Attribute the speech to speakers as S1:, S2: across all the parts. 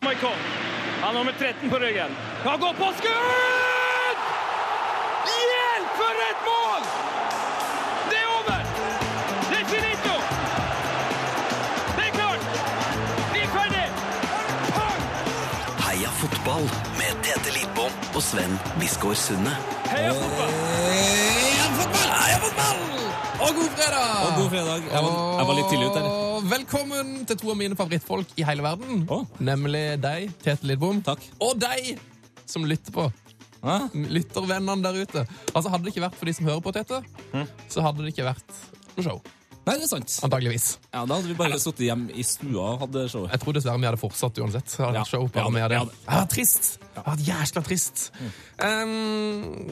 S1: Kom. Han har nummer 13 på ryggen. Han går på skudd! Hjelp, for et mål! Det er over! Det er finito! Det er klart! Vi er ferdig!
S2: Heia fotball med Tete Lidbom og Sven Biskår Sunde.
S1: Heia fotball!
S3: Heia Eh, fotball! Heia fotball! Og god fredag!
S4: Og god fredag. Jeg var, jeg var litt tidlig ute. eller?
S3: Og velkommen til to av mine favorittfolk i hele verden.
S4: Å.
S3: Nemlig deg, Tete Lidbom.
S4: Takk.
S3: Og deg som lytter på.
S4: Hæ?
S3: Lyttervennene der ute. Altså, Hadde det ikke vært for de som hører på, Tete,
S4: Hm?
S3: så hadde det ikke vært noe show.
S4: Nei, det er sant.
S3: Antageligvis.
S4: Ja, Da hadde vi bare sittet hjemme i stua og hatt show.
S3: Jeg tror dessverre vi hadde fortsatt uansett. Det hadde
S4: Ja.
S3: vært show bare
S4: Ja, det-
S3: med det.
S4: ja, det-
S3: Det hadde vært Ah, trist. Det hadde vært jæskla trist.
S4: Hm.
S3: Um,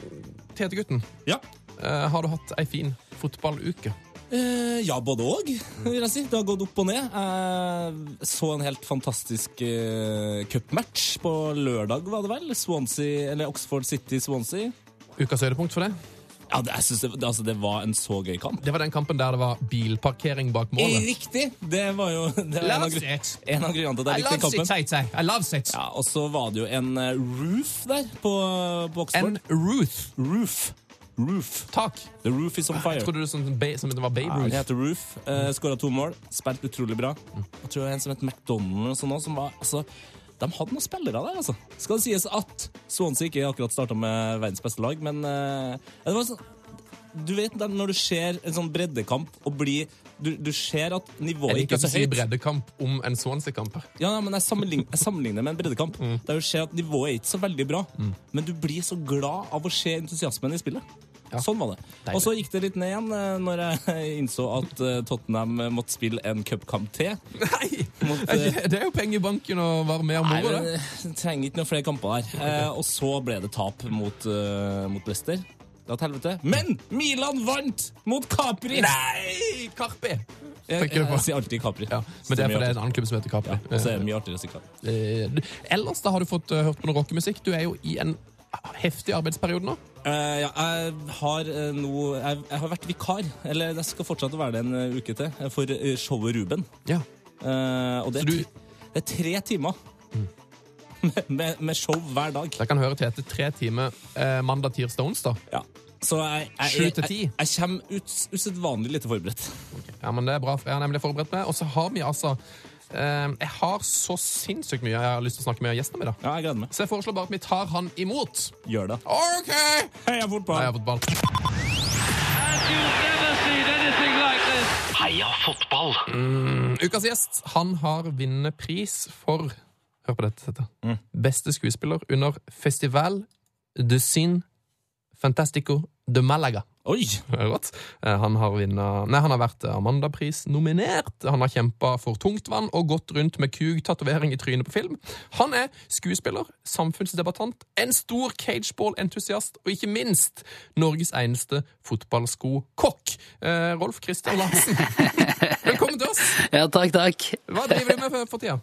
S3: Tete-gutten,
S4: Ja.
S3: eh, har du hatt ei fin fotballuke?
S4: Eh, ja, både òg, vil jeg si. Det har gått opp og ned. Jeg så en helt fantastisk eh, cupmatch på lørdag, var det vel? Swansea, eller Oxford City-Swansea.
S3: Ukas høydepunkt for det?
S4: Ja, det, jeg synes det, det- altså, det var en så gøy kamp.
S3: Det var den kampen der det var bilparkering bak målet.
S4: Riktig! Det var jo det var en, av, gru-
S3: it!
S4: en av grunnene til at jeg likte den kampen.
S3: I loves it.
S4: Ja, Og så var det jo en eh, roof der på, eh, på Oxford.
S3: And Ruth.
S4: Roof. Roof.
S3: Tak.
S4: The roof is on fire.
S3: Ah, Jeg trodde du som, ba- som det var Babe
S4: Ja,
S3: Ruth.
S4: det heter Roof. Eh, Skåra to mål. Spilt utrolig bra.
S3: Mm.
S4: Jeg tror det var en som het McDonald og sånn også, som var altså, De hadde noen spillere der, altså. Skal det sies at Swansea ikke akkurat starta med verdens beste lag, men eh, det var sånn du vet det er når du ser en sånn breddekamp og blir Du, du ser at
S3: Jeg
S4: nivået ikke er
S3: liker ikke
S4: så
S3: å si
S4: høyt.
S3: breddekamp om en Swansea-kamp. her.
S4: Ja, nei, men jeg sammenligner, jeg sammenligner med en breddekamp.
S3: Mm.
S4: Der du ser at nivået er ikke så veldig bra, men du blir så glad av å se entusiasmen i spillet. Sånn var det.
S3: Deilig.
S4: Og så gikk det litt ned igjen eh, når jeg innså at eh, Tottenham måtte spille en cupkamp til.
S3: Nei!
S4: Mot,
S3: Er
S4: eh,
S3: ikke- Det er jo penger i banken og være med og
S4: Nei,
S3: moro,
S4: men
S3: det.
S4: jeg trenger ikke noen flere kamper der. Eh, og så ble det tap mot, uh, mot Leicester. Det var til helvete. Men Milan vant mot Capri!
S3: Nei! Karpi!
S4: Jeg,
S3: tenker du
S4: jeg,
S3: på.
S4: sier alltid Capri.
S3: Ja, men det er fordi det er en annen klubb som heter Capri.
S4: Og så er det mye artigere å si Capri.
S3: Eh, du- Ellers da har du fått eh, hørt på noe rockemusikk. Du er jo i en heftig arbeidsperiode nå.
S4: Eh, ja, jeg har eh, nå jeg, jeg har vært vikar, eller jeg skal fortsatt være det en eh, uke til, eh, for eh, showet Ruben.
S3: Ja.
S4: Eh, og det
S3: Så
S4: er,
S3: du- Mm.
S4: ti- det er tre timer med, med, med show hver dag.
S3: Der kan høre Tete tre timer eh, mandag, tirsdag, onsdag.
S4: Ja. Så jeg, jeg,
S3: Sju
S4: jeg,
S3: til
S4: jeg,
S3: ti.
S4: jeg, kommer ut, usedvanlig lite forberedt.
S3: Ja, men det er bra, for jeg har nemlig forberedt meg. Og så har vi altså eh, Jeg har så sinnssykt mye jeg har lyst til å snakke med gjestene mine.
S4: Ja, jeg gleder meg.
S3: Så jeg foreslår bare at vi tar han imot.
S4: Gjør det.
S3: OK! Nei,
S4: Heia fotball!
S3: jeg har fått ball.
S1: As you've never seen anything like this.
S2: Heia fotball!
S3: Ukas gjest han har vunnet pris for Hør på dette. dette. Beste skuespiller under Festival de Cine Fantastico de Malaga.
S4: Oi!
S3: Det er Godt. Eh, Han har, vinnet, nei, han har vært Amandapris-nominert. Han har kjempa for tungtvann og gått rundt med kug, tatovering i trynet på film. Han er skuespiller, samfunnsdebattant, en stor cageball-entusiast og ikke minst Norges eneste fotballskokokk. Eh, Rolf Christian Larsen, velkommen til oss!
S5: Ja, takk, takk.
S3: Hva driver du med for- for tida?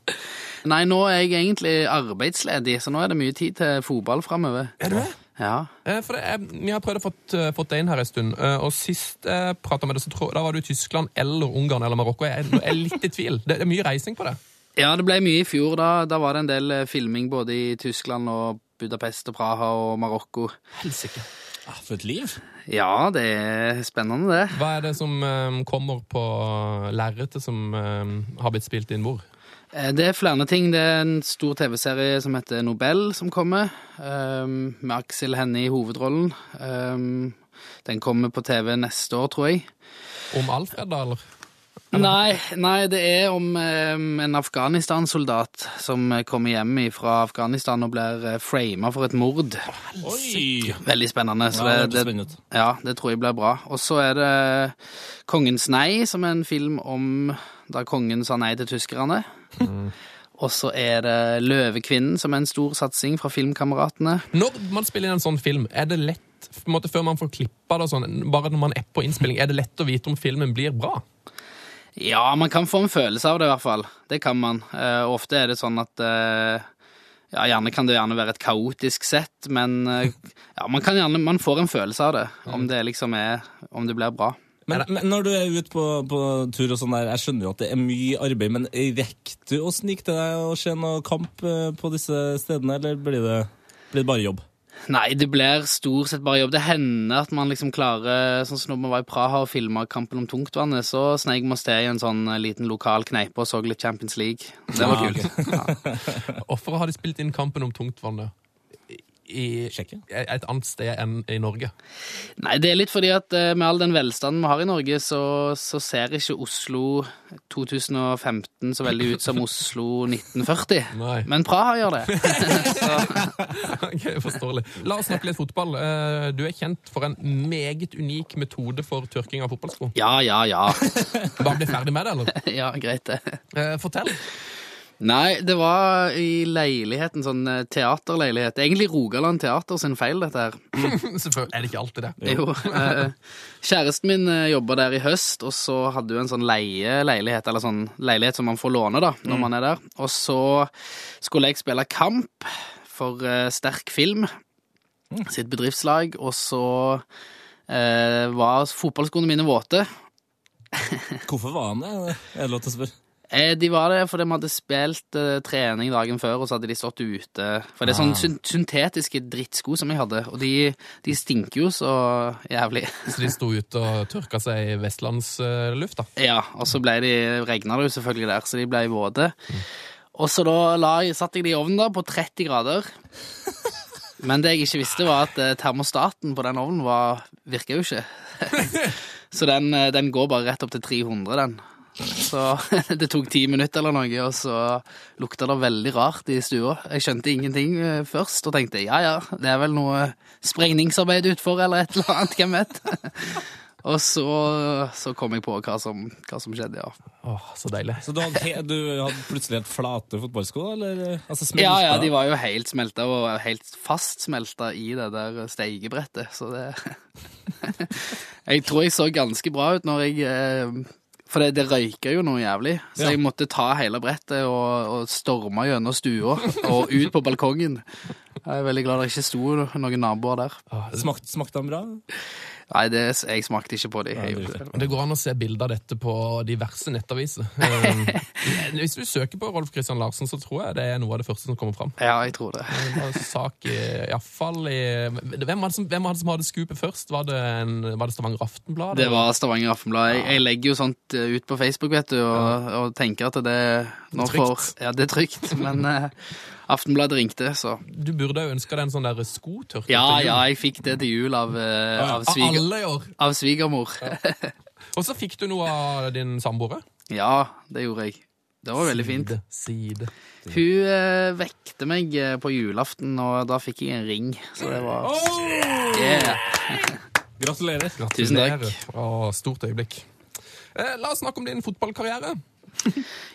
S5: Nei, nå er jeg egentlig arbeidsledig, så nå er det mye tid til fotball framover.
S3: Er du det?
S5: Ja.
S3: Eh, For det er, vi har prøvd å fått, eh, fått deg inn her en stund, eh, og sist jeg prata med deg, så tror, da var du i Tyskland eller Ungarn eller Marokko. Jeg er- jeg er litt i tvil. Det det er mye reising på det.
S5: ja, det ble mye i fjor. Da Da var det en del eh, filming både i Tyskland og Budapest og Praha og Marokko.
S3: Helsike.
S4: Ah, for et liv!
S5: Ja, det er spennende, det.
S3: Hva er det som eh, kommer på lerretet som eh, har blitt spilt inn hvor?
S5: Eh, Det er flere ting. Det er en stor TV-serie som heter Nobel, som kommer. ehm, med Aksel Hennie i hovedrollen. Ehm, den kommer på TV neste år, tror jeg.
S3: Om Alfred, da, eller?
S5: Nei, nei, det er om ehm, en Afghanistan-soldat som eh, kommer hjem fra Afghanistan og blir eh, frama for et mord.
S4: Oi!
S5: Veldig spennende.
S4: Ja,
S5: Så
S4: det hørtes
S5: det, det,
S4: spennende ut.
S5: ja, det tror jeg blir bra. Og så er det Kongens nei, som er en film om da kongen sa nei til tyskerne.
S4: Mm.
S5: Og så er det Løvekvinnen, som er en stor satsing fra Filmkameratene.
S3: Når man spiller inn en sånn film, er det lett på en måte Før man får klippa det og sånn, bare når man er på innspilling, er det lett å vite om filmen blir bra?
S5: Ja, man kan få en følelse av det i hvert fall. Det kan man. Eh, og ofte er det sånn at eh, ja, gjerne kan det gjerne være et kaotisk sett,
S3: Mm.
S5: men eh, ja, man, kan gjerne, man får en følelse av det, om det liksom er Om det blir bra.
S4: Men, men når du er ute på, på tur og sånn der, jeg skjønner jo at det er mye arbeid, men rekker du å snike til deg og se noe kamp eh, på disse stedene, eller blir det, blir det bare jobb?
S5: Nei, det blir stort sett bare jobb. Det hender at man liksom klarer Sånn som når vi var i Praha og filma Kampen om tungtvannet, så sneik vi oss til i en sånn eh, liten lokal kneipe og så litt Champions League.
S3: Det var kult. Hvorfor har de spilt inn kampen om tungtvannet i
S4: Tsjekkia?
S3: et annet sted enn i Norge?
S5: Nei, det er litt fordi at eh, med all den velstanden vi har i Norge, så, så ser ikke Oslo 2015 så veldig ut som Oslo 1940.
S3: Nei.
S5: Men Praha gjør det. så,
S3: Ok, forståelig. La oss snakke litt fotball. Eh, Du er kjent for en meget unik metode for tørking av fotballsko.
S5: ja, ja, ja.
S3: Bare bli ferdig med det, eller?
S5: Ja, greit det.
S3: Eh, Fortell.
S5: Nei, det var i leiligheten, sånn eh, teaterleilighet. Egentlig Rogaland Teater sin feil, dette her.
S3: Selvfølgelig er det ikke alltid det.
S5: Jo. eh, Kjæresten min eh, jobba der i høst, og så hadde hun en sånn leieleilighet, eller sånn leilighet som man får låne da, når man er der. Og så skulle jeg spille kamp for eh, Sterk Film, sitt bedriftslag, og så eh, var fotballskoene mine våte.
S4: Hvorfor var han det? Er det lov til å spørre?
S5: Eh, De var det fordi vi hadde spilt eh, trening dagen før, og så hadde de stått ute. For det er sånne syn syntetiske drittsko som jeg hadde, og de, de stinker jo så jævlig.
S3: Så de sto ute og tørka seg i vestlandslufta.
S5: Ja, og så ble de, regnet det jo selvfølgelig der, så de ble våte. Og så da la, jeg- satte jeg de i ovnen da, på 30 grader. Men det jeg ikke visste var at eh, termostaten på den ovnen var, virker jo ikke. Så den, eh, den går bare rett opp til 300, den. Så det tok ti minutter eller noe, og så lukta det veldig rart i stua. Jeg skjønte ingenting eh, først, og tenkte ja ja, det er vel noe eh, sprengningsarbeid utfor eller et eller annet, hvem vet. Og så, så kom jeg på hva som, hva som skjedde, ja.
S3: Åh, så deilig.
S4: Så du hadde, he- du hadde plutselig helt flate fotballsko? Eller? Altså,
S5: Ja,
S4: smelta?
S5: ja, de var jo helt smelta, og helt fastsmelta i det der steigebrettet, så det Jeg tror jeg så ganske bra ut når jeg eh, For det, det røyka jo noe jævlig, så
S4: Ja.
S5: jeg måtte ta hele brettet og, og storme gjennom stua og ut på balkongen. Jeg er veldig glad det ikke sto noen naboer der.
S4: Smakte smakte han bra?
S5: Nei, det, jeg smakte ikke på det.
S4: Nei,
S5: Jeg
S4: det er
S5: gjorde det.
S3: Det går an å se bilder av dette på diverse nettaviser. Eh, Hvis du søker på Rolf Christian Larsen, så tror jeg det er noe av det første som kommer fram.
S5: Ja, jeg tror det.
S3: Det var en Sak i, i, hvert fall i hvem, var det som, hvem var det som hadde skupet først? Var det, en, var det Stavanger Aftenblad?
S5: Det var Stavanger Aftenblad. Jeg, jeg legger jo sånt eh, ut på Facebook, vet du, og, og tenker at det
S3: Det
S5: nå
S3: er trygt.
S5: får Ja, det er trygt, men eh, Aftenbladet ringte, så
S3: Du burde jo ønska deg en sånn der skotørker.
S5: Ja,
S3: til jul.
S5: ja, jeg fikk det til jul av, eh, av,
S3: Av
S5: sviger,
S3: alle i år.
S5: av svigermor.
S3: Og så fikk du noe av din samboer.
S5: Ja, det gjorde jeg. Det var veldig fint.
S3: Side, Side.
S5: Hun eh, vekte meg eh, på julaften, og da fikk jeg en ring, så det var yeah.
S4: Gratulerer.
S5: Tusen takk.
S3: Gratulerer. Å, stort øyeblikk. Eh, la oss snakke om din fotballkarriere.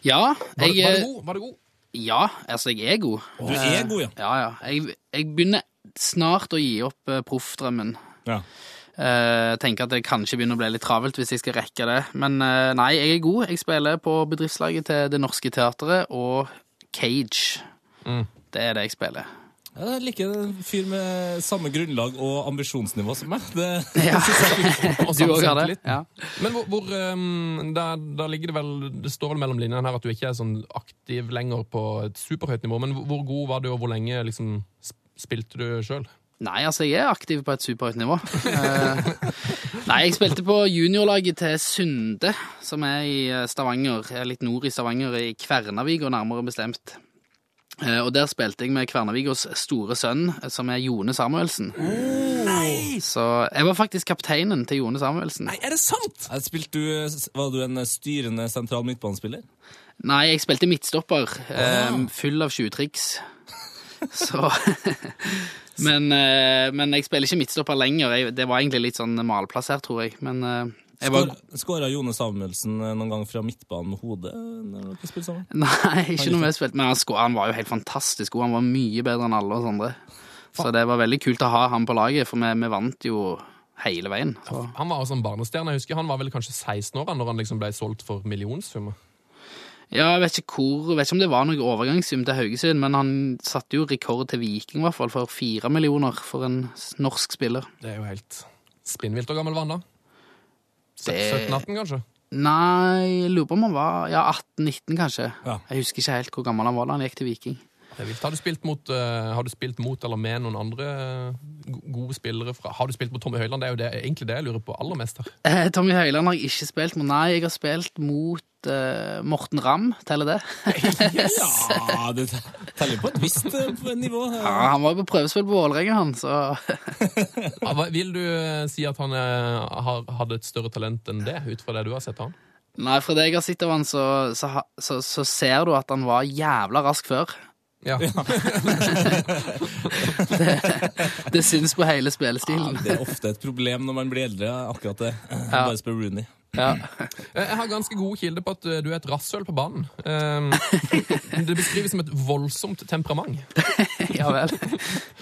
S5: Ja,
S3: Var, var
S5: jeg,
S3: det
S5: eh,
S3: god? Var det god?
S5: ja, altså, jeg er god.
S4: Du er god, ja.
S5: Ja, ja. Jeg, jeg begynner snart å gi opp eh, proffdrømmen.
S4: ja.
S5: Eh, tenker at det kanskje begynner å bli litt travelt hvis jeg skal rekke det. Men eh, nei, jeg er god. Jeg spiller på bedriftslaget til Det Norske Teatret og Cage. Det er det jeg spiller.
S4: Ja, Jeg liker en fyr med samme grunnlag og ambisjonsnivå som meg. Det,
S5: Ja.
S3: Og
S5: Du òg
S3: samtidig
S5: har det?
S3: litt.
S5: Ja.
S3: Men hvor, hvor ehm, der, der ligger det vel Det står vel mellom linjene her at du ikke er sånn aktiv lenger på et superhøyt nivå. Men hvor, hvor god var du, og hvor lenge liksom sp- spilte du sjøl?
S5: Nei, altså jeg er aktiv på et superhøyt nivå. Eh, nei, jeg spilte på juniorlaget til Sunde, som er i eh, Stavanger, eh, litt nord i Stavanger, i Kvernavik og nærmere bestemt. Eh, og der spilte jeg med Kvernavigas store sønn, eh, som er Jone Samuelsen. Så jeg var faktisk kapteinen til Jone Samuelsen. Nei,
S3: Er det sant?!
S4: Jeg spilte du, var du en styrende sentral midtbanespiller?
S5: jeg spilte midtstopper, eh, full av tjuvtriks. Så men, eh, men jeg spiller ikke midtstopper lenger. Jeg, det var egentlig litt sånn malplass her, tror jeg. Men eh, jeg var
S4: Skåra Jone Samuelsen eh, noen gang fra midtbanen med hodet? eh, Når dere spilte sammen?
S5: Nei, ikke noe mer spilt, men han, sko, han var jo helt fantastisk god. Han var mye bedre enn alle oss andre. Så det var veldig kult å ha han på laget, for vi, vi vant jo hele veien. Så.
S3: Han var også en barnestjerne. Jeg husker Han var vel kanskje 16 år da når han liksom ble solgt for millionsummer.
S5: Ja, jeg vet ikke hvor, jeg vet ikke om det var noen overgangssum til Haugesund, men han satte jo rekord til Viking, i hvert fall, for fire millioner for en s- norsk spiller.
S3: Det er jo helt spinnvilt. Hvor gammel var han da?
S5: Det-
S3: 17-18, kanskje?
S5: Nei, jeg lurer på om han var ja, 18-19, kanskje.
S4: Ja.
S5: Jeg husker ikke helt hvor gammel han var da han gikk til Viking.
S3: Det er vilt. Har du spilt mot, eh, har du spilt mot eller med noen andre eh, go- gode spillere fra Har du spilt mot Tommy Høiland? Det er jo det, egentlig det jeg lurer på aller mest her.
S5: Eh, Tommy Høiland har jeg ikke spilt mot. Nei, jeg har spilt mot eh, Morten Ramm, teller det?
S4: Ja, det teller på et visst eh, nivå.
S5: Ja, han var jo på prøvespill på Vålerenga, han, så
S3: Ja, hva- Vil du eh, si at han eh, har, hadde et større talent enn det, ut fra det du har sett han?
S5: Nei, fra det jeg har sett av han, så, så, ha- så, så ser du at han var jævla rask før.
S3: Ja.
S5: Det syns på hele
S4: Ja,
S5: spillestilen.
S4: det er ofte et problem når man blir eldre, akkurat det. Bare spør Rooney.
S5: Ja.
S3: Eh, Jeg har ganske gode kilder på at eh, du er et rasshøl på banen. Eh, Det beskrives som et voldsomt temperament.
S5: ja vel.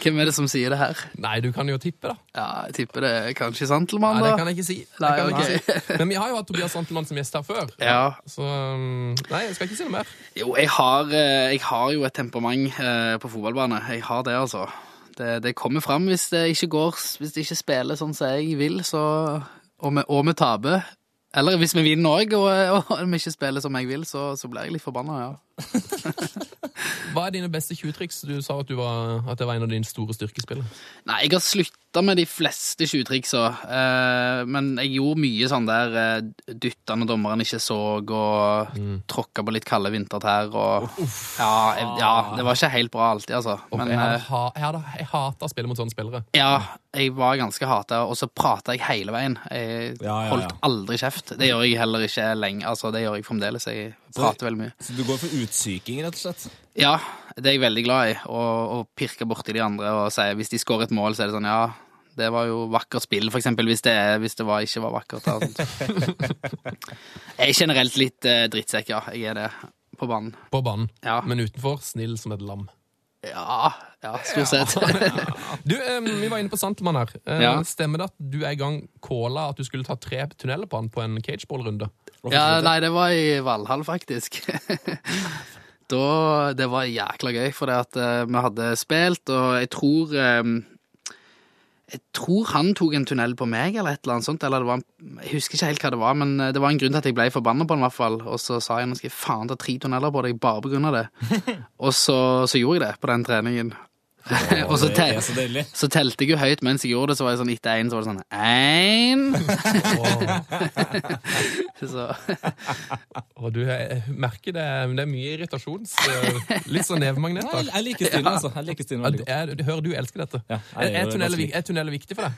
S5: Hvem er det som sier det her?
S3: Nei, du kan jo tippe, da.
S5: Ja, Jeg tipper det er kanskje
S3: Nei,
S5: Santelmann,
S3: det
S5: da.
S3: kan jeg ikke si. Det
S5: Nei,
S3: kan jeg
S5: ok.
S3: ikke si. Men vi har jo hatt Tobias Santelmann som gjest her før.
S5: Ja.
S3: Så um, Nei, jeg skal ikke si noe mer.
S5: Jo, jeg har, eh, jeg har jo et temperament eh, på fotballbane. Jeg har det, altså. Det, det kommer fram hvis det ikke går, hvis det ikke spiller sånn som jeg vil, så Og vi, og vi taper. Eller hvis vi vinner òg, og, og vi ikke spiller som jeg vil, så, så blir jeg litt forbanna, ja.
S3: Hva er dine beste 20-triks? Du sa at, du var, at det var en av dine store styrkespill.
S5: Nei, jeg har slutta med de fleste tjuvtriksa, eh, men jeg gjorde mye sånn der eh, dytta når dommeren ikke så, og tråkka på litt kalde vintertær og ja, jeg, ja, det var ikke helt bra alltid, altså. Men
S3: Jeg, hadde
S5: eh,
S3: ha, jeg, hadde, jeg hater å spille mot sånne spillere.
S5: ja, jeg var ganske hata, og så prata jeg hele veien. Jeg
S4: Ja, ja, ja.
S5: holdt aldri kjeft. Det gjør jeg heller ikke lenger. Altså, det gjør jeg fremdeles. Jeg
S4: Så-
S5: prater veldig mye.
S4: Så du går for utsyking, rett og slett?
S5: Ja, det er jeg veldig glad i. Å å pirke borti de andre og si hvis de skårer et mål, så er det sånn ja, det var jo vakkert spill, for eksempel, hvis det, er- hvis det var, ikke var vakkert. Og sånt. Jeg er generelt litt eh, drittsekk, ja. Jeg er det. På banen.
S3: På banen.
S5: Ja.
S3: Men utenfor snill som et lam.
S5: Ja, ja stort sett.
S3: Du, um, Vi var inne på Santelmann her. Eh,
S5: Ja.
S3: Stemmer det at du en gang calla at du skulle ta tre tunneler på han på en cageball-runde?
S5: Ja, nei, det var i Valhall, faktisk. da, det var jækla gøy, for det at eh, vi hadde spilt, og jeg tror eh, Jeg tror han tok en tunnel på meg, eller et eller annet sånt. Eller det var, en- jeg husker ikke helt hva det var, men eh, det var en grunn til at jeg ble forbanna på han, i hvert fall. Og så sa jeg nå skal jeg faen ta tre tunneler på deg bare på grunn av det. og så, så gjorde jeg det på den treningen. og så,
S4: Det
S5: te
S4: er så deilig.
S5: så telte jeg jo høyt mens jeg gjorde det, så var jeg sånn etter én, så var det sånn én Så
S3: Og du jeg merker det, det er mye irritasjon. så Litt sånn nevemagnet.
S4: Nei,
S3: da.
S4: jeg liker stilen, altså. Jeg liker stilen
S3: Ja,
S4: veldig godt.
S3: det er- du- Hører du elsker dette.
S4: Ja,
S3: er,
S4: jeg
S3: er,
S4: gjør
S3: tunneler,
S4: ganske
S3: vik- er tunneler viktig for deg?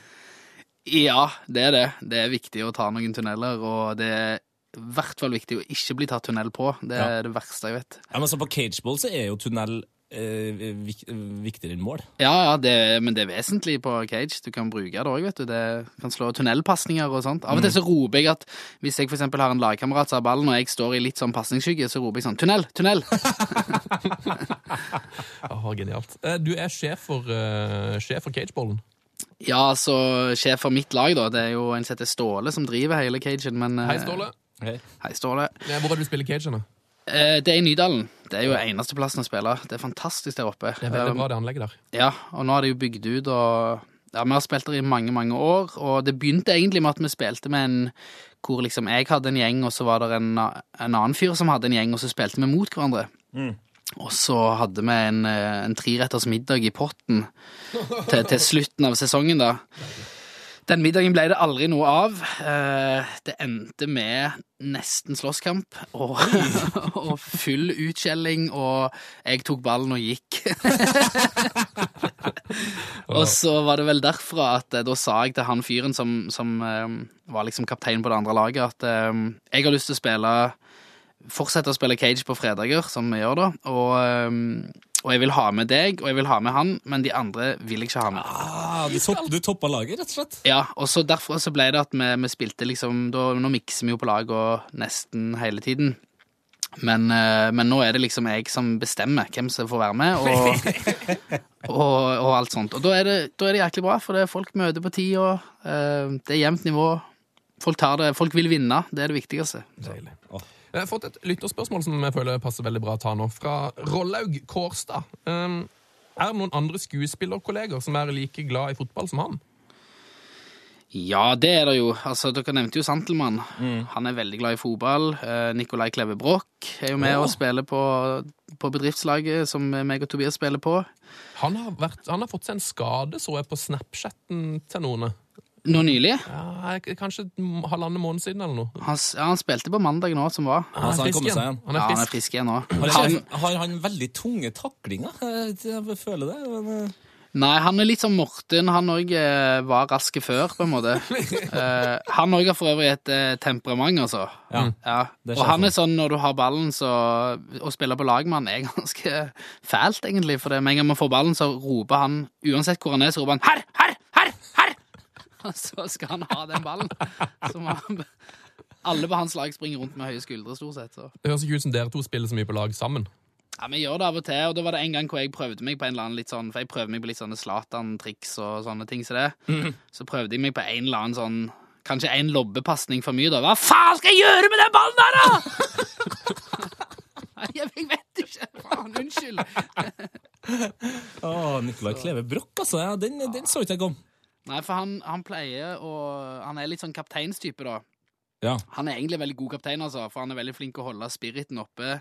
S5: Ja, det er det. Det er viktig å ta noen tunneler, og det er i hvert fall viktig å ikke bli tatt tunnel på. Det er
S4: Ja.
S5: det verste jeg vet.
S4: Ja, men så På cageball så er jo tunnel eh, vik viktigere enn mål.
S5: Ja, ja, det, men det er vesentlig på cage. Du kan bruke det òg, vet du. Det kan slå tunnelpasninger og sånt. Av og til så roper jeg at hvis jeg for eksempel har en lagkamerat som har ballen, og jeg står i litt sånn pasningsskygge, så roper jeg sånn 'tunnel, tunnel'.
S3: Åh, genialt. Eh, Du er sjef for, eh, sjef for cageballen.
S5: Ja, så sjef for mitt lag, da. Det er jo en som heter Ståle som driver hele cagen, men eh,
S3: Hei, Ståle.
S4: Hei.
S5: Hei, Ståle.
S3: Eh, Hvor er det du spiller cage? henne?
S5: Eh, Det er i Nydalen. Det er jo eneste plassen å spille. Det er fantastisk der oppe.
S3: Det er veldig bra, det anlegget der.
S5: Ja, og nå er det jo bygd ut, og ja, vi har spilt der i mange, mange år. Og det begynte egentlig med at vi spilte med en hvor liksom jeg hadde en gjeng, og så var det en, en annen fyr som hadde en gjeng, og så spilte vi mot hverandre. Og så hadde vi en, eh, en treretters middag i potten til, til slutten av sesongen, da. Den middagen ble det aldri noe av. Eh, Det endte med nesten slåsskamp og, og full utskjelling, og jeg tok ballen og gikk. Og så var det vel derfra at eh, da sa jeg til han fyren som, som eh, var liksom kaptein på det andre laget, at eh, jeg har lyst til å spille Fortsette å spille cage på fredager, som vi gjør da, og, eh, og jeg vil ha med deg, og jeg vil ha med han, men de andre vil jeg ikke ha med.
S4: Ah, du, topp, du toppa laget, rett og slett.
S5: Ja, og så derfor så ble det at vi, vi spilte liksom da, Nå mikser vi jo på lag og nesten hele tiden. Men, eh, men nå er det liksom jeg som bestemmer hvem som får være med, og, og, og alt sånt. Og da er, det, da er det jæklig bra, for det er folk møter på tid, og eh, det er jevnt nivå. Folk, tar det, folk vil vinne, det er det viktigste.
S3: Deilig.
S4: Åh.
S3: Jeg har fått et lytterspørsmål som jeg føler passer veldig bra å ta nå, fra Rollaug Kårstad. Um, er det noen andre skuespillerkolleger som er like glad i fotball som han?
S5: Ja, det er det jo. Altså, dere nevnte jo Santelmann. Han er veldig glad i fotball. Eh, Nikolai Kleve Broch er jo med
S4: Å.
S5: og spiller på, på bedriftslaget som meg og Tobias spiller på.
S3: Han har, vært, han har fått seg en skade, så jeg, på Snapchatten til noen.
S5: Nå nylig.
S3: Ja, jeg- kanskje m- halvannen måned siden eller noe.
S5: Han, s- ja, han spilte på mandag nå, som var.
S3: Han
S4: så han
S3: er frisk
S4: kommer seg
S3: igjen.
S4: igjen.
S3: Han
S5: Ja,
S3: er
S5: han er
S3: frisk.
S5: frisk igjen nå.
S4: Har,
S5: Han,
S4: ikke- har han veldig tunge taklinger? Jeg, jeg føler det. Men, eh,
S5: nei, han er litt som Morten. Han òg var raske før, på en måte. Eh, han òg har for øvrig et eh, temperament, altså.
S4: ja.
S5: Ja.
S4: Det
S5: Og
S4: skjer
S5: han er sånn når du har ballen, så Å spille på lag med han er ganske fælt, egentlig. For det med en gang man får ballen, så roper han Uansett hvor han er, så roper han 'herr, herr, herr'! herr! Og så skal han ha den ballen. Så må han Alle på hans lag springer rundt med høye skuldre, stort sett. Så.
S3: Det høres ikke ut som dere to spiller så mye på lag sammen.
S5: Ja, Vi gjør det av og til, og da var det en gang hvor jeg prøvde meg på en eller annen litt sånn For jeg prøver meg på litt sånne Zlatan-triks og sånne ting som det. Så prøvde jeg meg på en eller annen sånn Kanskje en lobbepasning for mye, da. Hva faen skal jeg gjøre med den ballen der, da?! Nei, jeg jeg vet ikke. Faen, unnskyld.
S4: Å, Nicolai Kleve Broch, altså. Ja, den, den så ikke jeg komme.
S5: Nei, for han, han pleier å Han er litt sånn kapteinstype, da.
S4: Ja.
S5: Han er egentlig veldig god kaptein, altså, for han er veldig flink å holde spiriten oppe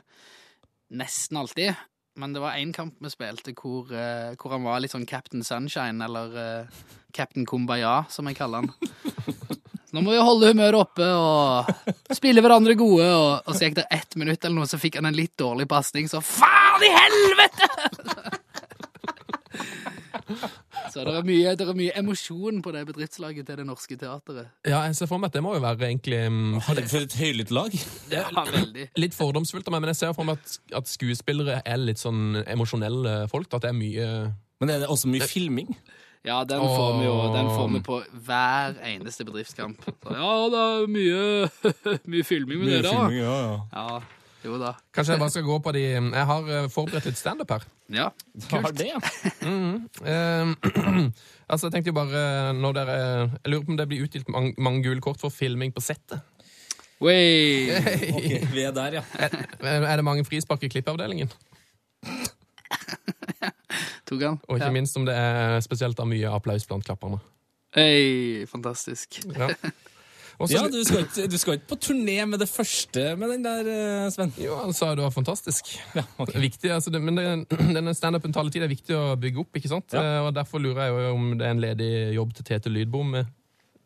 S5: nesten alltid. Men det var én kamp vi spilte hvor, eh, hvor han var litt sånn Captain Sunshine, eller eh, Captain Kumbaya, som jeg kaller han. Nå må vi holde humøret oppe og spille hverandre gode. Og, og så gikk det ett minutt, eller noe, så fikk han en litt dårlig pasning, så faen i helvete! Så det er mye, det er mye emosjon på det bedriftslaget til Det Norske Teatret.
S3: Ja, jeg ser for meg at det må jo være egentlig mm,
S4: Har det for et høylytt lag?
S5: Det var veldig
S3: litt fordomsfullt av meg, men jeg ser for meg at, at skuespillere er litt sånn emosjonelle folk. At det er mye
S4: Men er det også mye filming?
S5: Ja, den får vi jo
S3: Åh.
S5: Den får vi på hver eneste bedriftskamp. Så, ja, det er mye, mye filming med dere. da.
S4: ja, ja.
S5: Ja, jo da.
S3: Kanskje jeg bare skal gå på de Jeg har eh, forberedt litt standup her.
S5: Ja.
S4: Har det, ja.
S3: Eh, altså, jeg tenkte jo bare eh, når dere Jeg lurer på om det blir utdelt mange, mange gule kort for filming på settet.
S5: Wey.
S4: Ok, vi er der, ja.
S3: Er er det mange frispark i klippeavdelingen?
S5: Tok han.
S3: Og ikke
S5: Ja.
S3: minst om det er spesielt da mye applaus blant klapperne.
S5: Hey, fantastisk.
S3: Ja. Og så-
S4: ja du, skal ikke, du skal ikke på turné med det første med den der, eh, Sven.
S3: Jo, han sa det var fantastisk.
S4: Ja, ok.
S3: Viktig, altså det, men det, denne standupen tar litt tid. Det er viktig å bygge opp. ikke sant? Eh, og Derfor lurer jeg jo om det er en ledig jobb til Tete Lydbom eh,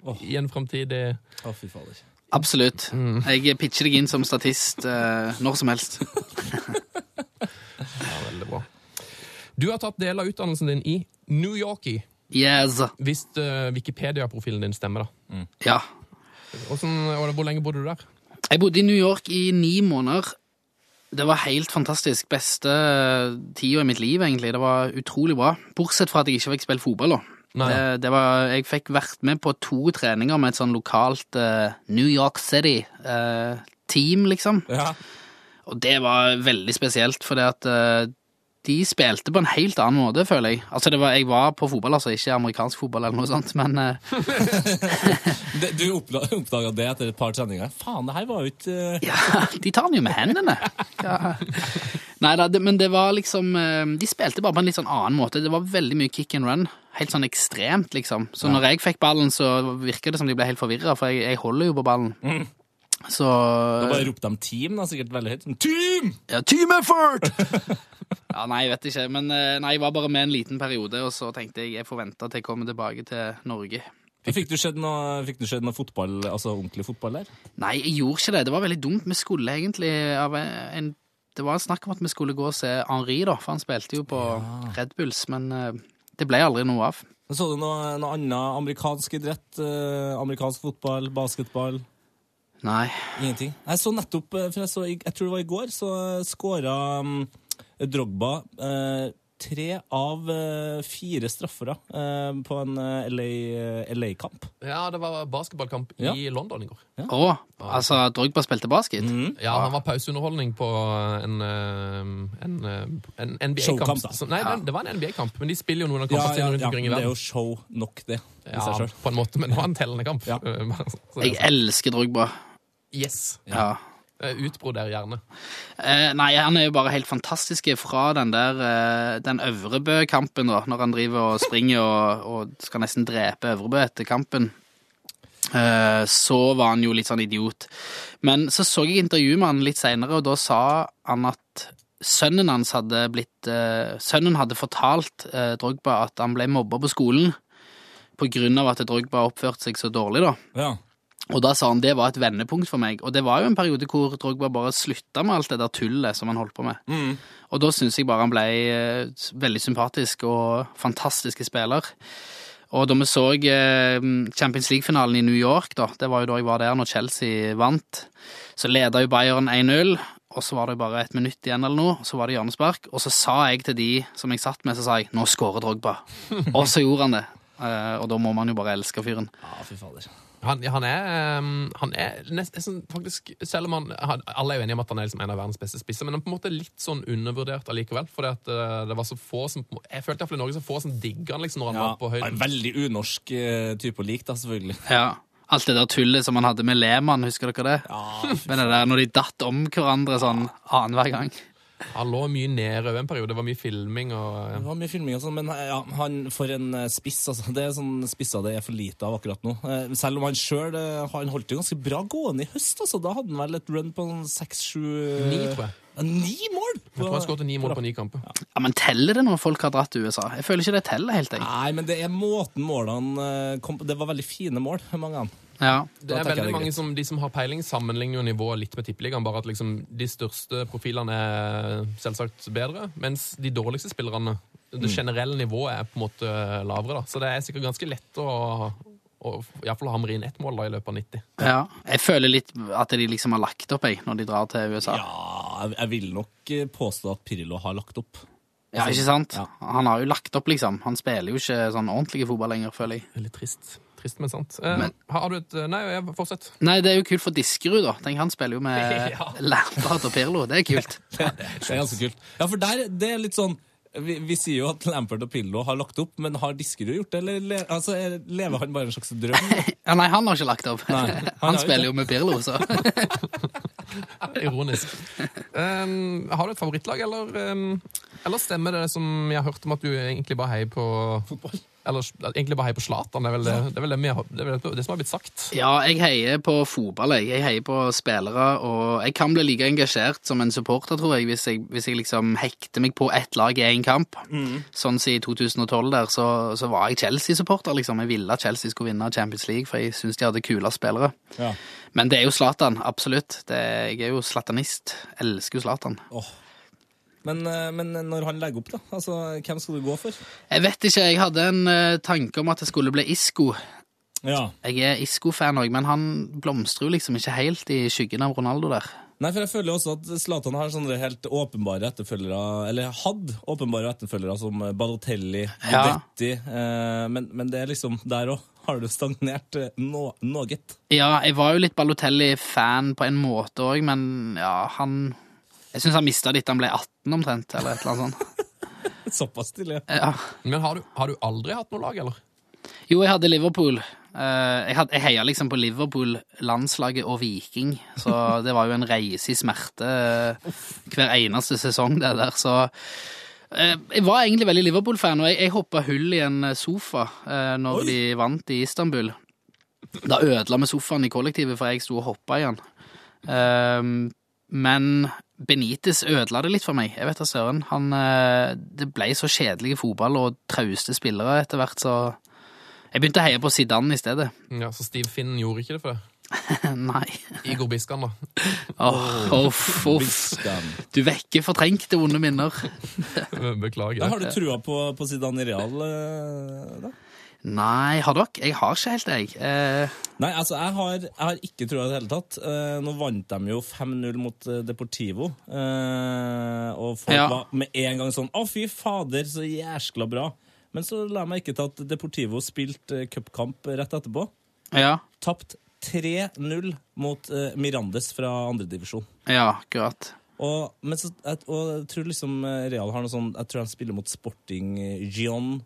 S4: Åh.
S3: i en framtidig
S4: Å, fy fader.
S5: Absolutt. Jeg pitcher deg inn som statist eh, når som helst.
S3: ja, Veldig bra. Du har tatt del av utdannelsen din i New Yorkie,
S5: Yes.
S3: hvis eh, Wikipedia-profilen din stemmer. da.
S5: Ja.
S3: Hvordan- og Hvor lenge bodde du der?
S5: Jeg bodde i New York i ni måneder. Det var helt fantastisk. Beste tida i mitt liv, egentlig. Det var utrolig bra. Bortsett fra at jeg ikke fikk spille fotball, da.
S3: Nei,
S5: Det, det var, jeg fikk vært med på to treninger med et sånn lokalt eh, New York City-team, liksom.
S4: Ja.
S5: Og det var veldig spesielt, fordi at eh, de spilte på en helt annen måte, føler jeg. Altså, det var, jeg var på fotball, altså, ikke amerikansk fotball eller noe sånt, men eh,
S4: Det, du oppdaga det etter et par treninger. Faen, det her var jo ikke eh,
S5: Ja, de tar den jo med hendene. Ja. Nei da, det, men det var liksom eh, De spilte bare på en litt sånn annen måte. Det var veldig mye kick and run. Helt sånn ekstremt, liksom. Så når jeg fikk ballen, så virka det som de ble helt forvirra, for jeg, jeg holder jo på ballen. Så
S4: Da bare ropte de team, da, sikkert veldig høyt. Team!
S5: ja, Team effort! ja, nei, jeg vet ikke. Men eh, nei, jeg var bare med en liten periode, og så tenkte jeg jeg får vente til jeg kommer tilbake til Norge.
S4: Fikk du sett noe, fikk du sett noe fotball, altså ordentlig fotball der?
S5: Nei, jeg gjorde ikke det. Det var veldig dumt. Vi skulle egentlig av en, Det var snakk om at vi skulle gå og se Henri, da, for han spilte jo på Red Bulls, men eh, det ble aldri noe av.
S4: Så du noe, noe annet amerikansk idrett? eh, amerikansk fotball, basketball?
S5: Nei.
S4: Ingenting. Jeg så nettopp, eh, for jeg, så, i- jeg tror det var i går, så skåra Drogba eh, tre av eh, fire straffere eh, på en LA-kamp.
S3: ja, Det var basketballkamp
S4: Ja.
S3: i London i går.
S5: Å, altså Drogba spilte basket?
S3: Ja, han var pauseunderholdning på en, eh, en, eh, en
S4: Showkamp,
S3: NBA-kamp.
S4: da.
S3: Så- Nei, det- det var en NBA-kamp, men de spiller jo noen av kampene
S4: ja, ja,
S3: rundt
S4: ja,
S3: omkring i
S4: men det er
S3: verden.
S4: jo show nok, det. i seg
S3: Ja,
S4: selv.
S3: på en måte, men det var en tellende kamp.
S4: Ja.
S3: Så det
S5: Jeg
S3: er sånn.
S5: elsker Drogba.
S3: Yes.
S5: Ja.
S3: Eh, Utbrudd der, gjerne.
S5: Eh, nei, han er jo bare helt fantastisk fra den der eh, Den Øvrebø-kampen, da, når han driver og springer og, og skal nesten drepe Øvrebø etter kampen. Eh, Så var han jo litt sånn idiot. Men så så jeg intervjuet med han litt seinere, og da sa han at sønnen hans hadde blitt eh, Sønnen hadde fortalt eh, Drogba at han ble mobba på skolen på grunn av at Drogba oppførte seg så dårlig, da.
S4: Ja.
S5: Og da sa han det var et vendepunkt for meg. Og det var jo en periode hvor Drogba bare slutta med alt det der tullet som han holdt på med. Og da syns jeg bare han ble eh, veldig sympatisk og fantastiske spiller. Og da vi så eh, Champions League-finalen i New York, da, det var jo da jeg var der når Chelsea vant, så leda jo Bayern 1-0. Og så var det bare et minutt igjen, eller noe, så var det hjørnespark. Og så sa jeg til de som jeg satt med, så sa jeg 'nå scorer Drogba'. og så gjorde han det. Eh, og da må man jo bare elske fyren.
S4: ja, fy fader.
S3: Han, han er, ehm, han er nesten faktisk Selv om han, han Alle er jo enige om at han er liksom en av verdens beste spisser, men han er på en måte litt sånn undervurdert allikevel. Fordi at eh, det var så få som på en måte- Jeg følte iallfall i Norge så få som digga han liksom når han
S4: Ja,
S3: var på høyden.
S4: en veldig unorsk eh, type å like, da, selvfølgelig.
S5: Ja. Alt det der tullet som han hadde med Lehmann, husker dere det?
S4: Ja,
S5: Men det der når de datt om hverandre sånn annenhver gang.
S3: Han lå mye nede over en periode. Det var mye filming og eh,
S4: det var mye filming og sånn, men eh, ja, han for en eh, spiss, altså. Det er sånn spisser det er for lite av akkurat nå. Eh, Selv om han sjøl Han holdt jo ganske bra gående i høst, altså. Da hadde han vel et run på sånn seks-sju
S3: Ni, tror jeg.
S4: Ja, ni mål!
S3: Jeg tror han skåret ni mål på ni kamper.
S5: Ja, Men teller det når folk har dratt til USA? Jeg føler ikke det teller helt, jeg.
S4: Nei, men det er måten målene eh, kom på. Det var veldig fine mål, mange av dem.
S5: Ja.
S3: Det
S4: Da tenker
S3: er
S4: jeg det
S3: veldig
S4: er
S3: mange
S4: greit.
S3: som, De som har peiling, sammenligner jo nivået litt med tippeligaen. Bare at liksom de største profilene er selvsagt bedre, mens de dårligste spillerne Det
S4: Mm.
S3: generelle nivået er på en måte lavere. da. Så det er sikkert ganske lett å, å iallfall hamre inn ett mål da i løpet av 90.
S5: ja. Jeg føler litt at de liksom har lagt opp, jeg, når de drar til USA.
S4: Ja, jeg- jeg vil nok eh, påstå at Pirlo har lagt opp.
S5: Ja, ikke sant?
S4: Ja.
S5: Han har jo lagt opp, liksom. Han spiller jo ikke sånn ordentlig fotball lenger, føler jeg.
S3: Veldig trist. Trist, men sant. Eh, har du et Nei, jeg- fortsett.
S5: Nei, det er jo kult for Diskerud, da. Tenk, han spiller jo med
S3: Ja.
S5: Lampard og Pirlo. Det er kult.
S4: Det er ganske kult. Ja, for der, det er litt sånn vi, vi sier jo at Lampert og Pillo har lagt opp, men har Diskerud gjort det? Eller le, altså, er- lever han bare en slags drøm?
S5: Ja, nei, han har ikke lagt opp.
S4: Nei, han
S5: han
S4: har jo ikke.
S5: spiller jo med Pirlo, så.
S3: Ironisk. Um, har du et favorittlag, eller, um, eller stemmer det som jeg har hørt om at du egentlig bare heier på Fotball? Eller egentlig bare heier på Zlatan. Det er vel det, det, er vel det, vi har, det, er vel det som har blitt sagt.
S5: Ja, jeg heier på fotball. Jeg. jeg heier på spillere, og jeg kan bli like engasjert som en supporter, tror jeg, hvis jeg, hvis jeg liksom hekter meg på ett lag i én kamp. Sånn som i 2012 der, så, så var jeg Chelsea-supporter, liksom. Jeg ville at Chelsea skulle vinne Champions League, for jeg syns de hadde kule spillere.
S4: Ja.
S5: Men det er jo Zlatan, absolutt. Det, jeg er jo zlatanist. Elsker jo Zlatan.
S4: Åh. Men, eh, men når han legger opp, da? Altså, hvem skal du gå for?
S5: Jeg vet ikke, jeg hadde en eh, tanke om at det skulle bli Isco.
S4: Ja.
S5: Jeg er Isco-fan òg, men han blomstrer jo liksom ikke helt i skyggen av Ronaldo der.
S4: Nei, for jeg føler også at Zlatan har sånne helt åpenbare etterfølgere Eller hadde åpenbare etterfølgere som Balotelli,
S5: Ja.
S4: Vetti eh, men, men det er liksom der òg. Har du stagnert eh, nå, noget?
S5: Ja, jeg var jo litt Balotelli-fan på en måte òg, men ja, han Jeg syns han mista litt da han ble 18 omtrent, eller et eller annet sånt.
S4: Såpass stille.
S5: Ja.
S3: Men har du, har du aldri hatt noe lag, eller?
S5: Jo, jeg hadde Liverpool. Eh, Jeg, hadde, jeg heia liksom på Liverpool, landslaget og Viking, så det var jo en reise i smerte eh, hver eneste sesong, det der, så eh, jeg var egentlig veldig Liverpool-fan, og jeg, jeg hoppa hull i en sofa eh, når
S4: Oi.
S5: de vant i Istanbul. Da ødela vi sofaen i kollektivet, for jeg sto og hoppa i den. Ehm, men Benitez ødela det litt for meg. Jeg vet da søren. Han, eh, det ble så kjedelig fotball og trauste spillere etter hvert, så Jeg begynte å heie på Zidane i stedet.
S3: Ja, Så Steve Finn gjorde ikke det for deg?
S5: Nei.
S3: Igor Biskan, da.
S5: Åh, Uff, uff.
S4: Biskan.
S5: Du vekker fortrengte vonde minner.
S4: Da
S3: Beklager.
S4: har du trua på, på Zidane i Real, eh, da?
S5: Nei, har dere? Jeg har ikke helt det, jeg. Eh,
S4: Nei, altså, jeg har, jeg har ikke trua i det hele tatt. Eh, nå vant de jo 5-0 mot eh, Deportivo. Eh, og folk
S5: Ja.
S4: var med en gang sånn Å, fy fader, så jæskla bra. Men så la jeg meg ikke til at Deportivo spilte eh, cupkamp rett etterpå.
S5: ja.
S4: Tapt 3-0 mot eh, Mirandes fra andredivisjon.
S5: Ja, akkurat.
S4: Og, men så, jeg, og jeg tror liksom eh, Real har noe sånn Jeg tror han spiller mot Sporting eh, Gion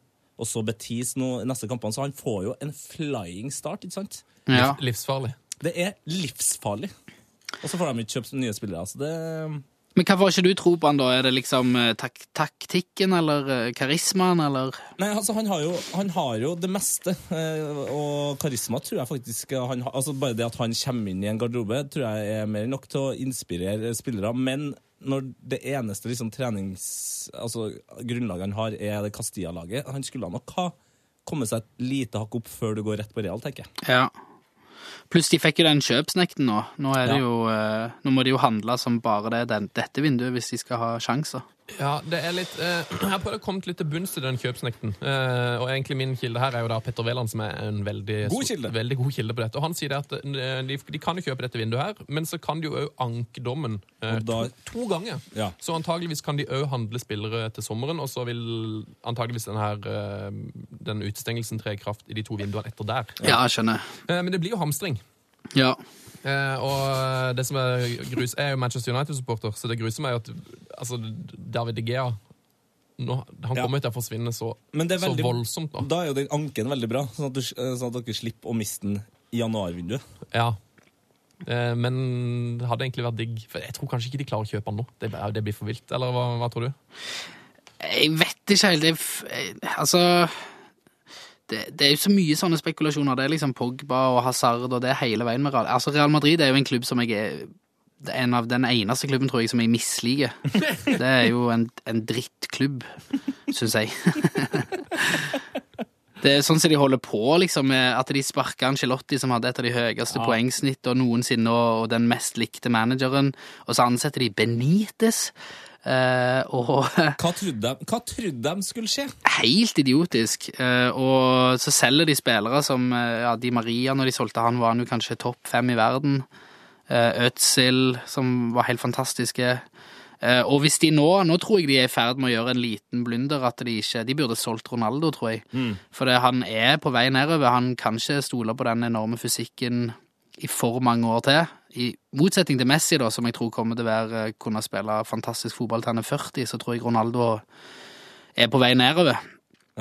S4: og så Betis nå, neste kampene, så han får jo en flying start, ikke sant?
S5: Ja.
S3: Livsfarlig.
S4: Det er livsfarlig. Og så får de ikke kjøpt nye spillere. Altså det,
S5: Men hva får ikke du tro på han, da? Er det liksom eh, tak taktikken eller eh, karismaen, eller
S4: Nei, altså han har jo, han har jo det meste, eh, og karisma tror jeg faktisk han har. Altså Bare det at han kommer inn i en garderobe, tror jeg er mer enn nok til å inspirere spillere. Men når det eneste liksom trenings... Altså grunnlaget han har, er det Castilla-laget Han skulle nok ha kommet seg et lite hakk opp før du går rett på Real, tenker jeg.
S5: Ja. Pluss de fikk jo den kjøpsnekten nå. Nå, er det
S4: Ja.
S5: jo, eh, nå må de jo handle som bare det den, dette vinduet hvis de skal ha sjanser.
S3: Ja, det er litt eh, Jeg har prøvd å komme litt til bunns i den kjøpsnekten. Eh, og egentlig min kilde her er jo da Petter Wæland, som er en veldig
S4: God kilde.
S3: veldig god kilde på dette. Og han sier det at eh, de, de kan jo kjøpe dette vinduet her, men så kan de jo òg anke dommen eh,
S4: Og da-
S3: to, to ganger.
S4: Ja.
S3: Så antageligvis kan de òg handle spillere til sommeren, og så vil antageligvis den her eh, den utestengelsen tre i kraft i de to vinduene etter der.
S5: Ja, skjønner.
S3: Eh, men det blir jo hamstring.
S5: Ja.
S3: Eh, og det som er grus Jeg er jo Manchester United-supporter, så det gruser meg at altså, David De Gea nå, Han
S4: Ja.
S3: kommer jo til å forsvinne så,
S4: Men det er
S3: så
S4: veldig-
S3: voldsomt nå.
S4: Da er jo den anken veldig bra, sånn at, du, sånn at dere slipper å miste den i januarvinduet.
S3: Ja. Eh, men det hadde egentlig vært digg For Jeg tror kanskje ikke de klarer å kjøpe han nå. Det, er- det blir for vilt. Eller hva, hva tror du?
S5: Jeg vet ikke helt. Jeg, f- jeg, altså det, det er jo så mye sånne spekulasjoner. Det er liksom Pogba og Hazard og det er hele veien med Real. Altså Real Madrid er jo en klubb som jeg er det er en av Den eneste klubben tror jeg som jeg misliker. Det er jo en, en drittklubb, syns jeg. Det er sånn som de holder på, liksom, med at de sparka Angelotti, som hadde et av de høyeste poengsnittene noensinne, og, og den mest likte manageren, og så ansetter de Benitez. eh, og
S4: Hva trodde de, hva trodde de skulle skje?
S5: helt idiotisk. Eh, og så selger de spillere som eh, ja, Di Maria, når de solgte han, var han jo kanskje topp fem i verden. Eh, Ødsel, som var helt fantastiske. Eh, og hvis de nå Nå tror jeg de er i ferd med å gjøre en liten blunder. at De ikke, de burde solgt Ronaldo, tror jeg. For det, han er på vei nedover. Han kan ikke stole på den enorme fysikken i for mange år til. I motsetning til Messi, da, som jeg tror kommer til å være, eh, kunne spille fantastisk fotball til han er 40, så tror jeg Ronaldo er på vei nedover.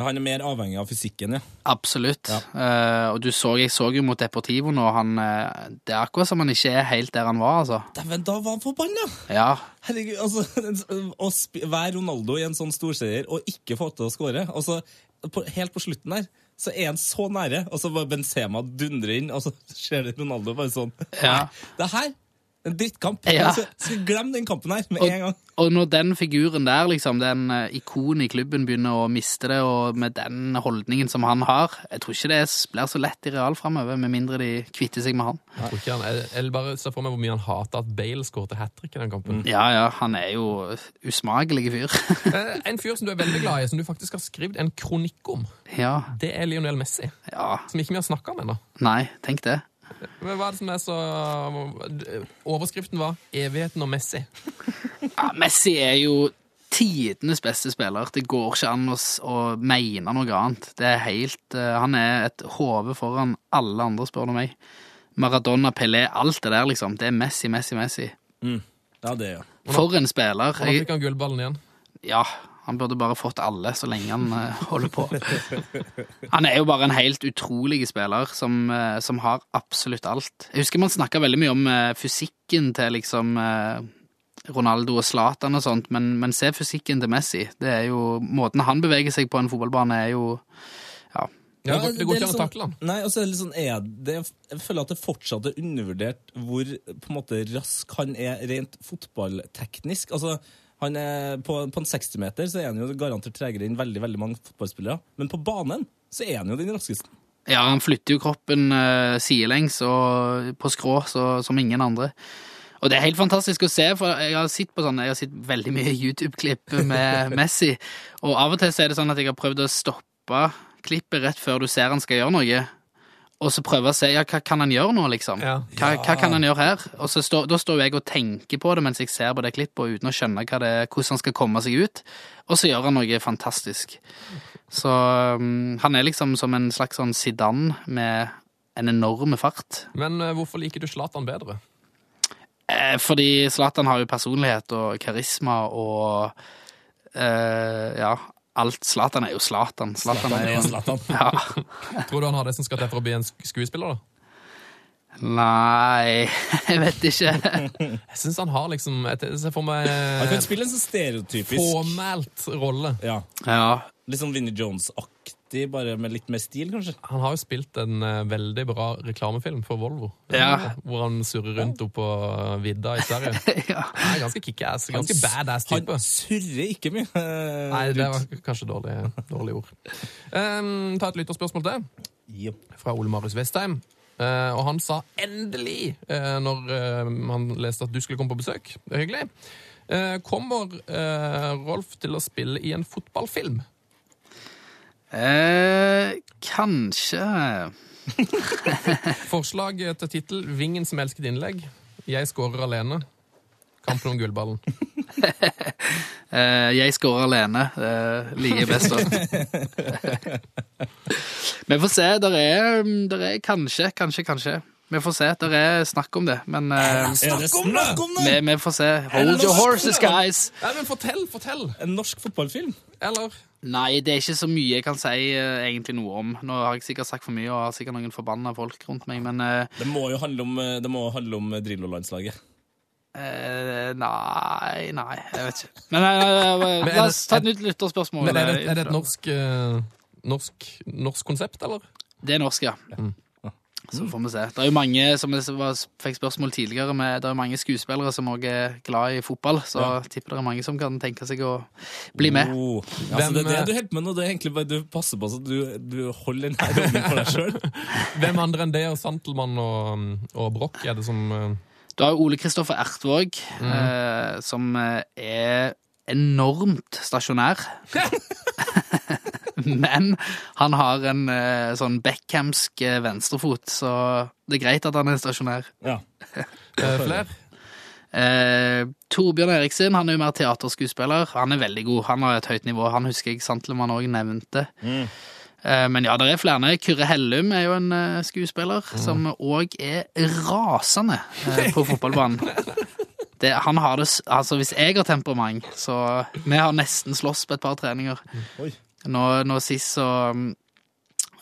S4: Han er mer avhengig av fysikken, ja.
S5: Absolutt. Eh, og du så, jeg så jo mot Deportivo nå, han eh, Det er akkurat som han ikke er helt der han var, altså.
S4: Dæven, da var han forbanna!
S5: Ja.
S4: Herregud, altså, å sp være Ronaldo i en sånn storseier og ikke få til å skåre altså, på, Helt på slutten her så er han så nære, og så bare Benzema dundrer inn, og så ser det Ronaldo bare sånn
S5: Ja.
S4: Det her, en drittkamp.
S5: Ja.
S4: Altså, skal glem den kampen her med en gang.
S5: Og når den figuren der, liksom, den eh, ikonen i klubben, begynner å miste det, og med den holdningen som han har Jeg tror ikke det s- blir så lett i real framover, med mindre de kvitter seg med han.
S3: Jeg, tror ikke han, jeg, jeg bare ser for meg hvor mye han hater at Bale skåret hat trick i den
S4: Mm.
S3: kampen.
S5: Ja ja, han er jo usmakelig fyr.
S3: Eh, en fyr som du er veldig glad i, som du faktisk har skrevet en kronikk om,
S5: ja.
S3: det er Lionel Messi.
S5: Ja.
S3: Som ikke vi har snakka om ennå.
S5: Nei, tenk det.
S3: Men Hva er det som er så eh, Overskriften var 'Evigheten og Messi'.
S5: Ja, Messi er jo tidenes beste spiller. Det går ikke an å, s- å mene noe annet. Det er helt, eh, han er et hode foran alle andre, spør du meg. Maradona, Pelé, alt det der, liksom. Det er Messi, Messi, Messi.
S4: Ja, det er jo.
S5: For en spiller.
S3: Og nå
S5: Jeg,
S3: fikk han gullballen igjen.
S5: ja, han burde bare fått alle så lenge han eh, holder på. Han er jo bare en helt utrolig spiller som, eh, som har absolutt alt. Jeg husker man snakka veldig mye om eh, fysikken til liksom eh, Ronaldo og Zlatan og sånt, men, men se fysikken til Messi. Det er jo, måten han beveger seg på en fotballbane, er jo
S3: Ja, det, går- det går
S4: er
S3: ikke an å
S4: litt
S3: takle han.
S4: sånn- Nei, og så er det litt sånn er det, Jeg føler at det fortsatt er undervurdert hvor på en måte rask han er rent fotballteknisk. Altså, han er, på, på en 60-meter så er han jo garantert tregere enn veldig veldig mange fotballspillere. Men på banen så er han jo den raskeste.
S5: Ja, han flytter jo kroppen eh, sidelengs og på skrå så, som ingen andre. Og det er helt fantastisk å se, for jeg har sett på sånne, jeg har sett veldig mye YouTube-klipp med Messi, og av og til så er det sånn at jeg har prøvd å stoppe klippet rett før du ser han skal gjøre noe, og så prøve å se, ja, hva kan han gjøre nå, liksom?
S3: Ja.
S5: Hva, hva kan han gjøre her? Og så står- da står jo jeg og tenker på det mens jeg ser på det klippet, uten å skjønne hva det, hvordan han skal komme seg ut, og så gjør han noe fantastisk. Så um, han er liksom som en slags sånn sedan med en enorm fart.
S3: Men eh, hvorfor liker du Zlatan bedre?
S5: Eh, fordi Zlatan har jo personlighet og karisma og eh, Ja, alt. Zlatan er jo Zlatan. Zlatan er jo
S4: Zlatan.
S5: ja.
S3: Tror du han har det som skal til for å bli en sk- skuespiller? da?
S5: Nei, jeg vet ikke.
S3: Jeg syns han har liksom Jeg ser for meg
S4: Han kan spille en sånn stereotypisk
S3: påmælt rolle.
S4: ja,
S5: Ja,
S4: Litt sånn Vinnie Jones-aktig, bare med litt mer stil, kanskje.
S3: Han har jo spilt en eh, veldig bra reklamefilm for Volvo.
S5: Ja.
S3: Hvor han surrer rundt oppå vidda i Sverige.
S5: ja.
S3: Han er ganske kickass. Ganske
S4: s-
S3: badass type.
S4: Han surrer ikke mye. eh,
S3: Nei, det
S4: rundt.
S3: var kanskje dårlig, dårlig ord. Em, ta et lytterspørsmål til,
S4: Jep.
S3: fra Ole Marius Vestheim. Eh, og han sa endelig, eh, når eh, han leste at du skulle komme på besøk Det er Hyggelig. Eh, kommer eh, Rolf til å spille i en fotballfilm?
S5: Eh, kanskje.
S3: Forslag til tittel 'Vingen som elsket innlegg'. Jeg skårer alene. Kampen om gullballen.
S5: Eh, jeg scorer alene. Eh, liker jeg best òg. Vi får se. Der er, der er kanskje, kanskje, kanskje. Vi får se. Der er snakk om det, men eh,
S4: Er det snakk om
S5: vi,
S4: det!
S5: vi får se. Hold your horses, guys!
S3: Nei, men fortell! Fortell!
S4: En norsk fotballfilm?
S3: Eller
S5: Nei, det er ikke så mye jeg kan si eh, egentlig noe om. Nå har jeg sikkert sagt for mye og har sikkert noen forbanna folk rundt meg, men eh,
S4: Det må jo handle om, eh, det må jo handle om eh, Drillo-landslaget.
S5: eh, Nei, nei, jeg vet ikke. Men eh,
S3: Men er
S5: la oss
S3: det-
S5: ta et nytt lytterspørsmål.
S3: men er, det, er det et
S5: eh,
S3: norsk, eh, norsk, norsk konsept, eller?
S5: Det er norsk, ja. Så får vi se. Det er jo mange som jeg var- fikk spørsmål tidligere med, det er jo mange skuespillere som også er glad i fotball, så tipper det er mange som kan tenke seg å bli med.
S4: Oh, altså,
S3: Hvem,
S4: det er det
S3: eh,
S4: du holder på med nå. Det er egentlig bare Du passer på så du, du holder den her rollen for deg sjøl.
S3: Hvem andre enn det og Santelmann og, og Broch er det som eh,
S5: Du har jo Ole Kristoffer Ertvåg, eh, som eh, er enormt stasjonær. Men han har en eh, sånn Beckhamsk eh, venstrefot, så det er greit at han er stasjonær.
S4: Ja.
S3: eh, Fler?
S5: Eh, Torbjørn Eriksen han er jo mer teaterskuespiller. Han er veldig god. Han har et høyt nivå. Han husker jeg Santlemann òg nevnte. Eh, men ja, det er flere. Kyrre Hellum er jo en eh, skuespiller som òg er rasende eh, på fotballbanen. Det, han har det, s- altså Hvis jeg har temperament, så Vi har nesten slåss på et par treninger.
S4: Oi.
S5: Nå, nå sist så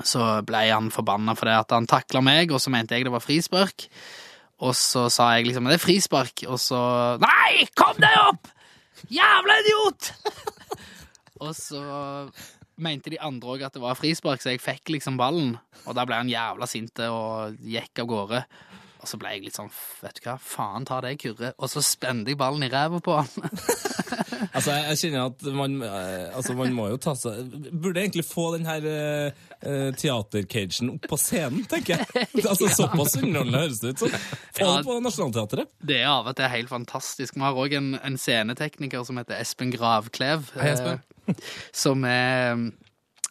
S5: så ble han forbanna fordi at han takla meg, og så mente jeg det var frispark. Og så sa jeg liksom det er frispark, og så Nei, kom deg opp! Jævla idiot! og så mente de andre òg at det var frispark, så jeg fikk liksom ballen. Og da ble han jævla sinte og gikk av gårde. Og så ble jeg litt sånn, vet du hva, faen ta det, Kurre. Og så spente jeg ballen i ræva på han.
S4: Altså, jeg, jeg kjenner at man eh, Altså, man må jo ta seg Burde egentlig få den her eh, eh, teatercagen opp på scenen, tenker jeg. Altså, Såpass underholdende høres det ut som. Få
S5: Ja.
S4: det på Nationaltheatret.
S5: Det er av og til helt fantastisk. Vi har òg en, en scenetekniker som heter Espen Gravklev.
S3: Hei, Espen.
S5: eh, Som er mm,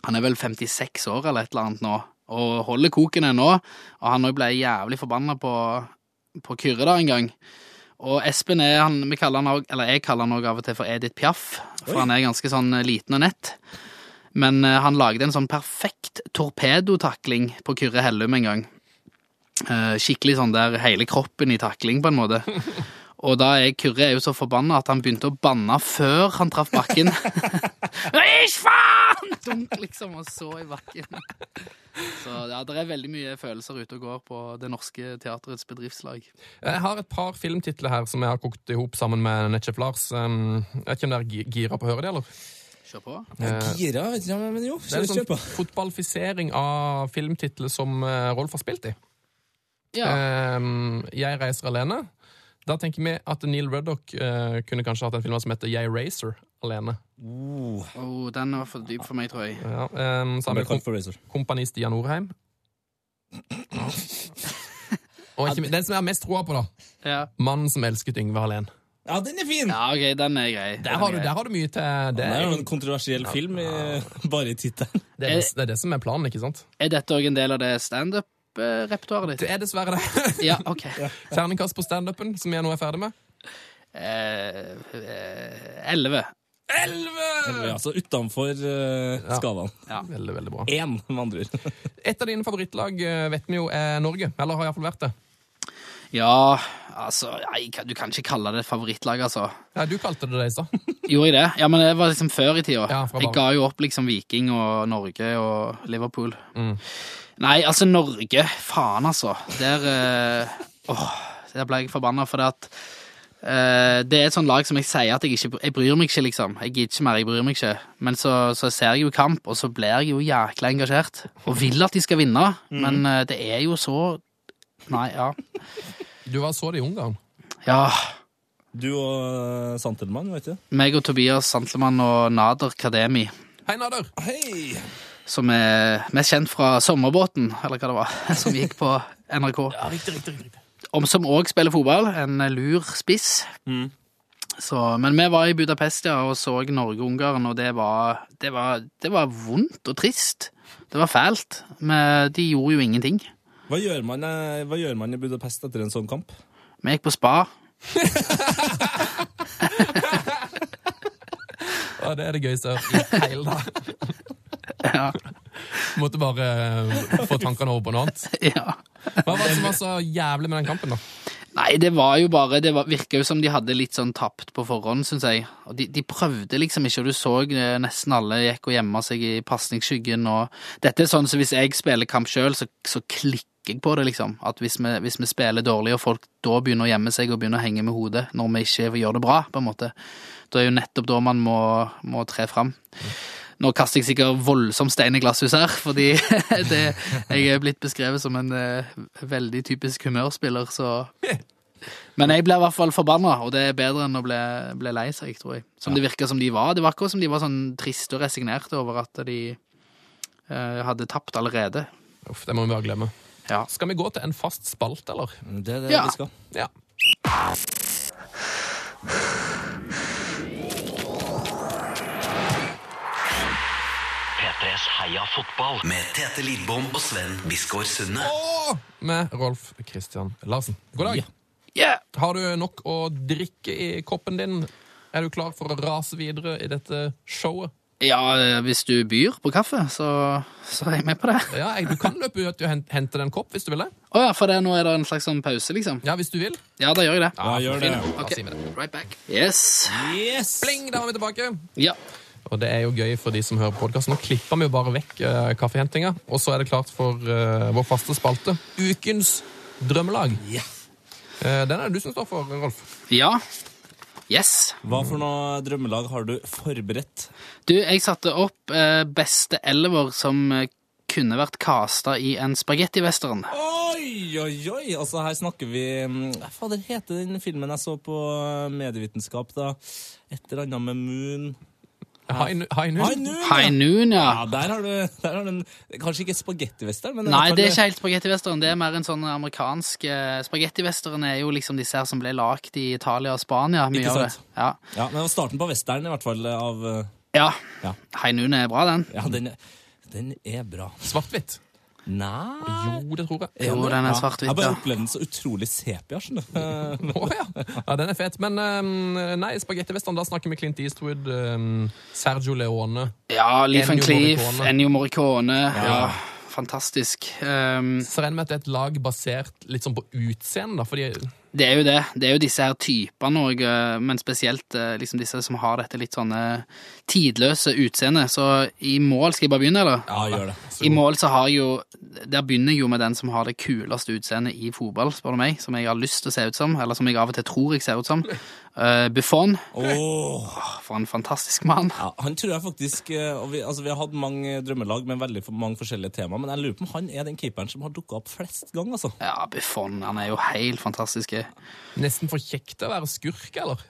S5: Han er vel 56 år eller et eller annet nå, og holder koken ennå. Og han òg ble jævlig forbanna på, på Kyrre da en gang. Og Espen er han, vi kaller han også, eller jeg kaller han òg av og til for Edith Piaf, for
S4: Oi.
S5: han er ganske sånn eh, liten og nett. Men eh, han lagde en sånn perfekt torpedotakling på Kyrre Hellum en gang. Eh, skikkelig sånn der hele kroppen i takling, på en måte. Og da er Kyrre er jo så forbanna at han begynte å banne før han traff bakken. Ish, faen! Dunk, liksom, og så i bakken. Så ja, det er veldig mye følelser ute og går på det norske teaterets bedriftslag.
S3: Jeg har et par filmtitler her som jeg har kokt i hop sammen med Netchef Lars. Um, jeg vet ikke om dere er gi- gira på å høre det, eller?
S5: Kjør på.
S3: Eh,
S4: Gira, vet ikke, men jo.
S3: det
S4: Kjør,
S3: er en
S4: kjør
S3: sånn
S4: på.
S3: fotballfisering av filmtitler som eh, Rolf har spilt i.
S5: Ja.
S3: Ehm, jeg reiser alene. Da tenker vi at Neil Ruddock eh, kunne kanskje hatt en film som heter Jeg racer alene.
S5: Oh, den var for dyp for meg, tror jeg.
S3: Ja, ehm, så har vi
S4: American Foot Racer.
S3: kom- Kompani Stian Norheim. Og ikke, min- den som jeg har mest troa på, da.
S5: Ja,
S3: Mannen som elsket Yngve Hallén.
S4: Ja, den er fin!
S5: ja ok, den er grei.
S3: Der har, du, der har du mye til det.
S4: Det er jo en
S3: er-
S4: kontroversiell film, i, bare i tittelen.
S3: Det er det, det er det som er planen, ikke sant?
S5: Er dette òg en del av det standup-repertoaret ditt?
S3: Det er dessverre det.
S5: Ja, OK. Eh,
S3: Terningkast på standupen, som jeg nå er ferdig med.
S5: eh, Elleve.
S4: Ja, så altså, utenfor eh, skalaen.
S3: Veldig, veldig bra.
S4: Én, med andre ord.
S3: Et av dine favorittlag eh, vet vi jo er Norge. Eller har iallfall vært det.
S5: Ja, altså nei, Du kan ikke kalle det favorittlag, altså.
S3: Nei, du kalte det det i stad.
S5: Gjorde jeg det? Ja, men det var liksom før i tida.
S3: Ja, fra
S5: jeg
S3: barn.
S5: ga jo opp liksom Viking og Norge og Liverpool.
S3: Mm.
S5: Nei, altså Norge, faen altså. Der eh, Åh, der ble jeg forbanna for det at eh, det er et sånt lag som jeg sier at jeg ikke Jeg bryr meg ikke, liksom. Jeg gidder ikke mer, jeg bryr meg ikke. Men så, så ser jeg jo kamp, og så blir jeg jo jækla engasjert. Og vil at de skal vinne, men eh, det er jo så Nei, ja.
S3: Du var så det i Ungarn.
S5: Ja.
S4: Du og eh, Santelmann, vet du.
S5: Meg og Tobias Santlemann og Nader Kademi,
S3: Hei, Nader!
S4: Hei!
S5: som er mest kjent fra Sommerbåten, eller hva det var, som gikk på NRK.
S3: Ja, riktig, riktig, riktig. Mm.
S5: Om som òg spiller fotball. En lur spiss. Så, men vi var i Budapest ja, og så Norge-Ungarn, og det var, det, var, det var vondt og trist. Det var fælt. Men de gjorde jo ingenting.
S4: Hva gjør, man, eh, hva gjør man i Budapest etter en sånn kamp?
S5: Vi gikk på spa.
S3: Ja, det er det gøyeste jeg har hørt i hele dag.
S5: Ja.
S3: Måtte bare eh, få tankene over på noe annet.
S5: ja.
S3: Hva var det som var så jævlig med den kampen, da?
S5: Nei, det var jo bare Det var- virka jo som de hadde litt sånn tapt på forhånd, syns jeg. Og de, de prøvde liksom ikke, og du så eh, nesten alle gikk og gjemma seg i pasningsskyggen og Dette er sånn så hvis jeg spiller kamp sjøl, så, så klikker jeg på det, liksom. At hvis vi, hvis vi spiller dårlig, og folk da begynner å gjemme seg og begynner å henge med hodet når vi ikke gjør det bra, på en måte, da er jo nettopp da man må, må tre fram. Nå kaster jeg sikkert voldsom stein i glasshuset her, fordi det, jeg er blitt beskrevet som en eh, veldig typisk humørspiller, så men jeg ble i hvert fall forbanna, og det er bedre enn å bli, bli lei seg, tror jeg. Som det virka som de var. Det var akkurat som de var sånn triste og resignerte over at de eh, hadde tapt allerede.
S3: Uff, det må vi bare glemme.
S5: Ja.
S3: Skal vi gå til en fast spalt, eller?
S4: Det er det
S5: Ja.
S4: vi skal.
S3: Ja.
S2: P3s Heia fotball med Tete Lidbom og Sven Biskår Sunde.
S3: Med Rolf Kristian Larsen. God dag.
S5: Yeah!
S3: Har du nok å drikke i koppen din? Er du klar for å rase videre i dette showet?
S5: Ja, eh, hvis du byr på kaffe, så, så er jeg med på det.
S3: Ja, jeg, Du kan løpe ut og hen- hente den kopp hvis du vil det.
S5: Å ja, for det, nå er det en slags sånn pause, liksom?
S3: Ja, hvis du vil.
S5: Ja, da gjør jeg det.
S4: Ja, gjør det.
S3: Ok.
S5: Ok, right back. Yes.
S4: Yes!
S3: Bling, der var vi tilbake.
S5: Ja.
S3: Og det er jo gøy for de som hører podkast. Nå klipper vi jo bare vekk eh, kaffehentinga, og så er det klart for eh, vår faste spalte. Ukens drømmelag.
S4: Ja.
S3: Eh, den er det du som står for, Rolf.
S5: ja. Yes.
S4: Hva for noe drømmelag har du forberedt?
S5: Du, jeg satte opp eh, beste elver som eh, kunne vært casta i en spagettivestern.
S4: Oi, oi, oi! Altså, her snakker vi mm, Hva fader heter den filmen jeg så på eh, medievitenskap, da? Et eller annet med Moon High
S3: Hainun.
S4: Noon!
S5: High noon, ja.
S4: Ja, der har du, der har du en, Kanskje ikke spagettivester, men i
S5: Nei,
S4: hvert fall-
S5: det er ikke helt spagettivesteren. Det er mer en sånn amerikansk eh, Spagettivesteren er jo liksom disse her som ble lagd i Italia og Spania. Mye
S4: Ikke
S5: av det.
S4: sant?
S5: Ja.
S4: Ja, men det var starten på western, i hvert fall. av... eh,
S5: ja.
S4: Ja.
S5: Hei Nune er bra, den.
S4: Ja, den, er- den er bra.
S3: Svart-hvitt.
S4: Nei
S3: Jo, det tror jeg.
S5: Jo, den er svart-hvit,
S4: Jeg
S5: ja.
S4: bare opplevde den så utrolig sepia, skjønner du.
S3: Å ja. ja, den er fet. Men eh, nei, spagettivestern, da snakker vi Clint Eastwood, eh, Sergio Leone
S5: Ja, Leaf and
S3: Ennio
S5: Cleef,
S3: Morricone.
S5: Ennio Morricone. Ja. Fantastisk. Um,
S3: Så regner jeg med at det er et lag basert litt sånn på utseendet, da, fordi
S5: det er jo det. Det er jo disse her typene òg, men spesielt eh, liksom disse som har dette litt sånne tidløse utseendet. Så i mål Skal jeg bare begynne, eller?
S4: Ja, gjør det.
S5: I mål så har jeg jo Der begynner jeg jo med den som har det kuleste utseendet i fotball, spør du meg. Som jeg har lyst til å se ut som, eller som jeg av og til tror jeg ser ut som. Eh, Buffon.
S4: Åh.
S5: For en fantastisk mann.
S4: Ja, han tror jeg faktisk eh, og vi, altså, vi har hatt mange drømmelag med veldig for- mange forskjellige tema, men jeg lurer på om han er den keeperen som har dukka opp flest ganger, altså.
S5: Ja, Buffon. Han er jo helt fantastisk.
S3: nesten for kjekt til å være skurk, eller?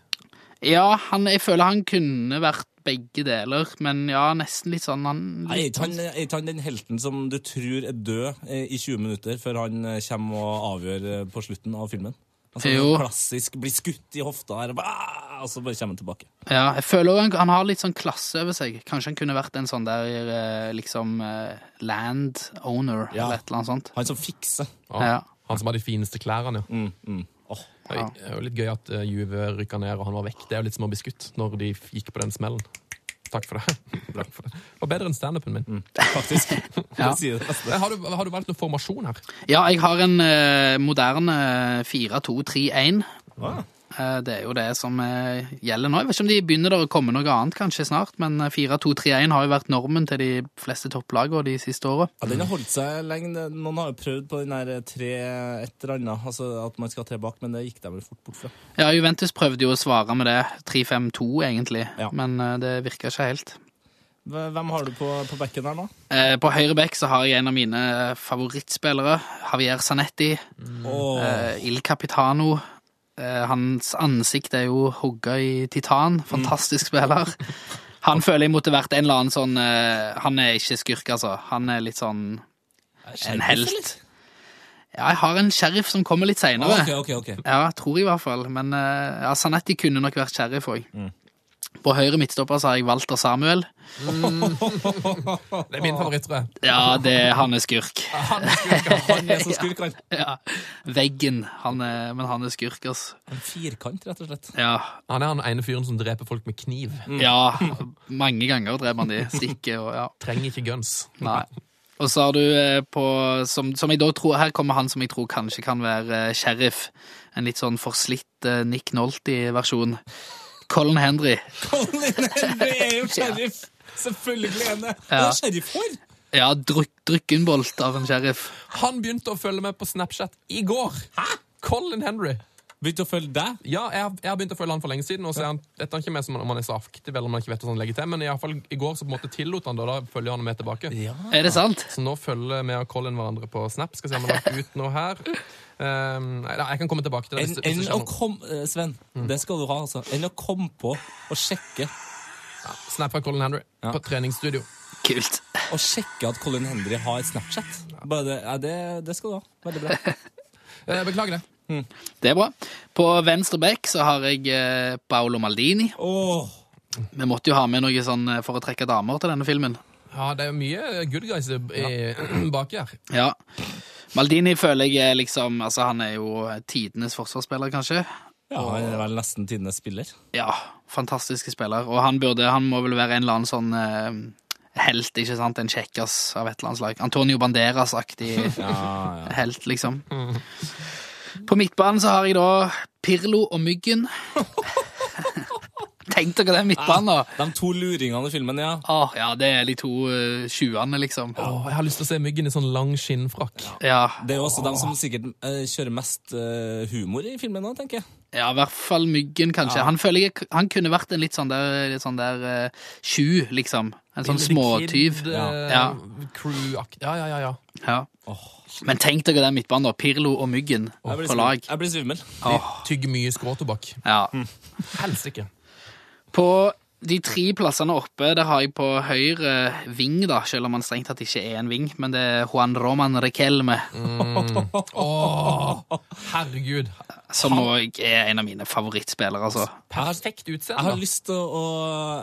S5: Ja, han, jeg føler han kunne vært begge deler, men ja, nesten litt sånn han
S4: Nei, Er ikke han- er ikke han den helten som du tror er død eh, i 20 minutter, før han eh, kommer og avgjør eh, på slutten av filmen? Altså,
S5: Jo.
S4: Klassisk blir skutt i hofta her, og bare- ah, og så bare kommer han tilbake.
S5: Ja, jeg føler også han, han har litt sånn klasse over seg. Kanskje han kunne vært en sånn der eh, liksom eh, land owner,
S4: Ja.
S5: eller et eller annet sånt.
S4: Han som fikser.
S3: Ja.
S5: Ja.
S3: Han som har de fineste klærne, ja.
S4: Mm, mm. Åh.
S3: Det er jo litt gøy at eh, Juve rykka ned og han var vekk. Det er jo litt som å bli skutt når de f- gikk på den smellen. Takk for det. Takk for det. Det var bedre enn standupen
S4: Mm.
S3: min.
S4: Faktisk.
S5: Ja.
S4: Jeg sier det beste.
S3: Eh, Har, du, har du valgt noen formasjon her?
S5: Ja, jeg har en eh, moderne 4-2-3-1.
S4: Ah,
S5: Eh, det er jo det som eh, gjelder nå. Jeg vet ikke om de begynner der å komme noe annet kanskje snart, men eh, 4-2-3-1 har jo vært normen til de fleste topplagene de siste åra.
S4: Ja, den har holdt seg lenge. Det- Noen har jo prøvd på den der tre et eller annet, altså at man skal tre bak, men det gikk de vel fort bort fra.
S5: Ja, Juventus prøvde jo å svare med det. 3-5-2, egentlig,
S4: Ja.
S5: men eh, det virka ikke helt.
S4: Hve- Hvem har du på, på bekken her nå?
S5: Eh, på høyre bekk så har jeg en av mine eh, favorittspillere, Javier Zanetti.
S4: Åh,
S5: Eh, Il Capitano. Eh, hans ansikt er jo hogga i
S4: Mm.
S5: titan. Fantastisk spiller. Han føler jeg måtte vært en eller annen sånn eh, Han er ikke skurk, altså. Han er litt sånn en helt. Ja, jeg har en sheriff som kommer litt
S4: Ah,
S5: seinere.
S4: ok, ok, ok.
S5: Ja, tror jeg i hvert fall. Men eh, ja, Sanetti kunne nok vært sheriff òg.
S4: Mm.
S5: På høyre midtstopper så har jeg Walter Samuel.
S3: Det er eh. min favoritt, tror jeg.
S5: Ja, det er han er skurk.
S4: Han er skurk, han er så skurk, han.
S5: Ja. Veggen. Han er, men han er skurk, altså.
S4: En firkant, rett og slett. Mm.
S5: Ja.
S3: Han er han ene fyren som dreper folk med kniv.
S5: ja. Mange ganger dreper han de. Stikker og ja.
S3: Trenger ikke guns.
S5: Nei. Og så har du eh, på som, som jeg da tror, Her kommer han som jeg tror kanskje kan være eh, sheriff. En litt sånn forslitt eh, Nick Nolte-versjon. Colin Henry.
S4: Colin Henry er jo sheriff! Selvfølgelig er han det. Han
S5: Ja.
S4: er sheriff for!
S5: Ja, druk, drukkenbolt av en sheriff.
S3: Han begynte å følge med på Snapchat i går. Hæ? Colin Henry.
S4: Begynte å følge deg.
S3: Ja, jeg har, jeg har begynt å følge han for lenge siden. og så er han, Dette er ikke med som om han er så aktiv, eller om han ikke vet hvordan han legger til, men i, alle fall, i går så på en måte tillot han det, og da følger han med tilbake.
S5: Er det sant?
S3: Så nå følger vi og Colin hverandre på Snap. Skal se om han har lagt ut noe her. Um, nei, jeg kan komme tilbake til det.
S4: Enn
S3: hvis, det- hvis
S4: enn
S3: det
S4: å
S3: skjer noe.
S4: kom, eh, Sven, det skal du ha, altså. Enn å komme på og sjekke
S3: Snap fra Colin Henry
S4: Ja.
S3: på treningsstudio.
S5: Kult.
S4: Og sjekke at Colin Henry har Snapchat. Bare det, ja, det, det skal du ha. Veldig bra.
S3: Eh, beklager det.
S5: Det er bra. På venstre bekk så har jeg eh, Paolo Maldini.
S4: Åh,
S5: Vi måtte jo ha med noe sånn eh, for å trekke damer til denne filmen.
S3: Ja, det er mye good guys i, i- baki her.
S5: Ja. Maldini føler jeg er liksom Altså, han er jo tidenes forsvarsspiller, kanskje.
S4: ja, han er vel nesten tidenes spiller.
S5: Ja, fantastiske spiller. Og han burde Han må vel være en eller annen sånn eh, helt, ikke sant? En kjekkas av et eller annet slag. Antonio Banderas-aktig helt, liksom. På midtbanen så har jeg da Pirlo og Myggen. Tenk dere den midtbanen, da!
S4: De to luringene i filmen, ja.
S5: Åh, ja, det er de to eh, tjuene, liksom.
S3: Åh, jeg har lyst til å se myggen i sånn lang skinnfrakk.
S5: Ja,
S4: Det er jo også de som sikkert eh, kjører mest eh, humor i filmen nå, tenker jeg.
S5: ja, i hvert fall Myggen, kanskje. Han føler jeg han kunne vært en litt sånn der, litt sånn der eh, tju, liksom. En sånn småtyv.
S3: Ja.
S5: Ja.
S3: Crew-akt. eh, Ja, ja, ja, ja.
S5: Ja. Men tenk dere den midtbanen, da. Pirlo og Myggen
S4: Jeg blir
S5: på
S4: svimmel.
S5: lag.
S4: Jeg blir svimmel.
S3: De tygger mye skråtobakk.
S5: Ja.
S3: Helsike.
S5: På de tre plassene oppe, der har jeg på høyre ving, da, selv om han strengt tatt ikke er en ving, men det er Juan Roman Rekelme,
S3: Herregud.
S5: som òg er en av mine favorittspillere, altså.
S3: Perfekt
S4: Jeg har
S3: utseende.
S4: lyst til å,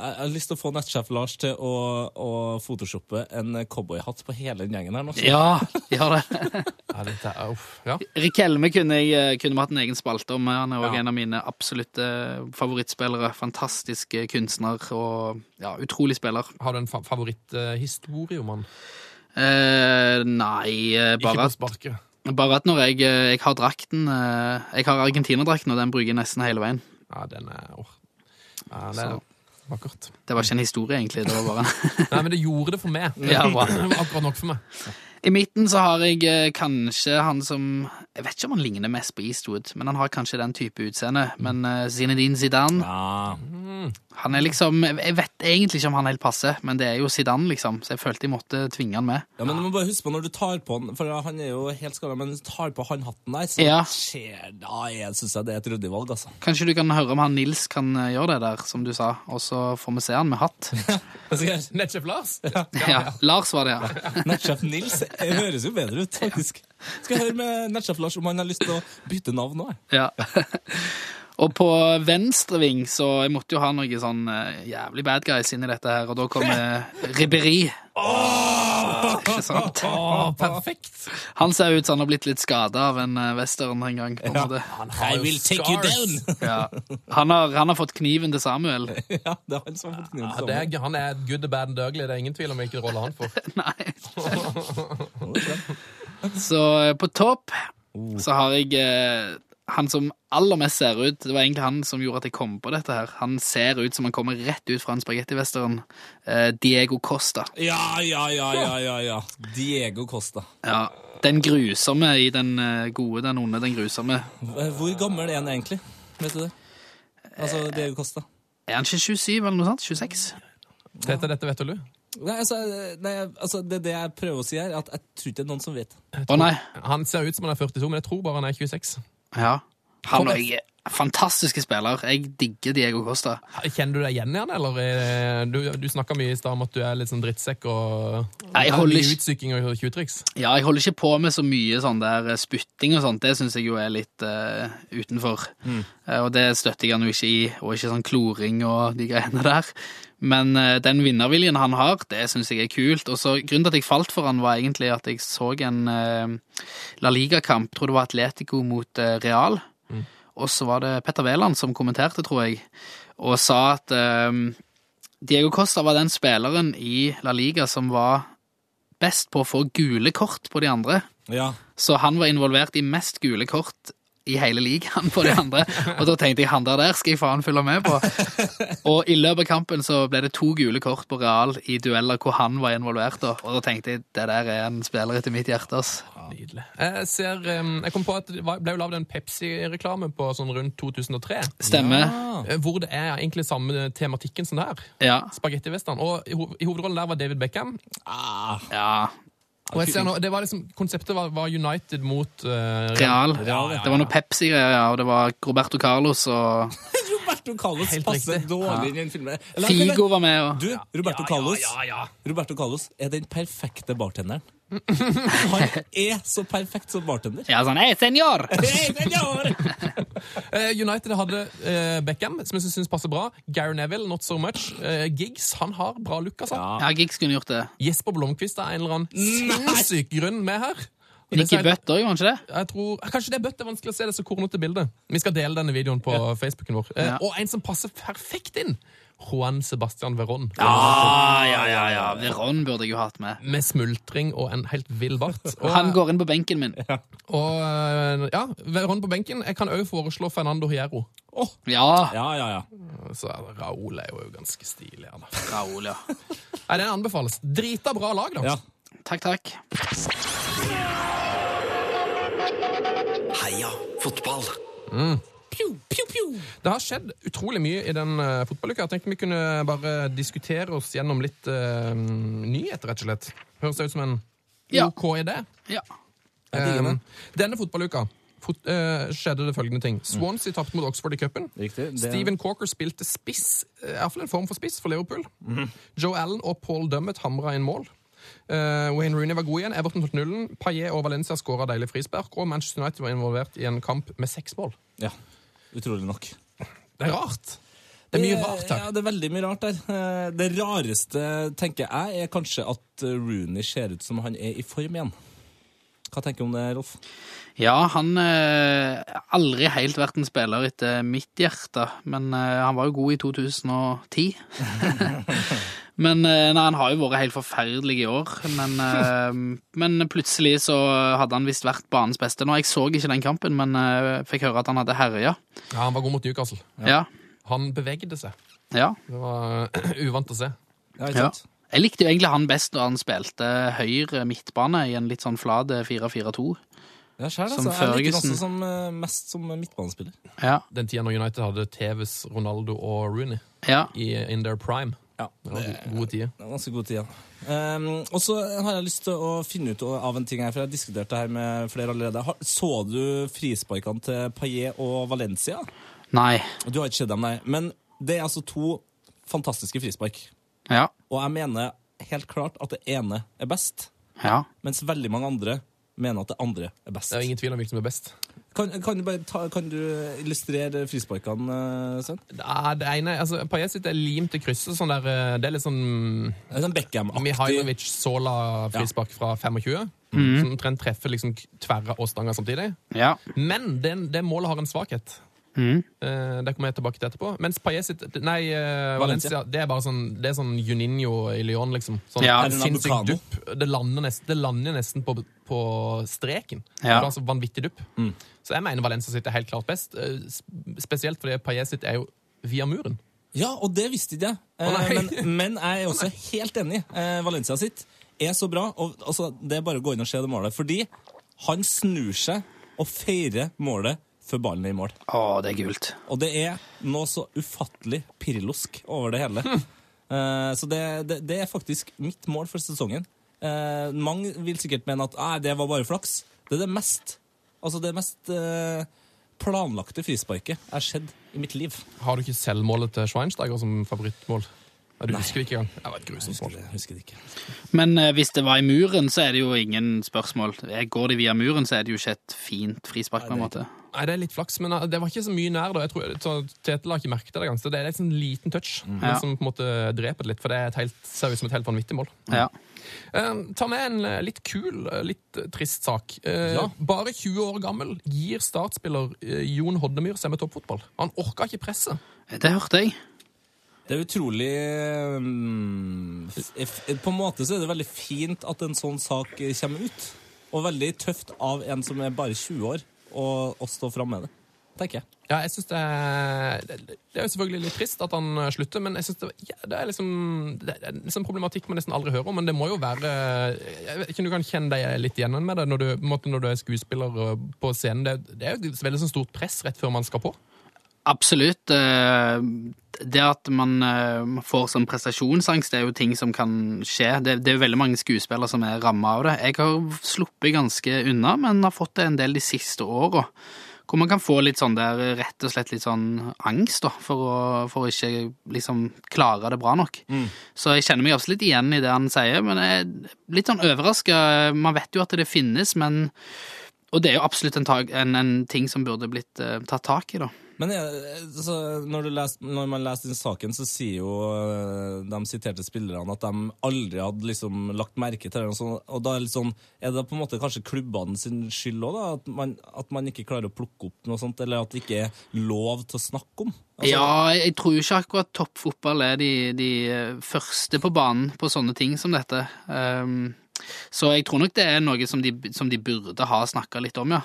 S4: jeg har lyst til å få nettsjef Lars til å, å photoshoppe en cowboyhatt på hele den gjengen her nå.
S5: Ja, gjør det.
S3: Ja, dette er, uff. Ja.
S5: Rikelme kunne jeg eh, kunne vi hatt en egen spalte om. Han er også
S4: Ja.
S5: en av mine absolutte favorittspillere. Fantastisk eh, kunstner og ja, utrolig spiller.
S3: Har du en fa favoritthistorie om han?
S5: Eh, nei, eh,
S3: Ikke
S5: bare
S3: på
S5: at,
S3: sparket.
S5: bare at når jeg, eh, jeg har drakten eh, Jeg har Argentina-drakten, og den bruker jeg nesten hele veien.
S3: Ja, den er åh. Ja, det er
S5: Så.
S3: vakkert.
S5: Det var ikke en historie, egentlig. Det var bare en
S3: Nei, men det gjorde det for meg. Det
S5: Ja, bra.
S3: var akkurat nok for meg.
S5: I midten så har jeg eh, kanskje han som Jeg vet ikke om han ligner mest på Eastwood, men han har kanskje den type utseende. Men eh, Zinedine Zidane
S4: Ja.
S5: Han er liksom Jeg vet egentlig ikke om han helt passer, men det er jo Zidane, liksom, så jeg følte jeg måtte tvinge han med.
S4: Ja, men du må bare huske på når du tar på den, for han er jo helt skada, men du tar på han hatten der, så
S5: Ja.
S4: skjer da jeg synes jeg det er et ryddig valg, altså.
S5: Kanskje du kan høre om han Nils kan eh, gjøre det der, som du sa, og så får vi se han med hatt.
S4: Men sikkert,
S3: Nettsjef Lars?
S5: Ja, Lars var det, ja.
S4: Nettsjef Nils eh, høres jo bedre ut, faktisk. Skal jeg høre med nettsjef Lars om han har lyst til å bytte navn nå? jeg?
S5: ja. Og på venstre ving, så jeg måtte jo ha noe sånn eh, jævlig bad guys inni dette her, og da kom eh, Ribberi. ikke sant?
S3: Å, perfekt!
S5: Han ser ut som han har blitt litt skada av en eh, western en gang. på en måte.
S4: I will take you down!
S5: Ja. Han, har, han har fått kniven til Samuel.
S4: ja, det er han som har fått kniven
S3: Ja,
S4: til
S3: det
S4: sammen.
S3: er, han er good, the bad and the ugly. Det er ingen tvil om hvilken rolle han får.
S5: Nei. Så eh, på topp så har jeg eh, han som aller mest ser ut Det var egentlig han som gjorde at jeg kom på dette her. Han ser ut som han kommer rett ut fra en spagettivestern. Eh, Diego Costa.
S4: Ja, ja, ja, ja, ja, ja. Diego Costa.
S5: Ja. Den grusomme i den eh, gode, den onde, den grusomme.
S4: Eh, Hvor gammel er han egentlig? Vet du det? Altså Diego Costa.
S5: Er han ikke 27 eller noe sånt? 26?
S3: Dette, dette vet du.
S4: Nei, altså, nei, altså det, det jeg prøver å si her, er at jeg tror ikke det er noen som vet.
S5: Å nei.
S3: Han ser ut som han er 42, men jeg tror bare han er 26.
S5: Ja. Han og jeg er fantastiske spiller. Jeg digger Diego Costa.
S3: Kjenner du deg igjen i han, eller? er- Du, du snakka mye i stad om at du er litt sånn drittsekk og
S5: Nei, jeg holder
S3: Mye
S5: ikke-
S3: utsyking og tjuvtriks.
S5: Ja, jeg holder ikke på med så mye sånn der eh, spytting og sånt. Det syns jeg jo er litt eh, utenfor. Eh, og det støtter jeg han jo ikke i, og ikke sånn kloring og de greiene der. Men eh, den vinnerviljen han har, det syns jeg er kult. Og så grunnen til at jeg falt for han, var egentlig at jeg så en eh, La Liga-kamp, tror det var Atletico mot eh, Real. Og så var det Petter Wæland som kommenterte, tror jeg, og sa at eh, Diego Costa var den spilleren i La Liga som var best på å få gule kort på de andre.
S4: Ja,
S5: Så han var involvert i mest gule kort i hele ligaen på de andre. Og da tenkte jeg han der der skal jeg faen følge med på. Og i løpet av kampen så ble det to gule kort på Real i dueller hvor han var involvert. da. Og da tenkte jeg det der er en spiller etter mitt hjerte. ass.
S3: Nydelig. Jeg, ser, em, jeg kom på at det var- ble jo lagd en Pepsi-reklame på sånn rundt 2003.
S5: Stemmer.
S3: eh, Hvor det er egentlig samme tematikken som det her.
S5: Ja.
S3: Spagettivesteren. Og i hov- i hovedrollen der var David Beckham.
S4: Ah.
S5: ja.
S3: Og jeg ser nå, det var liksom, Konseptet var, var United mot eh,
S5: Real.
S4: ja, ja.
S5: Det var noe Pepsi-greier, ja, og det var Roberto Carlos og
S4: Roberto Carlos
S3: Helt
S4: passer
S3: riktig.
S4: dårlig inn i den filmen. Eller,
S5: Figo var med. og...
S4: Du, Roberto Carlos
S3: Ja, ja, ja.
S4: Roberto Carlos er den perfekte bartenderen. Han er så perfekt som bartender.
S5: Ja, sånn, hei, senor!
S4: Hey, senor!
S3: Eh, United hadde eh, Beckham, som jeg syns passer bra. Gary Neville, not so much. Eh, Giggs, han har bra look, altså.
S5: Ja, Giggs kunne gjort det.
S3: Jesper Blomkvist er en eller annen sinnssyk grunn med her. Og det
S5: Ricky
S3: sier-
S5: Butt òg, var han ikke det?
S3: Jeg tror, Kanskje det er bøtt, det er vanskelig å se det så kornete bildet. Vi skal dele denne videoen på Facebooken vår. Eh,
S5: Ja.
S3: Og en som passer perfekt inn! Juan Sebastian Veron.
S5: Ah, ja, ja, ja. Veron burde jeg jo hatt med.
S3: Med smultring og en helt vill bart. Og,
S5: Han går inn på benken min.
S3: og, eh, ja, Veron på benken. Jeg kan òg foreslå Fernando Hierro.
S5: Ja,
S4: Ja, ja, ja.
S3: Så Raoul er jo ganske stilig. Han. da.
S5: Raoul, ja.
S3: Nei, Den anbefales. Drita bra lag, da.
S4: ja.
S5: Takk, takk.
S2: Heia fotball.
S3: Det har skjedd utrolig mye i den uh, fotballuka. Jeg tenkte vi kunne bare diskutere oss gjennom litt eh, nyheter, rett og slett. Høres det ut som en
S5: Ja.
S3: OK idé? Eh,
S5: Ja.
S4: digger det.
S3: denne fotballuka fot, eh, skjedde det følgende ting. Swansea tapte mot Oxford i cupen.
S4: Riktig, det-
S3: Steven Corker spilte spiss, eh, i hvert fall en form for spiss, for Liverpool.
S4: Mhm.
S3: Joe Allen og Paul Dummett hamra inn mål. Eh, Wayne Rooney var god igjen. Everton tok nullen. Paillet og Valencia skåra deilig frispark. Og Manchester United var involvert i en kamp med seks mål.
S4: ja. Utrolig nok.
S3: Det er rart. Det er mye rart her.
S4: Ja, det er veldig mye rart der. Eh, Det rareste, tenker jeg, er kanskje at Rooney ser ut som han er i form igjen. Hva tenker du om det, Rolf?
S5: ja han eh, har aldri helt vært en spiller etter mitt hjerte, men eh, han var jo god i 2010. men eh, nei, han har jo vært helt forferdelig i år, men, eh, men plutselig så hadde han visst vært banens beste. Nå, Jeg så ikke den kampen, men eh, fikk høre at han hadde herja.
S3: Ja, han var god mot Newcastle.
S5: Ja.
S3: Han bevegde seg.
S5: ja.
S3: Det var uvant å se.
S4: Ja, ikke
S5: Ja.
S4: sant?
S5: Jeg likte jo egentlig han best når han spilte høyre midtbane i en litt sånn flat 4-4-2.
S4: Ja, skjær, altså. Jeg
S5: Som
S4: liker han
S5: Ferguson.
S4: også som, eh, mest som midtbanespiller.
S5: Ja.
S3: Den tida når United hadde Tevez, Ronaldo og Rooney
S5: ja.
S3: i, in their prime.
S4: Ja,
S3: Det var go- gode tider.
S4: Det er Ganske god tid, ja. Ehm, og så har jeg lyst til å finne ut av en ting her, for jeg har diskutert det her med flere allerede. Har- Så du frisparkene til Paillet og Valencia?
S5: Nei.
S4: Du har ikke sett dem, nei. Men det er altså to fantastiske frispark.
S5: Ja.
S4: Og jeg mener helt klart at det ene er best,
S5: Ja.
S4: mens veldig mange andre mener at det andre er best.
S3: Det er ingen tvil om hvilken som er best.
S4: Kan, kan, du, bare ta, kan du illustrere frisparkene, eh, Sven?
S3: Ja, det ene, altså, Paillet sitt er limt til krysset. Sånn der, eh, det er litt sånn
S4: Det er Sånn Beckham-aktig.
S3: Mihailovic-Sola-frispark fra 25, som omtrent treffer liksom tverra og stanga samtidig.
S5: Ja.
S3: Men det, det målet har en svakhet.
S5: Mm.
S3: Eh, det kommer jeg tilbake til etterpå. Mens Paillet sitt Nei, eh, Valencia.
S4: Valencia.
S3: Det er bare sånn Det er sånn Juninho i Lyon, liksom. Sånn
S5: Ja.
S3: en
S4: Er det en
S3: sinnssyk
S4: avokado?
S3: dupp. Det lander nesten, det lander nesten på, på streken.
S5: Ja.
S3: Det er altså vanvittig dupp. Så jeg mener Valencia sitt er helt klart best. eh, sp- Spesielt fordi Paillet sitt er jo via muren.
S4: Ja, og det visste ikke jeg. Eh,
S3: Å, nei.
S4: men, men jeg er også helt enig. Eh, Valencia sitt er så bra. Og, altså, det er bare å gå inn og se det målet. Fordi han snur seg og feirer målet før ballen er i mål.
S5: Å, det er gult.
S4: Og det er noe så ufattelig pirlosk over det hele. Eh, så det, det, det er faktisk mitt mål for sesongen. Eh, mange vil sikkert mene at «Nei, det var bare flaks. Det er det mest, altså det mest eh, planlagte frisparket jeg har sett i mitt liv.
S3: Har du ikke selv målet til Schweinsteiger som favorittmål? Nei, du husker det ikke engang. Det var et grusomt mål.
S4: Jeg husker det ikke.
S5: Men eh, hvis det var i muren, så er det jo ingen spørsmål. Eh, Går de via muren, så er det jo ikke et fint frispark, på en måte.
S3: Nei, det er litt flaks, men uh, det var ikke så mye nær. da. Jeg tror, så Tetel har ikke merket det. Ganske. Det er en sånn liten touch men
S5: Ja.
S3: som på en måte dreper det litt, for det er et helt, ser ut som et helt vanvittig mål.
S5: Ja.
S3: Eh, ta med en eh, litt kul, eh, litt eh, trist sak. Eh,
S4: Ja.
S3: Bare 20 år gammel gir startspiller eh, Jon Hodnemyr seg med toppfotball. Han orka ikke presset.
S5: Det hørte jeg.
S4: Det er utrolig mm, f- f- På en måte så er det veldig fint at en sånn sak eh, kommer ut. Og veldig tøft av en som er bare 20 år, å å stå fram med det, tenker jeg.
S3: Ja, jeg synes det, er- det det er jo selvfølgelig litt trist at han eh, slutter, men jeg synes det, ja, det er liksom Det er liksom en problematikk man nesten aldri hører om, men det må jo være eh, Jeg vet ikke om du kan kjenne deg litt igjen med det når du, på en måte, når du er skuespiller og på scenen. Det, det er jo et veldig sånn stort press rett før man skal på.
S5: Absolutt. eh, Det at man eh, får sånn prestasjonsangst, det er jo ting som kan skje. Det, det er jo veldig mange skuespillere som er ramma av det. Jeg har sluppet ganske unna, men har fått det en del de siste åra. Hvor man kan få litt sånn der rett og slett litt sånn angst da, for å, for å ikke liksom klare det bra nok. Så jeg kjenner meg absolutt igjen i det han sier, men jeg er litt sånn overraska. Man vet jo at det finnes, men Og det er jo absolutt en, tag, en, en ting som burde blitt eh, tatt tak i, da.
S4: Men eh, altså, når, du les, når man leser den saken, så sier jo eh, de siterte spillerne at de aldri hadde liksom lagt merke til det. Og, sånn, og da er, det litt sånn, er det på en måte kanskje klubbene sin skyld òg, at, man- at man ikke klarer å plukke opp noe sånt? Eller at det ikke er lov til å snakke om? Altså,
S5: ja, jeg tror jo ikke akkurat toppfotball er de, de eh, første på banen på sånne ting som dette. Ehm, så jeg tror nok det er noe som de, som de burde ha snakka litt om, ja.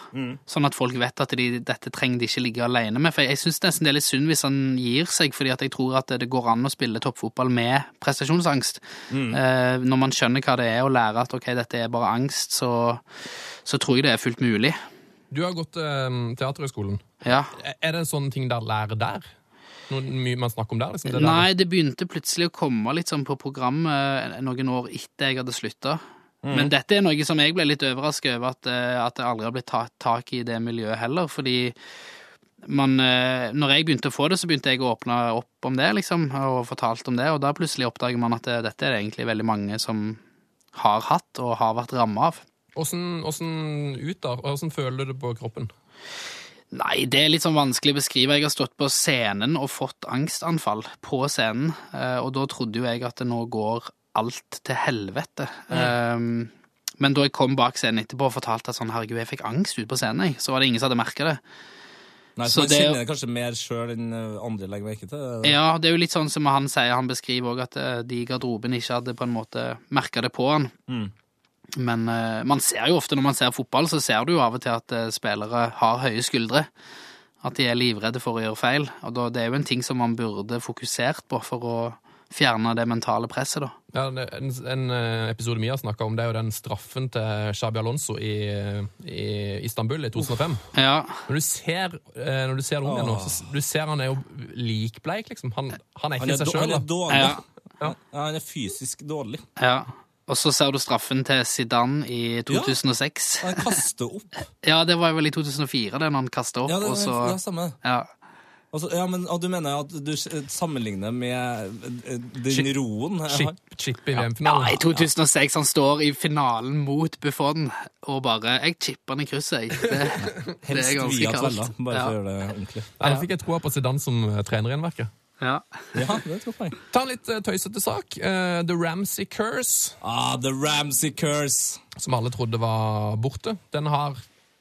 S5: Sånn at folk vet at de, dette trenger de ikke ligge alene med. For jeg syns nesten det er litt synd hvis han gir seg, fordi at jeg tror at det går an å spille toppfotball med prestasjonsangst. Eh, når man skjønner hva det er, og lærer at ok, dette er bare angst, så, så tror jeg det er fullt mulig.
S3: Du har gått eh, teaterhøgskolen.
S5: Ja.
S3: Er- Er det sånne ting der lærer der? Noe mye man snakker om der? liksom? Det der-
S5: Nei, det begynte plutselig å komme litt sånn på programmet eh, noen år etter jeg hadde slutta.
S3: Mm.
S5: Men dette er noe som jeg ble litt overraska over at, eh, at det aldri har blitt tatt tak i i det miljøet heller, fordi man eh, Når jeg begynte å få det, så begynte jeg å åpne opp om det, liksom, og fortalte om det, og da plutselig oppdager man at eh, dette er det egentlig veldig mange som har hatt og har vært ramma av.
S3: Åssen åssen ut der? Åssen føler du det på kroppen?
S5: Nei, det er litt sånn vanskelig å beskrive. Jeg har stått på scenen og fått angstanfall på scenen, eh, og da trodde jo jeg at det nå går alt til helvete. Um, Men da jeg kom bak scenen etterpå og fortalte at sånn, herregud, jeg fikk angst ute på scenen, jeg, så var det ingen som hadde merka det.
S4: Nei, for
S5: Så
S4: Man
S5: det-
S4: kjenner det kanskje mer sjøl enn eh, andre legger merke til. det.
S5: Ja, det er jo litt sånn som han sier, han beskriver òg at eh, de i garderoben ikke hadde på en måte merka det på han. Men eh, man ser jo ofte når man ser fotball, så ser du jo av og til at eh, spillere har høye skuldre. At de er livredde for å gjøre feil. Og da, det er jo en ting som man burde fokusert på for å fjerne det mentale presset, da.
S3: Ja, det- en, en eh, episode vi har snakka om, det er jo den straffen til Shabi Alonso i, i Istanbul i 2005.
S5: Ja,
S3: Når du ser, eh, når du ser det om igjen nå, så s- du ser han er jo likbleik, liksom. Han, han
S4: Ah.
S3: er
S4: Han
S3: ikke
S4: er,
S3: seg
S4: dår- han
S3: sjøl.
S4: er dårlig.
S5: Ja.
S4: Ja, han er fysisk dårlig.
S5: ja. Og så ser du straffen til Zidane i 2006.
S4: Han kaster opp.
S5: Ja, det var vel i 2004, det, når han kasta opp,
S4: Ja, det
S5: og så
S4: ja, samme.
S5: Ja.
S4: Altså, ja, men og Du mener at du s- sammenligner med eh, den
S3: Shit.
S4: roen jeg har?
S3: Chip, chip i
S5: Ja,
S3: VM-finalen.
S5: i 2006 han står i finalen mot Buffon og bare Jeg chipper han i krysset, jeg. Det, det er
S4: Helst
S5: ganske
S4: via tvella,
S5: kaldt.
S4: bare for å
S5: Ja.
S4: gjøre det ordentlig.
S3: Nei, Da fikk jeg troa på Zidane som eh, trener igjen, virker.
S5: Ja.
S4: Ja, det er et godt poeng.
S3: Ta en litt eh, tøysete sak. Eh, The Ramsey Curse,
S4: Ah, The Ramsey Curse!
S3: som alle trodde var borte, den har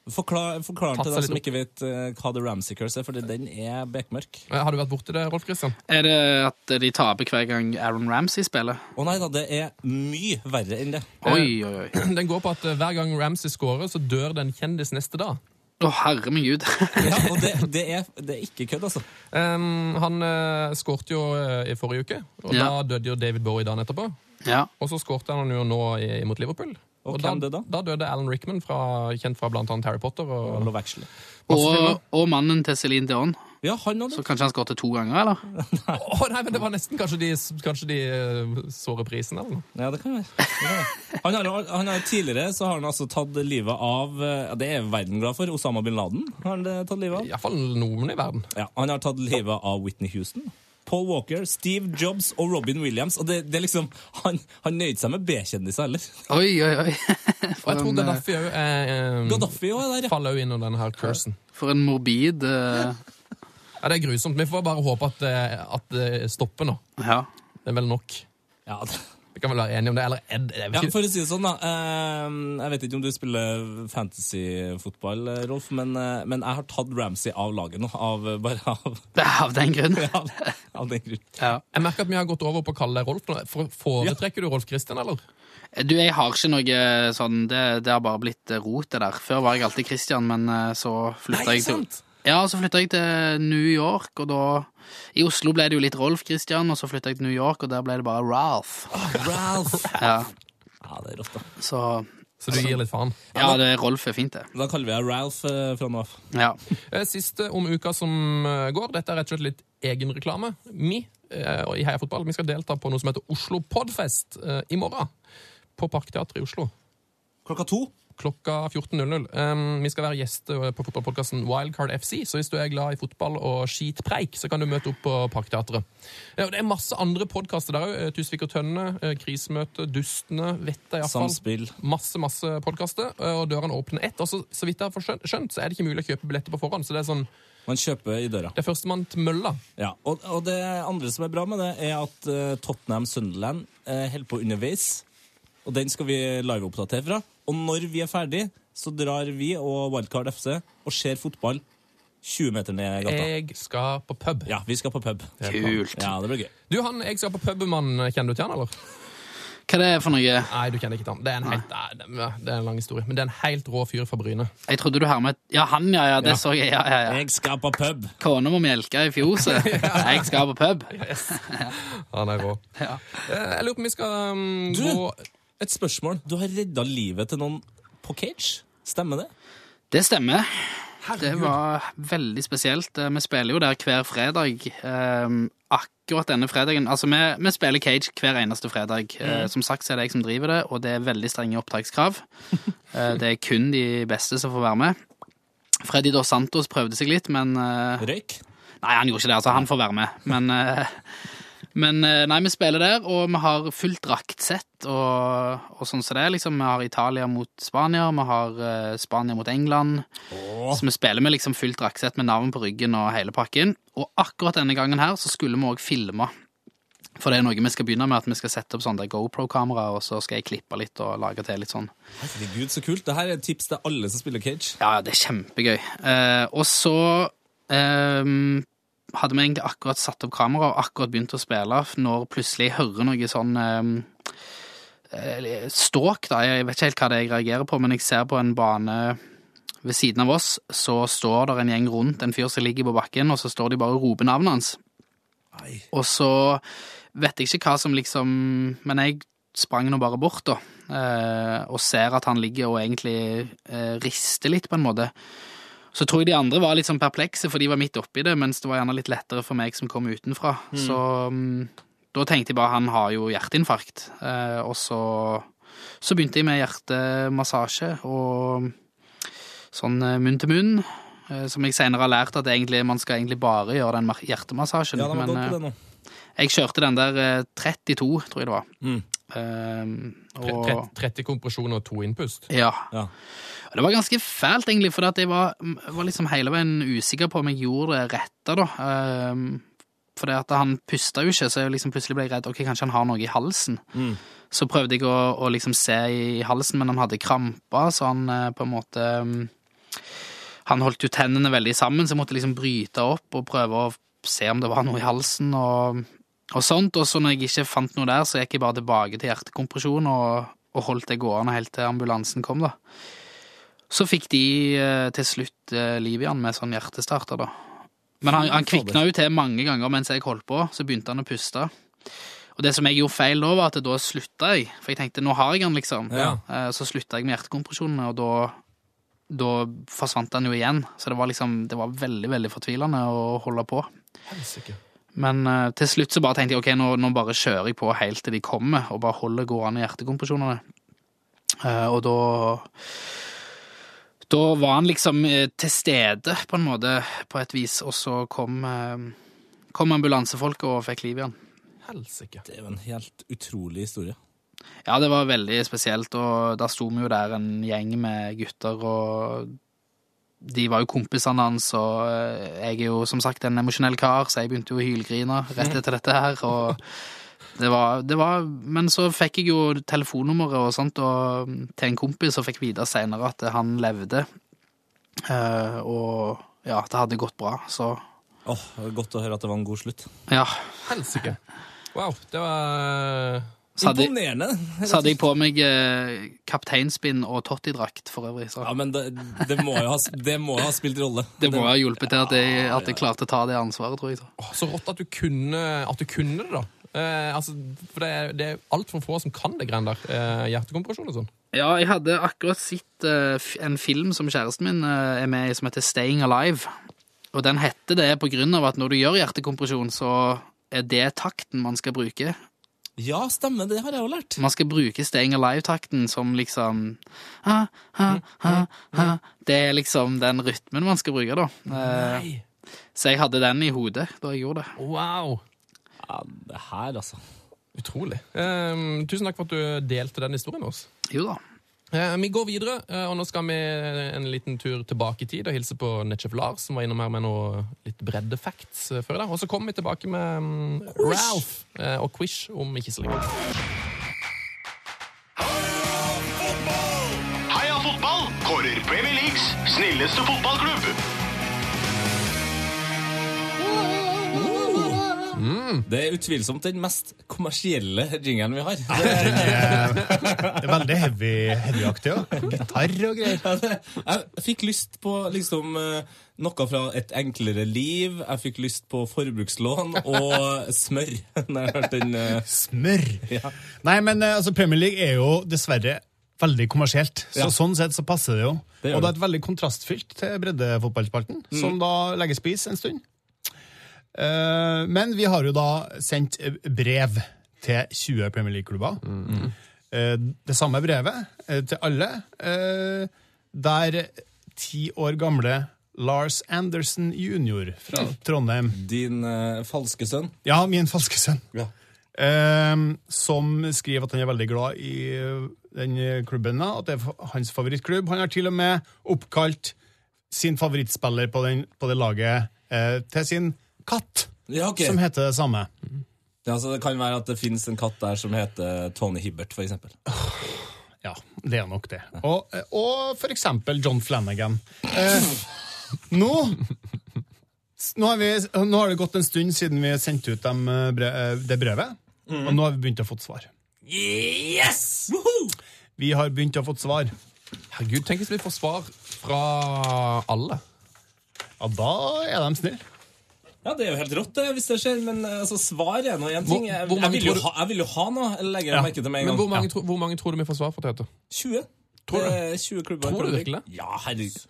S4: Forklar, forklar
S3: Tatt
S4: til
S3: seg
S4: dem som
S3: litt
S4: ikke vet eh, hva The Ramsey Curse er, for den er bekmørk.
S3: eh, Har du vært borti det, Rolf Christian?
S5: Er det at de taper hver gang Aaron Ramsey spiller? Eh,
S4: Å nei da, det er mye verre enn det.
S5: Oi, oi, oi.
S3: Den går på at eh, hver gang Ramsey scorer, så dør det en kjendis neste dag.
S5: Å, herre min gud.
S4: Ja, og det, det, er, det er ikke kødd, altså.
S3: Ehm, han uh, skårte jo eh, i forrige uke, og
S5: Ja.
S3: da døde jo David Bowie dagen etterpå.
S5: Ja.
S3: Og så skårte han jo nå i, mot Liverpool.
S4: Og hvem døde da?
S3: da døde Alan Rickman, fra, kjent fra blant annet Harry Potter. Og,
S4: Love Actually.
S5: Og, og mannen til Céline Dion.
S4: Ja, han hadde
S5: Så kanskje han skåret to ganger, eller?
S3: Å, nei, men det var nesten kanskje de, kanskje de eh, så reprisen eller noe.
S4: Ja, det kan være. Det kan være. Han, har, han har tidligere så har han altså tatt livet av eh, ja, Det er verden glad for. Osama bin Laden har han eh, tatt livet av.
S3: Iallfall noen i verden.
S4: Ja, han har tatt livet av Whitney Houston. Paul Walker, Steve Jobs og Robin Williams. Og det, det er liksom, Han, han nøyde seg med B-kjendiser heller.
S5: Oi, oi,
S3: Og
S5: oi.
S3: jeg
S5: For
S3: tror
S5: en, eh,
S3: Gaddafi òg eh,
S4: Gaddafi òg er der. ja.
S3: faller jo inn under denne her cursen.
S5: for en morbid eh,
S3: Ja, Det er grusomt. Vi får bare håpe at, eh, at det stopper nå.
S5: Ja.
S3: Det er vel nok.
S4: Ja, det-
S3: Vi kan vel være enige om det. Eller Ed, jeg
S4: ja,
S3: vet ikke.
S4: for å si det sånn, da. eh, Jeg vet ikke om du spiller fantasy-fotball, eh, Rolf, men, eh, men jeg har tatt Ramsey av laget nå. Av, eh, bare av,
S5: Det er av den grunn.
S4: av, av den grunn.
S5: Ja.
S3: Jeg merker at vi har gått over på å kalle deg Rolf. nå. For- Foretrekker du Rolf Christian, eller?
S5: Du, jeg har ikke noe sånn Det, det har bare blitt eh, rot, det der. Før var jeg alltid Christian, men eh, så flytta jeg til
S4: sant?
S5: Ja, så flytta jeg til New York, og da I Oslo ble det jo litt Rolf Christian, og så flytta jeg til New York, og der ble det bare Ralph.
S4: Ralph!
S5: Ja,
S4: Ja, det er rått, da.
S5: så
S3: Så du gir litt faen.
S5: Ja, det Rolf er fint, det.
S4: Da kaller vi deg Ralph eh, fra nå av.
S5: Ja.
S3: Eh, Siste om uka som eh, går. Dette er rett og slett litt egenreklame. Vi eh, og i Heia Fotball vi skal delta på noe som heter Oslo Podfest eh, i morgen. På Parkteatret i Oslo.
S4: Klokka to.
S3: Klokka 14.00. Um, vi skal være gjester på fotballpodkasten Wildcard FC, så hvis du er glad i fotball og skitpreik, så kan du møte opp på Parkteatret. Eh, og det er masse andre podkaster der òg. Tusvik og Tønne, eh, Krisemøte, Dustene, vet jeg iallfall.
S4: Samspill.
S3: Masse masse podkaster, og dørene åpner ett. Og så, så vidt jeg har forskjønt- skjønt, så er det ikke mulig å kjøpe billetter på forhånd, så det er sånn
S4: Man kjøper i døra.
S3: Det er førstemann til mølla.
S4: Ja, og, og det andre som er bra med det, er at eh, Tottenham Sunderland eh, holder på underveis. Og den skal vi liveoppdatere fra. Og når vi er ferdig, så drar vi og Wildcard FC og ser fotball 20 meter ned i gata.
S3: Jeg skal på pub.
S4: Ja, vi skal på pub.
S5: Kult.
S4: Ja, det blir gøy.
S3: Du, han jeg skal på pubmann, kjenner du til han, eller?
S5: Hva det er for noe?
S3: Nei, du kjenner ikke til han. Det er en helt, nei, det er- det er en lang historie. Men det er en helt rå fyr fra Bryne.
S5: Jeg trodde du hermet Ja, han, ja, ja, det så jeg. Ja, ja, ja.
S4: Jeg skal på pub!
S5: Kona må melke i fjoset. Jeg skal på pub.
S3: Han er rå. Eh, Jeg lurer på om vi skal um,
S4: Du!
S3: gå
S4: Et spørsmål. Du har redda livet til noen på cage? Stemmer det?
S5: Det stemmer. Det var veldig spesielt. Eh, Vi spiller jo der hver fredag. ehm, akkurat denne fredagen Altså, vi, vi spiller Cage hver eneste fredag. Eh, som sagt så er det jeg som driver det, og det er veldig strenge opptakskrav. Eh, det er kun de beste som får være med. Freddy Dos Santos prøvde seg litt, men eh,
S4: Røyk?
S5: Nei, han gjorde ikke det, altså. Han får være med. Men, eh, men eh, nei, vi spiller der, og vi har fullt draktsett og, og sånn som det er. Liksom, vi har Italia mot Spania, vi har eh, Spania mot England. Så vi spiller med liksom fullt draktsett med navn på ryggen og hele pakken. Og akkurat denne gangen her så skulle vi òg filme. For det er noe vi skal begynne med, at vi skal sette opp sånn der GoPro-kamera, og så skal jeg klippe litt og lage til litt sånn.
S4: Herregud, så kult. Dette er et tips til alle som spiller cage.
S5: Ja, ja, det er kjempegøy. Eh, og så ehm, hadde vi egentlig akkurat satt opp kamera og akkurat begynt å spille når plutselig jeg hører noe sånn ehm, eh, ståk, da. Jeg vet ikke helt hva det er jeg reagerer på, men jeg ser på en bane ved siden av oss, så står der en gjeng rundt en fyr som ligger på bakken, og så står de bare og roper navnet hans.
S4: Nei.
S5: Og så vet jeg ikke hva som liksom Men jeg sprang nå bare bort, da. eh, Og ser at han ligger og egentlig eh, rister litt, på en måte. Så tror jeg de andre var litt sånn perplekse, for de var midt oppi det, mens det var gjerne litt lettere for meg som kom utenfra. Så mm, da tenkte jeg bare han har jo hjerteinfarkt. Eh, Og så, så begynte jeg med hjertemassasje og sånn eh, munn til munn. eh, som jeg senere har lært at egentlig, man skal egentlig bare gjøre den mar- hjertemassasjen.
S4: Ja, de har
S5: men
S4: gått på
S5: eh,
S4: det nå.
S5: jeg kjørte den der eh, 32, tror jeg det var.
S4: Mm.
S5: Eh,
S3: Tre-
S5: og,
S3: tre- 30 kompresjoner og to innpust.
S5: ja.
S4: Ja.
S5: Og Det var ganske fælt, egentlig, for jeg var, var liksom hele veien usikker på om jeg gjorde det rette. da. Ehm, for det at han pusta jo ikke, så jeg liksom plutselig ble jeg redd ok, kanskje han har noe i halsen.
S4: Mm.
S5: Så prøvde jeg å, å liksom se i, halsen, men han hadde kramper, så han eh, på en måte mm, Han holdt jo tennene veldig sammen, så jeg måtte liksom bryte opp og prøve å se om det var noe i halsen. og... Og sånt, og så når jeg ikke fant noe der, så gikk jeg bare tilbake til hjertekompresjon og, og holdt det gående helt til ambulansen kom, da. Så fikk de eh, til slutt eh, liv i han med sånn hjertestarter, da. Men han, han
S4: Fy fader.
S5: kvikna jo til mange ganger mens jeg holdt på, så begynte han å puste. Og det som jeg gjorde feil da, var at da slutta jeg, for jeg tenkte nå har jeg han, liksom.
S4: Ja.
S5: Eh, Så slutta jeg med hjertekompresjonene, og da, da forsvant han jo igjen. Så det var liksom, det var veldig, veldig fortvilende å holde på.
S3: Helsike.
S5: Men eh, til slutt så bare tenkte jeg ok, nå, nå bare kjører jeg på helt til de kommer, og bare holder gående hjertekompresjonene. Eh, og da Da var han liksom eh, til stede, på en måte, på et vis, og så kom, uh, kom ambulansefolket og fikk liv i han.
S3: Helsike.
S4: Det er jo en helt utrolig historie.
S5: Ja, det var veldig spesielt, og da sto vi jo der en gjeng med gutter, og de var jo kompisene hans, og eh, jeg er jo som sagt en emosjonell kar, så jeg begynte jo å hylgrine rett etter dette her, og det var, det var Men så fikk jeg jo telefonnummeret og sånt og mm, til en kompis, og fikk vite seinere at han levde, Eh, og ja, det hadde gått bra, så
S4: Åh, det var Godt å høre at det var en god slutt.
S5: ja.
S3: Helsike. Wow, det var
S5: Så hadde,
S4: Imponerende!
S5: så hadde jeg på meg eh, kapteinspinn og Totti-drakt for øvrig, så
S4: Ja, men det, det, må jo ha, det må jo ha spilt rolle.
S5: Det må ha hjulpet til at jeg, at jeg klarte å ta det ansvaret, tror jeg. da.
S3: Åh, Så rått at du kunne, at du kunne det, da. Eh, altså, for det er, det er altfor få som kan det greiene der. Eh, hjertekompresjon og sånn.
S5: Ja, jeg hadde akkurat sett eh, f- en film som kjæresten min eh, er med i, som heter Staying Alive. Og den heter det på grunn av at når du gjør hjertekompresjon, så er det takten man skal bruke.
S4: Ja, stemmer, det har jeg jo lært.
S5: Man skal bruke Staying Alive-takten som liksom ha, ha, ha, ha. Det er liksom den rytmen man skal bruke, da. Eh,
S3: Nei.
S5: Så jeg hadde den i hodet da jeg gjorde det.
S3: Wow.
S4: Ja, det her, altså.
S3: Utrolig. Eh, tusen takk for at du delte den historien med oss.
S5: Jo da.
S3: Eh, Vi går videre, eh, og nå skal vi en liten tur tilbake i tid og hilse på Netchef Lars, som var innom her med noe litt bredde facts eh, før i dag. Og så kommer vi tilbake med mm, Ralph eh, og Quish om ikke så lenge.
S6: Heia fotball kårer Premier Leagues snilleste fotballklubb.
S4: Det er utvilsomt den mest kommersielle jingeren vi har.
S7: Det er veldig heavy, heavyaktig. Ja. Gitar og greier.
S4: Jeg fikk lyst på liksom eh, noe fra Et enklere liv. Jeg fikk lyst på forbrukslån og smør. Når jeg hørte den eh,
S7: Smør! Nei, men eh, altså, Premier League er jo dessverre veldig kommersielt. Så
S4: Ja.
S7: Sånn sett så passer det jo.
S4: Det gjør det.
S7: og det
S4: Mm.
S7: er et veldig kontrastfylt til breddefotballspalten, som da legges på is en stund. Eh, men vi har jo da sendt eh, brev til 20 Premier League-klubber.
S4: Mm.
S7: Eh, det samme brevet eh, til alle, eh, der ti år gamle Lars Andersen jr. fra Trondheim
S4: Din eh, falske sønn.
S7: Ja, min falske sønn.
S4: Ja.
S7: Ehm, som skriver at han er veldig glad i eh, den eh, klubben, da, at det er fa- hans favorittklubb. Han har til og med oppkalt sin favorittspiller på, den, på det laget eh, til sin katt,
S4: Ja, ok.
S7: som heter det samme.
S4: Ja, så det kan være at det finnes en katt der som heter Tony Hibbert, for eksempel.
S7: Ja, det er nok det. Og, eh, og for eksempel John Flanagan. Eh, nå s- nå har, vi, nå har det gått en stund siden vi sendte ut dem, eh, bre, eh, det brevet, og nå har vi begynt å få svar.
S4: Yes! Woohoo!
S7: Vi har begynt å få svar.
S3: Herregud, tenk hvis vi får svar fra alle.
S7: Ja, da er de snille.
S4: Ja, det er jo helt rått det, hvis det skjer, men eh, altså, svar er nå én
S3: Hvor-
S4: ting. Jeg,
S3: hvor mange
S4: jeg, vil jo
S3: tror du-
S4: ha, jeg vil jo ha noe, eller legger jeg merke til med en
S3: Men
S4: gang.
S3: hvor mange, tro, hvor mange tror du vi får svar fra, Tete?
S4: 20.
S3: Tror du?
S4: Det er 20 klubber. i
S3: Tror du
S4: Premier League.
S3: virkelig det?
S4: Ja, herregud.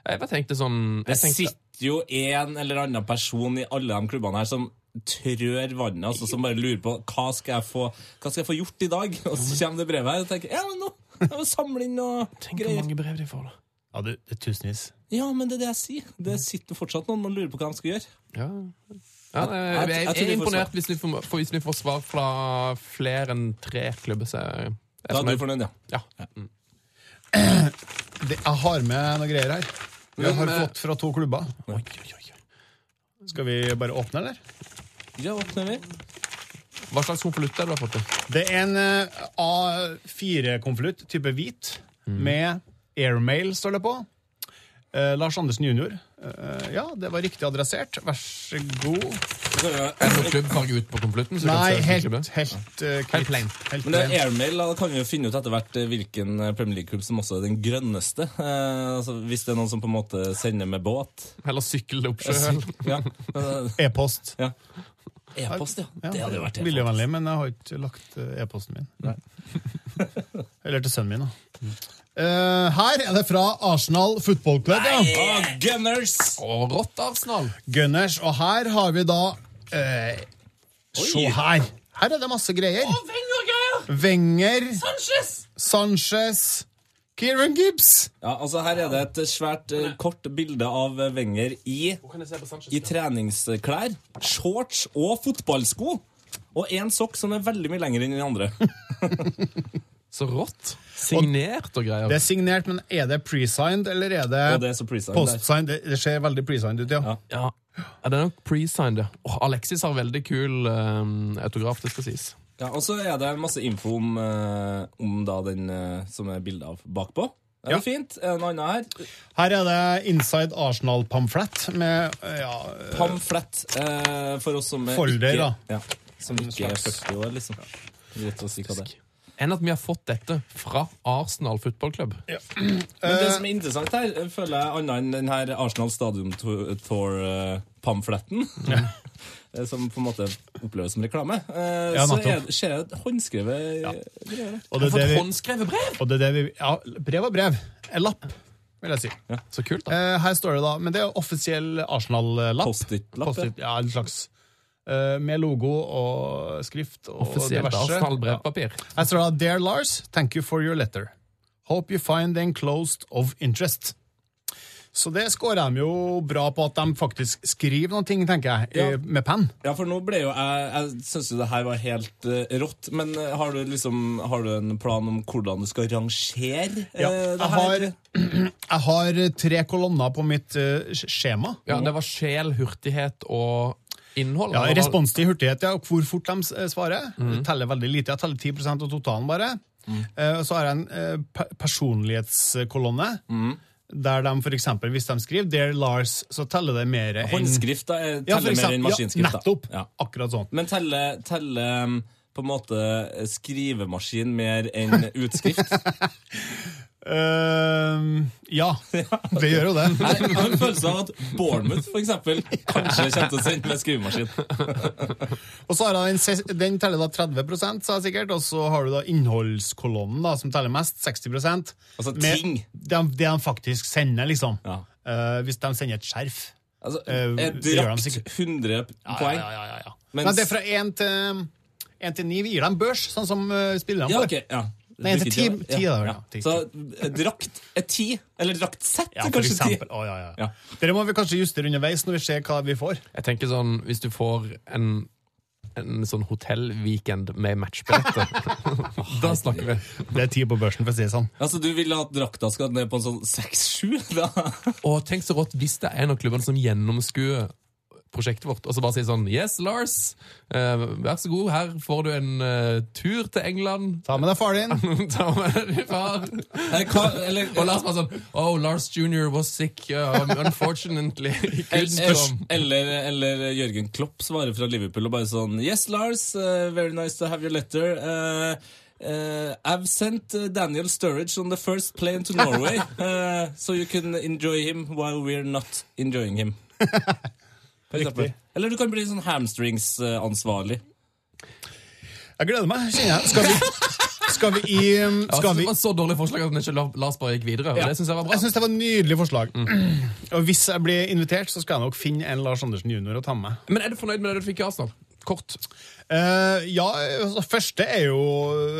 S3: Jeg bare tenkte sånn
S4: Det
S3: jeg tenkte,
S4: sitter jo en eller annen person i alle de klubbene her som trør vannet, altså, som bare lurer på hva skal jeg få, hva skal jeg få gjort i dag? Og så kommer det brevet her og tenker ja, men nå jeg må samle inn noe
S3: Tenk hvor
S4: greier.
S3: mange brev de får, da.
S7: Ja, det, det er tusenvis.
S4: Ja, men det er det jeg sier. Det sitter fortsatt noen og lurer på hva de skal gjøre.
S3: Ja. Ja, jeg, jeg,
S4: jeg tror
S3: jeg er
S4: vi får
S3: imponert hvis vi får, for hvis vi får svar fra flere enn tre klubber. Så er jeg
S4: Da er
S3: fornøyd.
S4: du fornøyd, ja.
S3: Ja.
S7: Det, jeg har med noen greier her. Vi har
S3: Men, eh,
S7: fått fra to klubber. Oi, oi, oi. Skal vi bare åpne, eller?
S4: Ja, åpner vi.
S3: Hva slags konvolutt er det du har fått? til?
S7: Det er en eh, A4-konvolutt, type hvit,
S3: Mm.
S7: med airmail, står det på. Eh, Lars Andersen jr. Eh, ja, det var riktig adressert. Vær så god.
S4: Så kan vi-
S3: Er det noe klubbfarge ut på konvolutten? så du kan
S7: Nei,
S3: se hvilken klubb det
S7: helt,
S3: er?
S7: helt eh, kvitt.
S3: Helt plain.
S7: Helt
S4: Men det er
S7: plain.
S4: airmail, da kan vi jo finne ut etter hvert eh, hvilken eh, Premier League-klubb som også er den grønneste. Eh, altså, hvis det er noen som på en måte sender med båt.
S3: Eller sykkel opp sjøl?
S4: Ja. Men,
S7: E-post.
S4: eh, ja. E-post, ja. Det hadde jo vært helt
S7: Miljøvennlig, men jeg har ikke lagt eh, e-posten min. Eller til sønnen min, da. Eh, her er det fra Arsenal Football Club. Ja.
S4: Ah, Gunners!
S3: Og rått Arsenal!
S7: Gunners. Og her har vi da eh, Se her. Her er det masse greier. Wenger, Sanchez, Kieran Gibbs.
S4: Ja, altså Her er det et svært eh, kort bilde av eh, Wenger i, i treningsklær, shorts og fotballsko. Og én sokk som er veldig mye lengre enn den andre.
S3: Så rått. Signert og greier.
S7: Det er signert, men er det pre-signed, eller er det,
S4: Og det er så pre-signed der.
S7: post-signed? Det, det ser veldig pre-signed ut, ja.
S4: Ja.
S3: Ja. ja, det er nok pre-signed. Åh, Alexis har veldig kul ehm, autograf, det skal sies.
S4: Ja, Og så er det masse info om, eh, om da den eh, som er bilde av bakpå. Det er
S7: Ja.
S4: fint. En annen her.
S7: Her er det Inside Arsenal-pamflett med eh, ja,
S4: Pamflett eh, for oss som er
S7: Folder,
S4: ikke,
S7: da.
S4: Ja, som ikke er 40 år, liksom. Rett og slett hva det. er.
S3: Enn at vi har fått dette fra Arsenal fotballklubb.
S4: Men det som er interessant her, eh, føler jeg annet enn den her Arsenal Stadium Tour- Tour-pamfletten. eh, Som på en måte oppleves som reklame. eh,
S7: Ja,
S4: så
S7: nettopp.
S4: er, det- skjer det et håndskrevet greier der.
S7: og det,
S3: Jeg har
S7: er
S3: fått
S7: det vi,
S3: håndskrevet brev!
S7: og det er det vi ja, Brev og brev. En lapp, vil jeg si.
S3: Så kult, da.
S7: Eh, her står det da, men det er offisiell Arsenal-lapp.
S4: Post-it-lapp. ja.
S7: Post-it, ja, en slags. Eh, med logo og skrift og
S3: Offisielt
S7: diverse.
S3: Arsenal-brevpapir.
S7: Her står det Dear Lars, thank you for your letter. Hope you find the enclosed of interest. Så det scorer de jo bra på at de faktisk skriver noen ting, tenker jeg,
S4: Ja.
S7: eh, med penn.
S4: Ja, for nå ble jo jeg Jeg syns jo det her var helt eh, rått. Men eh, har du liksom Har du en plan om hvordan du skal rangere eh, det her?
S7: jeg, har, jeg har tre kolonner på mitt eh, sk- skjema.
S3: Ja, det var sjel, hurtighet og innhold.
S7: Ja,
S3: eller hva-
S7: Responstid, hurtighet, ja, og hvor fort de s- eh, svarer.
S4: Mm.
S7: Det teller veldig lite. Jeg teller 10 av totalen bare. Eh, Så har jeg en eh, pe- personlighetskolonne.
S4: Mm.
S7: Der de for eksempel, hvis de skriver 'Dear Lars', så teller det mer enn
S4: Håndskrift da, eh,
S7: Ja, for
S4: teller mer
S7: eksempel-
S4: enn maskinskrift.
S7: Ja,
S4: da.
S7: nettopp.
S4: Ja.
S7: Akkurat sånn.
S4: Men teller telle, mm, på en måte eh, skrivemaskin mer enn utskrift?
S7: Eh, ja, det gjør jo det.
S4: Jeg har en følelse av at Bournemouth for eksempel, kanskje kommer til å sende med skrivemaskin.
S7: Og så har jeg den, ses- den teller da 30 sa jeg sikkert, og så har du da innholdskolonnen, da, som teller mest, 60
S4: Altså
S7: Med
S4: ting.
S7: Det de, det de faktisk sender, liksom.
S4: Ja.
S7: Eh, hvis de sender et skjerf.
S4: Altså,
S7: Eh,
S4: jeg
S7: det gjør han
S4: drakt
S7: sikkert.
S4: 100 poeng.
S7: Ja, ja, ja, ja.
S4: Mens-
S7: Nei, det er fra 1 til, 1 til 9. Vi gir dem børs, sånn som eh, spillerne
S4: Ja,
S7: får.
S4: ok, ja.
S7: Nei, til ti-
S4: Bruker
S7: ti
S4: ja,
S7: da,
S4: ja.
S7: ja, ti.
S4: Så eh, drakt er ti, eller draktsett
S7: Ja,
S4: er
S7: for
S4: kanskje ti.
S7: eksempel. Å, ja, ja.
S4: Ja.
S7: Dere må vi kanskje justere underveis når vi ser hva vi får.
S3: Jeg tenker sånn, hvis du får en, en sånn hotellweekend med matchbillette, da snakker vi.
S7: Det er ti på børsen, for å si det sånn.
S4: Altså, du vil at drakta skal ned på en sånn 6-7? da?
S3: Og tenk så rått hvis det er en av klubbene som gjennomskuer prosjektet vårt, og så bare sier sånn, yes, Lars, eh, vær så god, her får du en eh, tur til England.
S7: Ta med deg faren din.
S3: Ta med din far.
S4: Eh, hva- Eller,
S3: Og Lars bare sånn, oh, Lars Jr. was sick, uh, unfortunately. He couldn't
S4: eller,
S3: come.
S4: eller, eller Jørgen Klopp svarer fra Liverpool og bare sånn Yes, Lars, eh, very nice to have your letter. Eh, eh, I've sent eh, Daniel Sturridge on the first plane to Norway, eh, so you can enjoy him while we're not enjoying him. For eksempel. Eller du kan bli sånn hamstrings-ansvarlig.
S7: Jeg gleder meg, kjenner jeg. Skal vi, skal vi i um,
S3: Ja,
S7: skal
S3: det
S7: vi,
S3: var så dårlig forslag at ikke la- Lars bare gikk videre. og Det synes jeg var bra.
S7: Jeg syns det var et nydelig forslag. Og hvis jeg blir invitert, så skal jeg nok finne en Lars Andersen jr. å ta med.
S3: Men er du fornøyd med det du fikk i Arsenal? kort.
S7: Eh, ja, altså, første er jo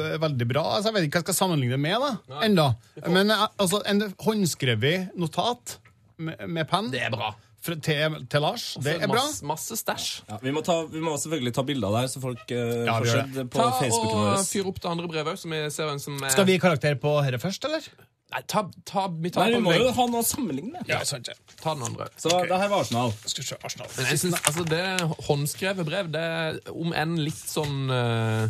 S7: eh, veldig bra. Altså, jeg vet ikke hva jeg skal sammenligne det med da, enda. Men eh, altså, en håndskrevet notat med, med penn
S3: Det er bra.
S7: fra- til, til Lars, det er bra.
S3: Masse, masse stæsj.
S4: Ja, vi, må ta, vi må selvfølgelig ta bilder der, så folk eh,
S7: Ja,
S4: får
S7: vi gjør
S4: sett
S7: det.
S4: det på
S3: Ta
S4: Facebooken
S3: og
S4: vår.
S3: Fyr opp det andre brevet òg, så vi ser hvem som er
S7: Skal vi gi karakter på dette først, eller?
S3: Nei, ta, ta, vi tar
S4: Nei, vi
S3: den
S4: må jo
S3: andre.
S4: ha noe å sammenligne med.
S7: Ja, sant. ja.
S3: Ta den andre.
S4: Så det her var Arsenal.
S7: Skal vi se, Arsenal.
S3: Men jeg synes, altså, det håndskrevet brev, det er om enn litt sånn eh,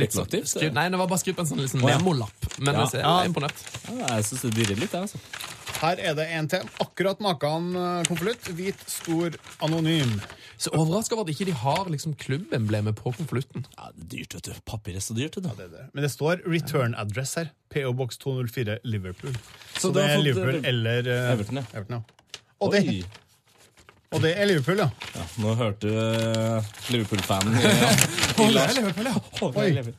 S3: litt sånn-
S4: Spekulativt,
S3: skri-
S4: det.
S3: Nei, det var bare skrevet på en sånn, litt sånn
S4: Å, ja.
S3: memolapp. Men
S4: Ja.
S3: jeg ser- jeg er imponert.
S4: Ja, jeg syns det dirrer litt, jeg, altså.
S7: Her er det en til. Akkurat maken eh, konvolutt. Hvit, stor, anonym.
S3: Så overraska over at ikke de har liksom, klubbemblemet på konvolutten.
S4: Ja, det er dyrt, vet du. Papir er så dyrt, vet du.
S7: Det er det. Men det står return address her. PO Box 204 Liverpool. Så,
S4: du
S7: det
S4: har
S7: er
S4: fått,
S7: Liverpool
S4: eh,
S7: eller eh,
S4: Everton, ja.
S7: ja. Og, det,
S4: Oi!
S7: og det er Liverpool, ja.
S4: Ja, nå hørte du eh, Liverpool-fanen i, i Lars. Oi.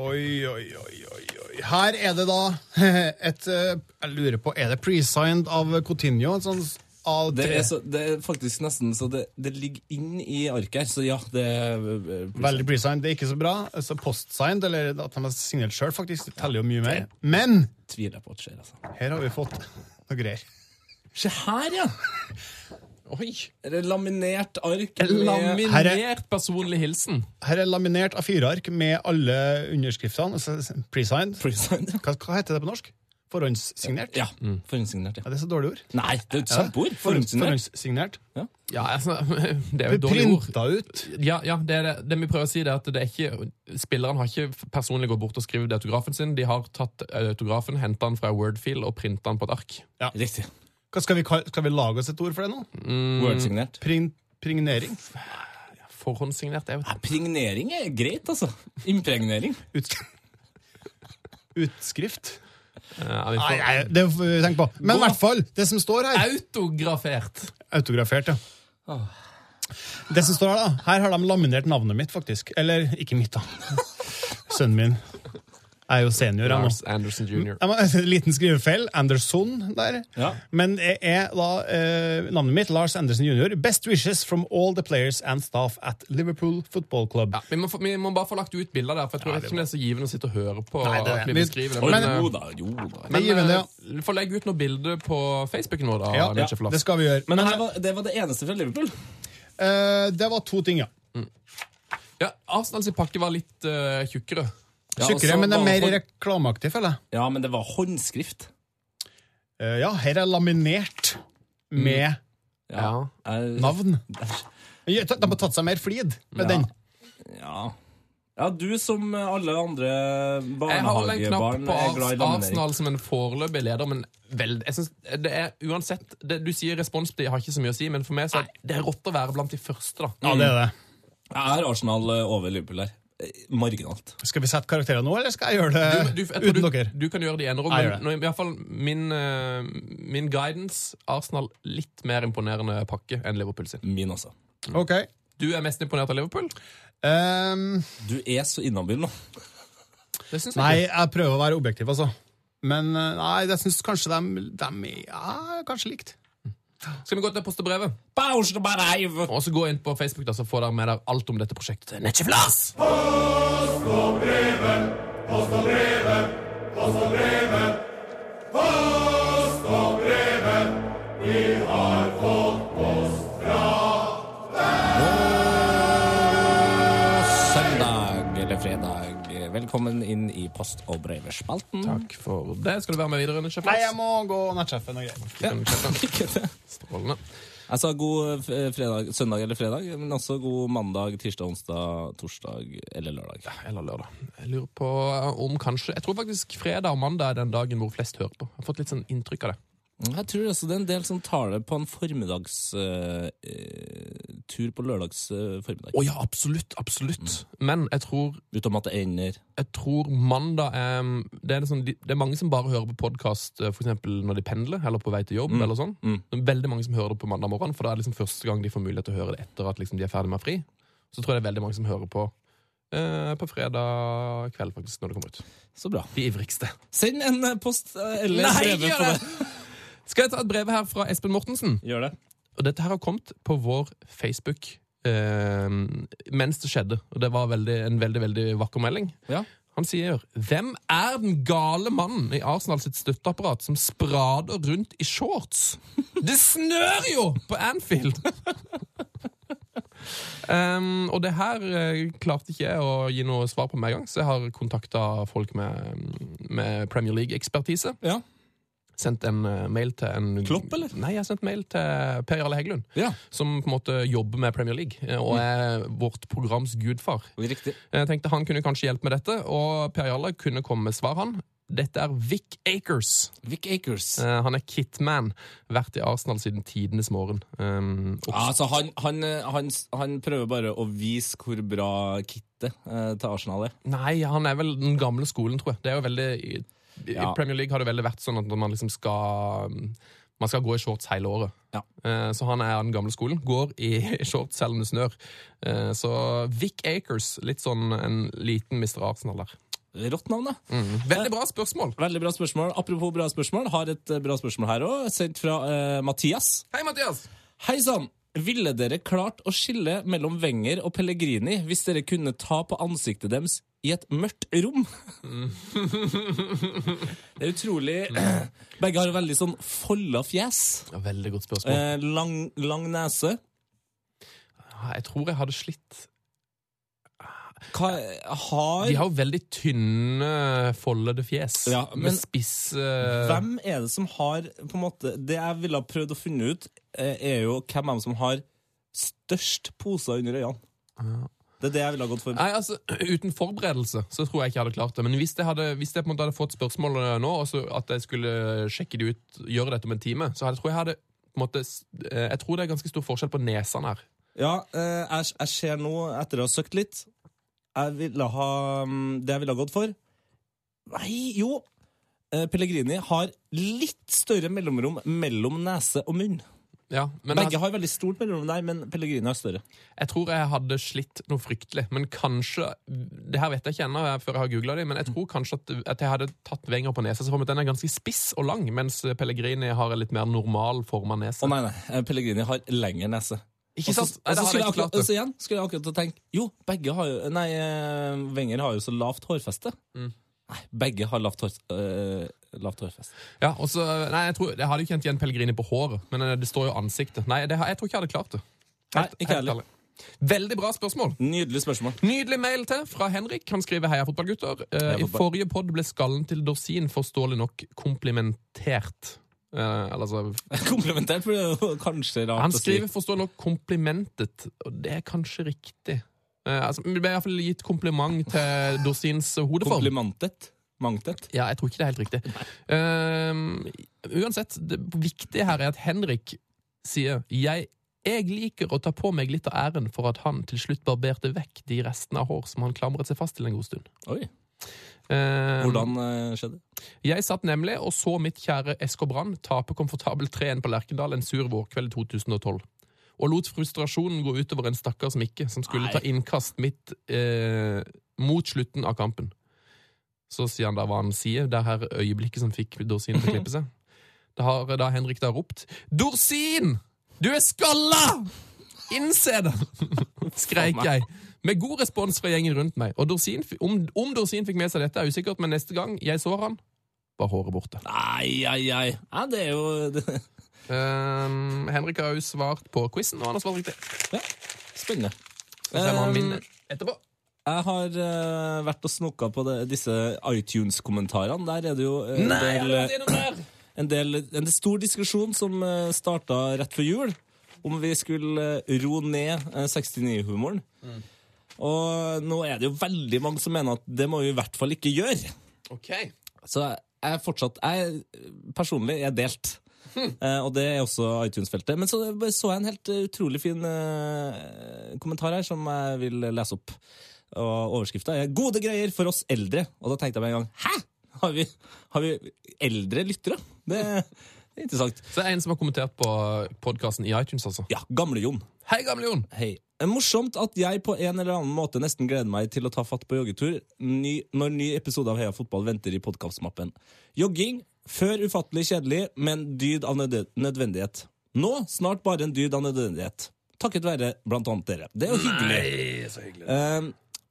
S7: Oi, oi, oi, oi, oi. Her er det da et eh, Jeg lurer på, er det pre-signed av Coutinho? En sånn av
S4: Det
S7: tre?
S4: er, så, det er faktisk nesten så det, det ligger inn i arket her, så ja, det er eh,
S7: Veldig pre-signed. Det er ikke så bra. Altså post-signed, eller at de har signert sjøl, faktisk. Det teller jo mye mer. Men
S4: tviler jeg på at skjer, altså.
S7: her har vi fått noe greier.
S4: Se her, ja!
S3: Oi!
S4: Er det laminert ark? med-
S3: Laminert personlig hilsen.
S7: Her er laminert A4-ark med alle underskriftene. Altså pre-signed.
S4: Pre-signed, ja.
S7: Hva, hva heter det på norsk? Forhåndssignert?
S4: Ja, forhåndssignert,
S7: Ja,
S4: ja.
S7: det er så dårlig ord.
S4: Nei, det er et kjempeord! Forhåndssignert.
S7: Forhåndssignert.
S3: Ja, altså, det er jo et dårlig ord.
S7: Printa ut.
S3: Ja, ja det, er det. det vi prøver å si, det er at det er ikke, spilleren har ikke personlig gått bort og skrevet autografen sin. De har tatt eh, autografen, henta den fra Wordfeel og printa den på et ark.
S4: Riktig.
S7: Hva skal vi, kall- skal vi lage oss et ord for det nå?
S4: Wordsignert.
S7: Prin, prignering?
S3: Forhåndssignert er jo
S4: Ja, Prignering er greit, altså. Impregnering.
S7: Ut, utskrift?
S3: Ja, vi får-
S7: Nei, nei, det får vi tenke på. Men i hvert fall, det som står her
S3: Autografert.
S7: Autografert, ja. Det som står her, da. Her har de laminert navnet mitt, faktisk. Eller ikke mitt, da. Sønnen min. Jeg er jo senior, jeg nå.
S3: Lars Anderson jr.
S7: Jeg må, en liten skrivefeil. Anderson der.
S4: Ja.
S7: Men jeg er da eh, navnet mitt, Lars Andersen jr. Best wishes from all the players and staff at Liverpool Football Club.
S3: Ja, vi, må få, vi må bare få lagt ut bilder der, for jeg tror ikke det er så givende å sitte og høre på.
S7: Nei, det er-
S3: at vi
S7: men-
S3: beskriver det,
S4: Oi,
S3: men,
S4: jo
S3: eh,
S4: da, jo da.
S3: men,
S7: givende,
S3: eh,
S7: ja.
S3: vi får legge ut noe bilde på Facebooken vår, da.
S7: Ja,
S3: Mitchell Flats.
S7: det skal vi gjøre.
S4: Men det, her var, det var det eneste fra Liverpool.
S7: Eh, det var to ting, ja.
S3: ja, Arsenal sin pakke var litt eh, tjukkere.
S4: Ja,
S7: Tjukkere,
S4: altså,
S7: men det er
S4: bare
S7: mer
S4: hånd-
S7: reklameaktig, føler jeg.
S4: Ja, men det var håndskrift.
S7: Eh, ja, her er laminert med
S3: Ja.
S4: Jeg-
S7: navn. Ja, De har tatt seg mer flid med
S4: Ja.
S7: den.
S4: Ja. ja, du som alle andre
S3: Jeg har vel en knapp
S4: barnehagebarn
S3: på
S4: er glad i
S3: Ars-
S4: laminering.
S3: Arsenal som en foreløpig leder, men vel, jeg synes det er uansett det, Du sier responstid har ikke så mye å si, men for meg så er det er rått å være blant de første, da.
S7: Ja, det er det.
S4: Jeg er Arsenal eh, over Liverpool her. Eh, Marginalt.
S7: Skal vi sette karakterer nå, eller skal jeg gjøre det
S3: Du, jeg tror
S7: uten
S3: du,
S7: dere?
S3: du kan gjøre det i enerom,
S7: Jeg
S3: men
S7: gjør det.
S3: nå, i hvert fall min, eh, min guidance Arsenal litt mer imponerende pakke enn Liverpool sin.
S4: Min også.
S3: Mm.
S7: Ok.
S3: Du er mest imponert av Liverpool?
S7: Ehm,
S4: Du er så inhabil nå.
S3: Det syns jeg.
S7: Nei,
S3: ikke.
S7: jeg prøver å være objektiv, altså. Men eh, nei, jeg syns kanskje de, de er ja, kanskje likt.
S3: Skal vi gå til postebrevet,
S4: Bausen og Bareiv!
S3: og så gå inn på Facebook, da, så får dere med dere alt om dette prosjektet. til Netcheflas!
S4: Søndag eller fredag. eh, Velkommen inn i Post- og breverspalten.
S3: Takk for det. Skal du være med videre,
S7: Nei, jeg
S3: Netcheflas?
S7: må gå nettsjefen og greier.
S3: Strålende.
S4: Jeg sa god eh, fredag, søndag eller fredag, men også god mandag, tirsdag, onsdag, torsdag eller lørdag.
S3: Eller lørdag. Jeg lurer på eh, om kanskje Jeg tror faktisk fredag og mandag er den dagen hvor flest hører på. Jeg har fått litt sånn inntrykk av det.
S4: Jeg tror også det er en del som tar det på en formiddagstur tur på lørdags eh, formiddag.
S3: Å ja, absolutt. Absolutt.
S7: Mm.
S3: Men jeg tror
S4: Utenom at det ender
S3: jeg tror mandag er, det, er en sånn, det er mange som bare hører på podkast når de pendler eller på vei til jobb. eller sånn.
S4: Mm.
S3: Det er veldig mange som hører det på mandag morgen, for da er det liksom første gang de får mulighet til å høre det etter at liksom de er ferdig med å ha fri. Så tror jeg det er veldig mange som hører på eh, på fredag kveld, faktisk, når det kommer ut.
S4: så bra.
S3: De ivrigste.
S4: Send en eh, post eh, eller
S3: Nei,
S4: brev
S3: gjør
S4: på
S3: det!
S4: det.
S3: Skal jeg ta et brev her fra Espen Mortensen?
S4: Gjør det.
S3: Og dette her har kommet på vår Facebook eh, mens det skjedde. Og det var veldig, en veldig, veldig vakker melding.
S4: Ja.
S3: Han sier Hvem er den gale mannen i Arsenal sitt støtteapparat som sprader rundt i shorts? Det snør jo på Anfield! Em, og det her eh, klarte ikke jeg å gi noe svar på med en gang, så jeg har kontakta folk med, med Premier League-ekspertise.
S4: Ja.
S3: Sendt en eh, mail til en
S4: Klopp, eller?
S3: Nei, jeg har sendt mail til Per Jarle Heggelund,
S4: ja.
S3: som på en måte jobber med Premier League, eh,
S4: Mm.
S3: og er vårt programs gudfar.
S4: Riktig.
S3: Jeg tenkte han kunne kanskje hjelpe med dette, og Per Jarle kunne komme med svar, han. Dette er Vic Akers.
S4: Vic Akers.
S3: Eh, han er kitman. Vært i Arsenal siden tidenes morgen. Um,
S4: Ja, altså han, han, han, han prøver bare å vise hvor bra kittet eh, til Arsenal er.
S3: Nei, han er vel den gamle skolen, tror jeg. Det er jo veldig, i, I
S4: Ja.
S3: Premier League har det veldig vært sånn at man liksom skal Man skal gå i shorts hele året.
S4: Ja.
S3: Eh, Så han er av den gamle skolen. Går i shorts selv om det snør. Eh, Så Vic Akers, litt sånn en liten Mr. Arsenal der.
S4: Rått navn, da. Mm.
S3: Veldig bra spørsmål!
S4: Veldig bra spørsmål. Apropos bra spørsmål, har et eh, bra spørsmål her òg, sendt fra eh, Mathias.
S3: Hei, Mathias!
S4: Hei sann! Ville dere klart å skille mellom Wenger og Pellegrini hvis dere kunne ta på ansiktet deres i et mørkt rom? Det er utrolig Begge har veldig sånn folda fjes.
S3: Ja, Veldig godt spørsmål.
S4: Eh, lang, lang nese.
S3: Ah, Jeg tror jeg hadde slitt.
S4: Hva har
S3: De har jo veldig tynne, foldede fjes.
S4: Ja, men-
S3: med spiss eh,
S4: Hvem er det som har på en måte, Det jeg ville ha prøvd å finne ut, eh, er jo hvem av dem som har størst poser under øynene. Det er det jeg ville ha gått for.
S3: Nei, altså, Uten forberedelse så tror jeg ikke jeg hadde klart det. Men hvis jeg, hadde, hvis jeg på en måte hadde fått spørsmål nå, og så at jeg skulle sjekke det ut, gjøre dette om en time, så hadde, tror jeg hadde på en måte, s- eh, Jeg tror det er ganske stor forskjell på nesene her.
S4: Ja, eh, jeg, jeg ser nå, etter å ha søkt litt jeg ville ha, mm, Det jeg ville ha gått for Nei, jo! eh, Pellegrini har litt større mellomrom mellom nese og munn.
S3: Ja, men altså-
S4: Begge
S3: jeg,
S4: har veldig stort mellomrom der, men Pellegrini har større.
S3: jeg tror jeg hadde slitt noe fryktelig. Men kanskje Det her vet jeg ikke ennå jeg- før jeg har googla det, men jeg
S4: Mm.
S3: tror kanskje at, at jeg hadde tatt Wenger på nesa. Så for meg at den er ganske spiss og lang, mens Pellegrini har en litt mer normal forma nese.
S4: Å nei, nei, eh, Pellegrini har lengre nese.
S3: Ikke sant?
S4: Og så- og så skulle
S3: Nei, det hadde jeg
S4: jeg
S3: ikke
S4: akkurat,
S3: klart det.
S4: så igjen skulle jeg akkurat til å tenke Jo, begge har jo Nei, eh, Wenger har jo så lavt hårfeste. Nei, begge har lavt, hår, eh, lavt hårfeste.
S3: Ja, og så, nei, jeg, tror, jeg hadde ikke kjent igjen Pellegrini på håret, men eh, det står jo ansiktet. Nei, det, har- jeg tror ikke jeg hadde klart det.
S4: Nei, ikke
S3: Helt
S4: heller.
S3: ærlig. Veldig bra spørsmål.
S4: Nydelig spørsmål.
S3: Nydelig mail til fra Henrik. Han skriver 'Heia fotballgutter'. Eh,
S4: Heia
S3: I
S4: fotball.
S3: forrige pod ble skallen til Dorsin forståelig nok komplimentert. Eh, eller altså,
S4: Komplementert, for det er jo kanskje rart
S3: han
S4: å si.
S3: skriver forståelig nok 'komplimentet', og det er kanskje riktig. Eh, altså, det ble iallfall gitt kompliment til Dorsins hodeform.
S4: Komplimentet. Mangtet.
S3: Ja, jeg tror ikke det er helt riktig. Ehm, uansett, det viktige her er at Henrik sier jeg, jeg liker å ta på meg litt av æren for at han til slutt barberte vekk de restene av hår som han klamret seg fast til en god stund.
S4: Oi.
S3: Ehm,
S4: Hvordan eh, skjedde det?
S3: Jeg satt nemlig og så mitt kjære SK Brann tape komfortabelt 3-1 på Lerkendal en sur vårkveld i 2012. Og lot frustrasjonen gå utover en stakkars Mikke, som
S4: Nei.
S3: skulle ta innkast midt eh, mot slutten av kampen. Så sier han da hva han sier, det her øyeblikket som fikk Dorsin til å klippe seg. Da har da Henrik da ropt 'Dorsin! Du er skalla! Innse det!' skreik jeg. Med god respons fra gjengen rundt meg. Og Dorsin, f- om, om Dorsin fikk med seg dette, er usikkert, men neste gang jeg så han, var håret borte.
S4: Ai, ai, ai. Ja, det er jo det,
S3: Ehm, Henrik har jo svart på quizen, og han har svart riktig.
S4: Spennende.
S3: Så ser vi om han
S4: Um,
S3: vinner Ehm, etterpå.
S4: Jeg har eh, vært og snoka på det, disse iTunes-kommentarene. Der er det jo eh, en
S3: Nei, jeg har
S4: del eh,
S3: vært innom der!
S4: en, del, en stor diskusjon som uh, starta rett før jul, om vi skulle eh, ro ned eh, 69-humoren.
S3: Mm.
S4: Og nå er det jo veldig mange som mener at det må vi i hvert fall ikke gjøre.
S3: Ok.
S4: Så jeg er fortsatt jeg, Personlig jeg er delt. Eh, og det er også iTunes-feltet. Men så så jeg en helt eh, utrolig fin eh, kommentar her som jeg vil lese opp. Og overskrifta er 'Gode greier for oss eldre'. Og da tenkte jeg med en gang Hæ?! Har vi, har vi eldre lyttere? Det er interessant.
S3: Så er det en som har kommentert på podkasten i iTunes, altså.
S4: Ja, Gamle-Jon.
S3: Hei, gamle Jon!
S4: Hei. Eh, Morsomt at jeg på en eller annen måte nesten gleder meg til å ta fatt på joggetur ny, når ny episode av Heia fotball venter i podkastmappen. Jogging før ufattelig kjedelig, men dyd av nød nødvendighet. Nå snart bare en dyd av nødvendighet. takket være blant annet dere. Det er jo hyggelig. Eh,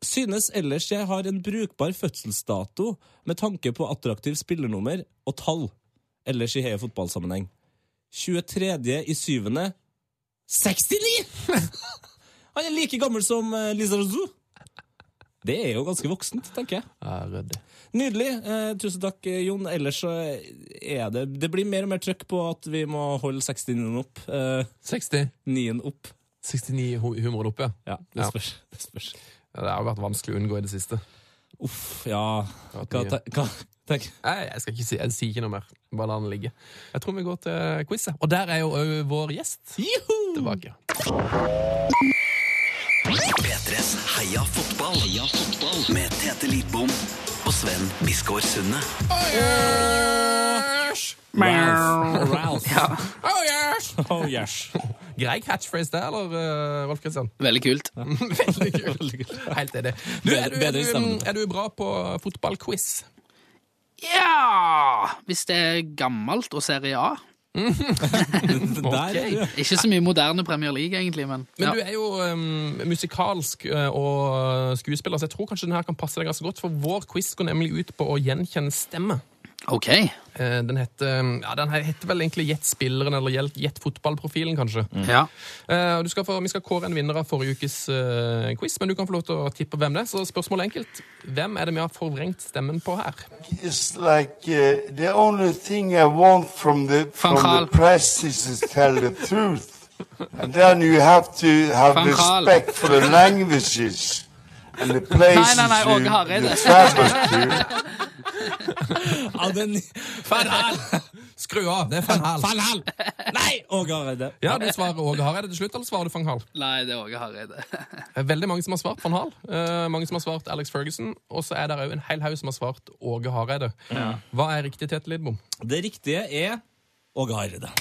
S4: synes ellers jeg har en brukbar fødselsdato med tanke på attraktiv spillernummer og tall ellers i hele fotballsammenheng. 23. i 7. 69! Han er like gammel som eh, Lizarazu. Det er jo ganske voksent, tenker jeg.
S3: Ja, ryddig.
S4: Nydelig. Eh, tusen takk, eh, Jon. Ellers så er det Det blir mer og mer trøkk på at vi må holde 69-en opp. Eh,
S3: 60.
S4: 9-en opp.
S3: 69 hu- humoren oppe, ja.
S4: Ja, det
S3: Ja.
S4: spørs. Det spørs.
S3: Det har vært vanskelig å unngå i det siste.
S4: Uff, ja Hva,
S3: Det har vært mye.
S4: te- hva tenk?
S3: Nei, jeg skal ikke si, jeg sier ikke noe mer. Bare la den ligge. Jeg tror vi går til quizet. Og der er jo òg vår gjest tilbake.
S2: P3s Heia fotball. Heia fotball. Med Tete Lidbom og Sven Biskår Sunde.
S4: Ralph. Ralph.
S5: Ja,
S3: Oh, yes!
S4: Oh, yes.
S3: Grei catchphrase det, eller, eh, Rolf Kristian?
S5: veldig kult.
S3: Veldig kult. Helt enig. Du, er, du, er,
S4: Bedre i
S3: du,
S4: stemmen.
S3: er du bra på fotballquiz?
S5: Ja! Hvis det er gammelt og Serie A.
S4: Der er du.
S5: Ikke så mye moderne Premier League, egentlig, men,
S3: Men
S5: ja.
S3: du er jo eh, musikalsk eh, og skuespiller, så jeg tror kanskje denne her kan passe deg ganske godt, for vår quiz går nemlig ut på å gjenkjenne stemme.
S5: OK.
S3: Eh, Den heter, ja, den her heter vel egentlig Gjett spilleren, eller Gjett- Gjett fotballprofilen, kanskje.
S5: Ja.
S3: Eh, og du skal få, vi skal kåre en vinner av forrige ukes eh, quiz, men du kan få lov til å tippe hvem det er. Så spørsmålet er enkelt. Hvem er det vi har forvrengt stemmen på her?
S8: It's like uh, the only thing I want from the from
S5: Van
S8: the
S5: Gaal.
S8: press is to tell the truth, and then you have to have
S5: Van Gaal.
S8: respect for the languages and the places
S5: nei, nei, Åge
S8: you,
S5: Hareide.
S8: you travel to.
S4: Ja, den
S3: Skru av! Det er Van Hal.
S4: Falhall! Nei! Åge Hareide.
S3: Ja, du svarer Åge Hareide til slutt, eller svarer du Van Hal?
S5: Nei, det er Åge Hareide.
S3: Eh, Veldig mange som har svart Van Hal. Eh, mange som har svart Alex Ferguson, og så er det òg en hel haug som har svart Åge Hareide. Hva er riktig, Tete Lidbom?
S4: Det riktige er Åge Hareide.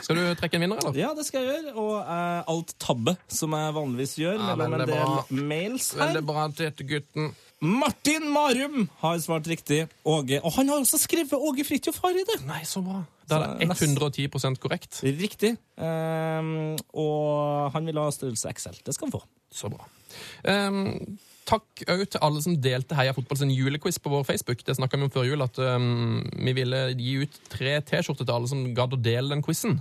S3: Skal du trekke en vinner, eller?
S4: Ja, det skal jeg gjøre. Og eh, alt tabbe, som jeg vanligvis gjør
S3: Ja,
S4: mellom
S3: veldig
S4: en del
S3: bra.
S4: mails her.
S3: Veldig bra, Tete gutten.
S4: Martin Marum har svart riktig. Åge. Og han har også skrevet Åge Fridtjof Hareide.
S3: Nei, så bra. Da er det 110 korrekt.
S4: Riktig. Ehm, og han vil ha størrelse XL. Det skal han få.
S3: Så bra. Ehm, takk òg til alle som delte Heia fotball sin julequiz på vår Facebook. Det snakka vi om før jul, at ehm, vi ville gi ut tre T-skjorter til alle som gadd å dele den quizen.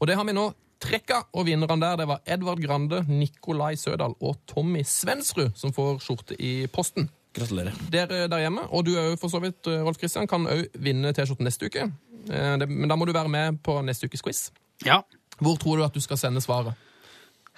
S3: Og det har vi nå trekka, og vinnerne der det var Edvard Grande, Nikolai Sødal og Tommy Svensrud, som får skjorte i posten.
S4: Gratulerer.
S3: Dere der hjemme, og du òg for så vidt, Rolf Kristian, kan òg vinne T-skjorten neste uke. Eh, det- Men da må du være med på neste ukes quiz.
S5: Ja.
S3: Hvor tror du at du skal sende svaret?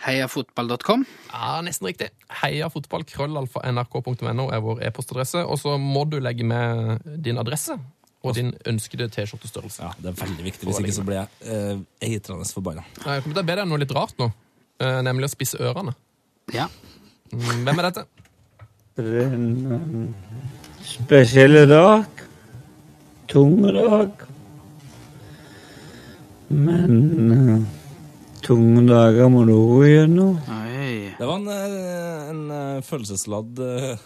S5: Heiafotball.com.
S3: Ja, nesten riktig. Heia fotball, krøllalfa, nrk.no er vår e-postadresse. Og så må du legge med din adresse og din ønskede T-skjortestørrelse.
S4: Ja, Det er veldig viktig. Hvis ikke så blir jeg eh, eitrende forbanna.
S3: Jeg kommer til å be deg om noe litt rart nå, eh, nemlig å spisse ørene.
S5: Ja.
S3: Mm, Hvem er dette?
S9: Spesielle dag. Tung dag. Men eh, tunge dager må du òg gjennom.
S5: Oi.
S4: Det var en, eh, en eh, følelsesladd eh,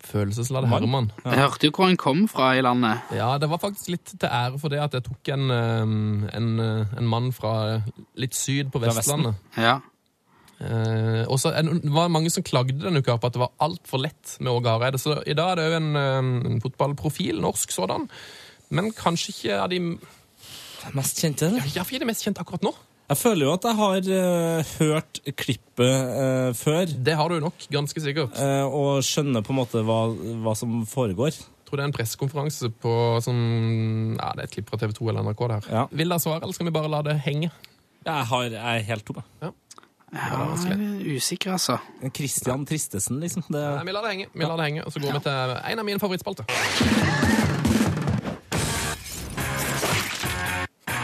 S3: Følelsesladd Herman.
S5: Jeg hørte jo hvor han kom fra i landet.
S3: Ja, det var faktisk litt til ære for det at jeg tok en, eh, en, eh, en mann fra litt syd på
S4: Fra Vesten.
S3: Vestlandet.
S5: Ja.
S3: Eh, og så en- det var mange som klagde denne uka på at det var altfor lett med Åge Hareide. Så i dag er det òg en, eh, en fotballprofil, norsk sådan. Men kanskje ikke av de
S4: mest kjente. Eller?
S3: Ja, for jeg er det mest kjent akkurat nå.
S4: Jeg føler jo at jeg har eh, hørt klippet eh, før.
S3: Det har du nok, ganske sikkert.
S4: eh, og skjønner på en måte hva, hva som foregår.
S3: Jeg tror det er en pressekonferanse på som, ja, det er et klipp fra TV 2 eller NRK. der.
S4: Ja.
S3: Vil dere svare, eller skal vi bare la det henge?
S4: Jeg, har, jeg er helt tom. jeg.
S3: Ja, det er
S5: Jeg
S3: vanskelig.
S5: er usikker, altså.
S4: Christian Tristesen, liksom. Det,
S3: Nei, vi lar det henge, vi lar det henge, og så går vi til en av mine favorittspalter.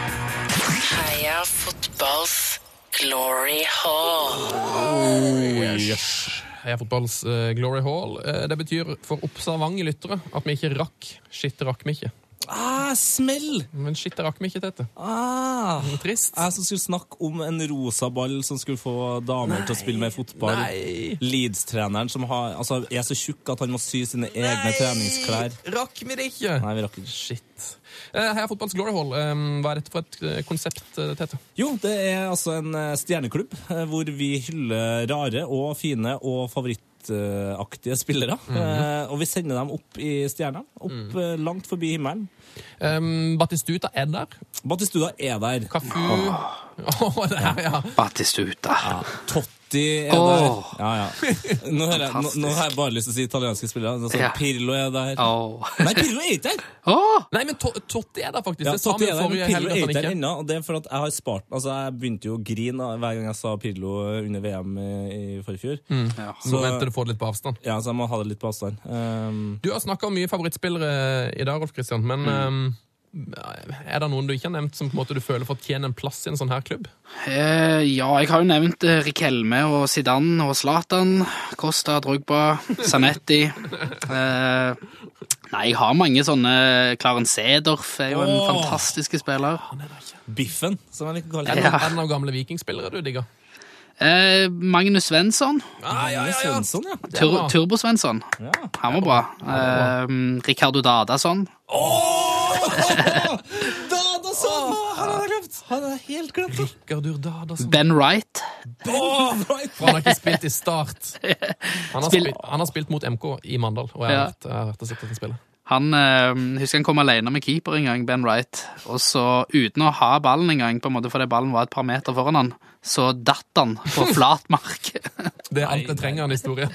S10: Heia fotballs glory hall.
S3: Heia fotballs eh, Glory Hall. Eh, det betyr for observante lyttere at vi ikke rakk. Shit, rakk vi ikke.
S4: ah, smell!
S3: Men shit, det rakk vi ikke til dette.
S4: Ah,
S3: Trist.
S4: jeg som skulle snakke om en rosa ball som skulle få damer til å spille mer fotball.
S3: Nei.
S4: Leeds-treneren som har, altså, er så tjukk at han må sy sine egne treningsklær.
S3: Rakk vi det ikke?
S4: Nei, vi rakk ikke.
S3: Shit. Eh, Her er fotballs glory hall. Eh, Hva er dette for et eh, konsept, eh, Tete?
S4: Jo, det er altså en eh, stjerneklubb eh, hvor vi hyller rare og fine og favorittaktige spillere. Eh, Og vi sender dem opp i stjerna. Opp eh, langt forbi himmelen.
S3: Um, Batistuta er der.
S4: Batistuda er der.
S3: Kafu Åh, det er, ja.
S5: Battistuta.
S4: Totti er
S5: Åh.
S4: der. Ja, ja. Nå, hører jeg, nå, nå har jeg bare lyst til å si italienske spillere. Altså,
S5: Ja.
S4: Pirlo er der.
S5: Åh.
S4: Nei, Pirlo er ikke der!
S5: Åh!
S3: Nei, men To- Totti er der, faktisk.
S4: Ja,
S3: det sa
S4: Totti
S3: vi
S4: er der,
S3: forrige
S4: men Pirlo
S3: helg.
S4: er ikke der
S3: at han ikke-
S4: ennå. og Det er fordi at jeg har spart Altså, jeg begynte jo å grine da, hver gang jeg sa Pirlo under VM i, i forfjor.
S5: Ja.
S3: Så venter du får det litt på avstand.
S4: Ja, så jeg må ha det litt på avstand. Um,
S3: Du har snakka om mye favorittspillere eh, i dag, Rolf Christian, men
S4: Mm.
S3: um, er det noen du ikke har nevnt som på en måte du føler fortjener en plass i en sånn her klubb?
S5: Eh, ja, jeg har jo nevnt eh, Rikelme og Zidane og Zlatan, Costa, Drogba, Zanetti. Eh, nei, jeg har mange sånne. eh, Clarence Sedorf er jo en
S4: Åh.
S5: fantastisk spiller.
S4: biffen, som jeg liker å kalle
S3: Er
S4: det.
S3: det noen,
S5: Ja.
S3: er det noen gamle vikingspillere du digger?
S5: Eh, Magnus Svensson.
S3: Ah, ja, ja, ja.
S4: Svensson, ja.
S3: Det er
S5: Tur
S3: bra.
S5: Turbo Svensson.
S4: Ja.
S5: Han var bra. Eh, Ricardo Dadason.
S4: Da, da så han hadde glemt! Han hadde helt glemt det.
S3: Gardur Dadason.
S5: Ben Wright.
S3: For han har ikke spilt i Start. Han har,
S5: Spill-
S3: spilt, han har spilt mot MK i Mandal, og jeg har
S5: Ja.
S3: vært, jeg har vært og sett dette spillet.
S5: Han, eh, husker han kom alene med keeper en gang, Ben Wright, og så uten å ha ballen en gang, på en måte fordi ballen var et par meter foran han, så datt han på flat mark.
S3: Det er alt jeg trenger av en historie.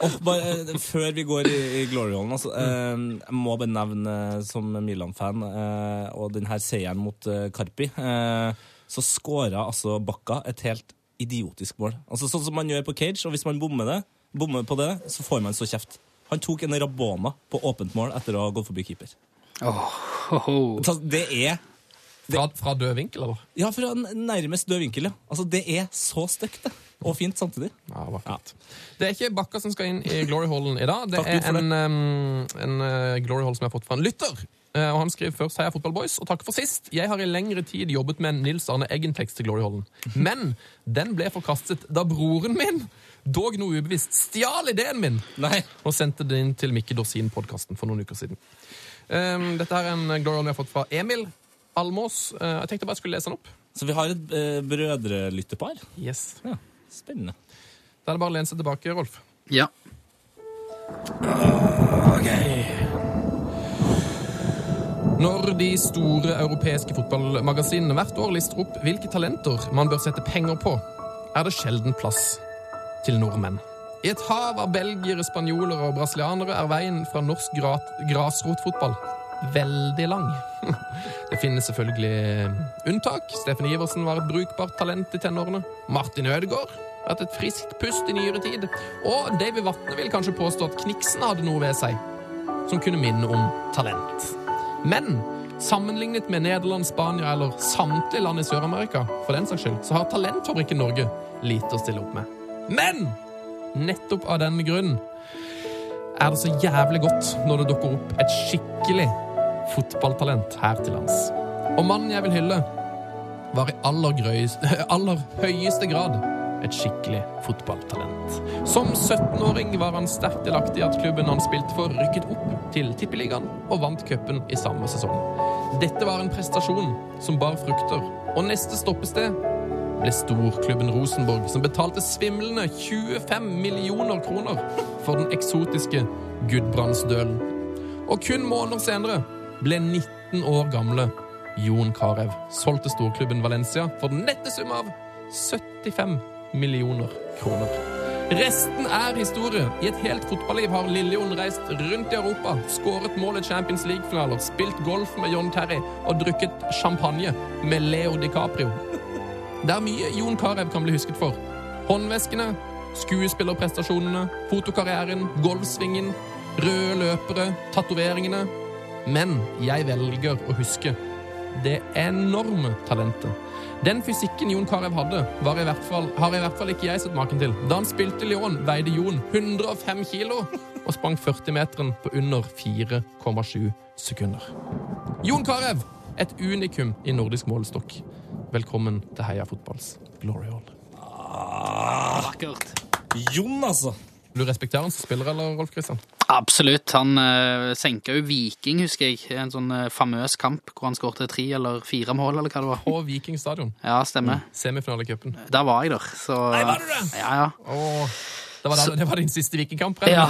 S4: Og bare, eh, før vi går i, i gloryhallen, altså, eh, jeg må bare nevne eh, som Milan-fan eh, og denne seieren mot eh, Karpi, eh, så skåra altså Bakka et helt idiotisk mål. Altså Sånn som man gjør på cage, og hvis man bommer, det, bommer på det, så får man så kjeft. Han tok en Rabona på åpent mål etter å ha gått forbi keeper.
S5: Ho, ho.
S4: Så det er
S3: Fra, fra død vinkel, eller?
S4: Ja, fra n- nærmest død vinkel, ja. Altså, det er så stygt, det. Og fint samtidig.
S3: Ja, vakkert. Det er ikke Bakka som skal inn i Glory Hallen i dag. Det
S4: Takk Gud
S3: er
S4: for
S3: en, um, en eh, Glory Hall som jeg har fått fra en lytter. Eh, Og Han skriver først Heia Fotballboys, og takk for sist. Jeg har i lengre tid jobbet med en Nils Arne Eggen-tekst til Glory Hallen. Men den ble forkastet da broren min, dog noe ubevisst, stjal ideen min
S4: Nei.
S3: og sendte den inn til Mikke Dorsin-podkasten for noen uker siden. Um, dette er en Glory Hall jeg har fått fra Emil Almås. Eh, jeg tenkte bare jeg skulle lese den opp.
S4: Så vi har et eh, brødrelyttepar.
S3: Yes.
S4: Ja, spennende.
S3: Da er det bare å lene seg tilbake, Rolf.
S5: Ja.
S3: Når de store europeiske fotballmagasinene hvert år lister opp hvilke talenter man bør sette penger på, er det sjelden plass til nordmenn. I et hav av belgiere, spanjoler og brasilianere er veien fra norsk gra grasrotfotball veldig lang. Det finnes selvfølgelig unntak. Steffen Iversen var et brukbart talent i tenårene. Martin Ødegaard har hatt et friskt pust i nyere tid. Og Davy Vatne vil kanskje påstå at Kniksen hadde noe ved seg som kunne minne om talent. Men sammenlignet med Nederland, Spania eller samtlige land i Sør-Amerika, for den saks skyld, så har talentfabrikken Norge lite å stille opp med. Men nettopp av den grunn er det så jævlig godt når det dukker opp et skikkelig fotballtalent her til lands. Og mannen jeg vil hylle, var i aller, grøys, aller høyeste grad et skikkelig fotballtalent. Som 17-åring var han sterkt delaktig i at klubben han spilte for, rykket opp til Tippeligaen og vant cupen i samme sesong. Dette var en prestasjon som bar frukter, og neste stoppested ble storklubben Rosenborg, som betalte svimlende 25 millioner kroner for den eksotiske Gudbrandsdølen. Og kun måneder senere ble 19 år gamle Jon Carew solgt til storklubben Valencia for den nette sum av 75 millioner kroner. Resten er historie. I et helt fotballiv har Lillejon reist rundt i Europa, skåret mål i Champions League-finaler, spilt golf med John Terry og drukket champagne med Leo DiCaprio. Det er mye Jon Carew kan bli husket for. Håndveskene, skuespillerprestasjonene, fotokarrieren, golfsvingen, røde løpere, tatoveringene. Men jeg velger å huske det enorme talentet. Den fysikken Jon Carew hadde, var i hvert fall, har i hvert fall ikke jeg sett maken til. Da han spilte i Lyon, veide Jon 105 kilo og sprang 40-meteren på under 4,7 sekunder. Jon Carew, et unikum i nordisk målestokk. Velkommen til Heia fotballs glory hall.
S5: Vakkert.
S4: Jon, altså.
S3: Vil du respektere han som spiller, eller, Rolf Kristian?
S5: Absolutt. Han uh, senka jo Viking, husker jeg. En sånn eh, famøs kamp hvor han skårte tre eller fire mål, eller hva det var.
S3: På Viking stadion.
S5: Ja, stemmer.
S3: Mm. Semifinalecupen.
S5: Der var jeg der, så Nei,
S4: var du det?
S5: Ja, ja.
S3: Åh, Det, var der- det var din siste vikingkamp? Remi.
S5: Ja,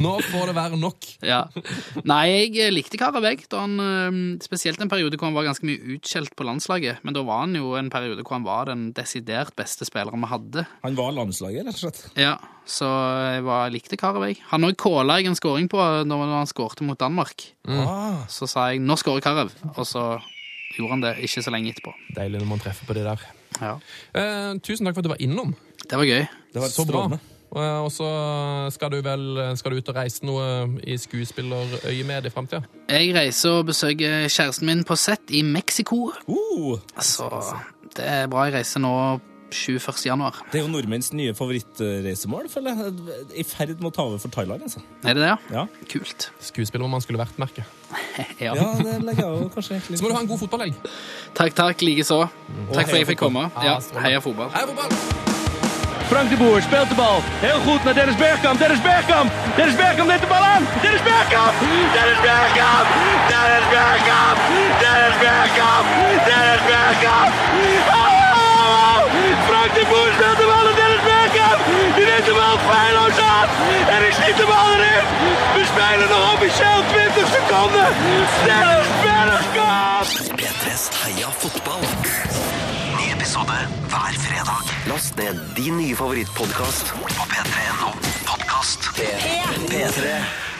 S3: Nå får det være nok.
S5: ja. Nei, jeg likte Karabekk. Da han, eh, spesielt en periode hvor han var ganske mye utskjelt på landslaget. Men da var han jo en periode hvor han var den desidert beste spilleren vi hadde.
S4: Han var landslaget, rett og slett.
S5: Ja, Så jeg var, likte Karabekk. Han òg kåla jeg en scoring på eh, når han skårte mot Danmark.
S4: Ah,
S5: Så sa jeg 'nå skårer Karev', og så gjorde han det ikke så lenge etterpå.
S3: Deilig når man treffer på det der.
S5: Ja.
S3: Eh, tusen takk for at du var innom.
S5: Det var gøy.
S4: det var
S3: Så bra.
S4: strålende.
S3: Eh, Og så skal du vel skal du ut og reise noe i skuespillerøyemed i framtida?
S5: Jeg reiser og besøker kjæresten min på sett i Mexico,
S4: Uh,
S5: så det er bra jeg reiser nå 21. januar.
S4: det er jo nordmenns nye favorittreisemål, føler jeg. I ferd med å ta over for Thailand, altså.
S5: Er det det, ja?
S4: Ja.
S5: Kult.
S3: Skuespiller man skulle vært, merker jeg.
S5: Ja.
S4: Ja, det legger jeg jo kanskje egentlig
S3: Så må du ha en god fotballhelg.
S5: Takk, takk, likeså. Takk for at jeg fikk komme. Ja,
S3: Ja, strålende.
S5: heia fotball.
S3: Hei, fotball!
S1: Frank de Boer speelt de bal. Heel goed naar Dennis Bergkamp. Dennis Bergkamp. Dennis Bergkamp neemt de bal aan. Dennis Bergkamp. Dennis Bergkamp. Dennis Bergkamp. Dennis Bergkamp. Dennis Bergkamp. Oh! Frank de Boer speelt de bal aan Dennis Bergkamp. Die neemt de bal feilloos aan. En is schiet de bal erin. We spelen nog officieel 20 seconden. Dennis Bergkamp.
S2: P3s Heia fotball. Ny episode hver fredag. Last ned din nye favorittpodkast på p3.no podkast. P3. P3.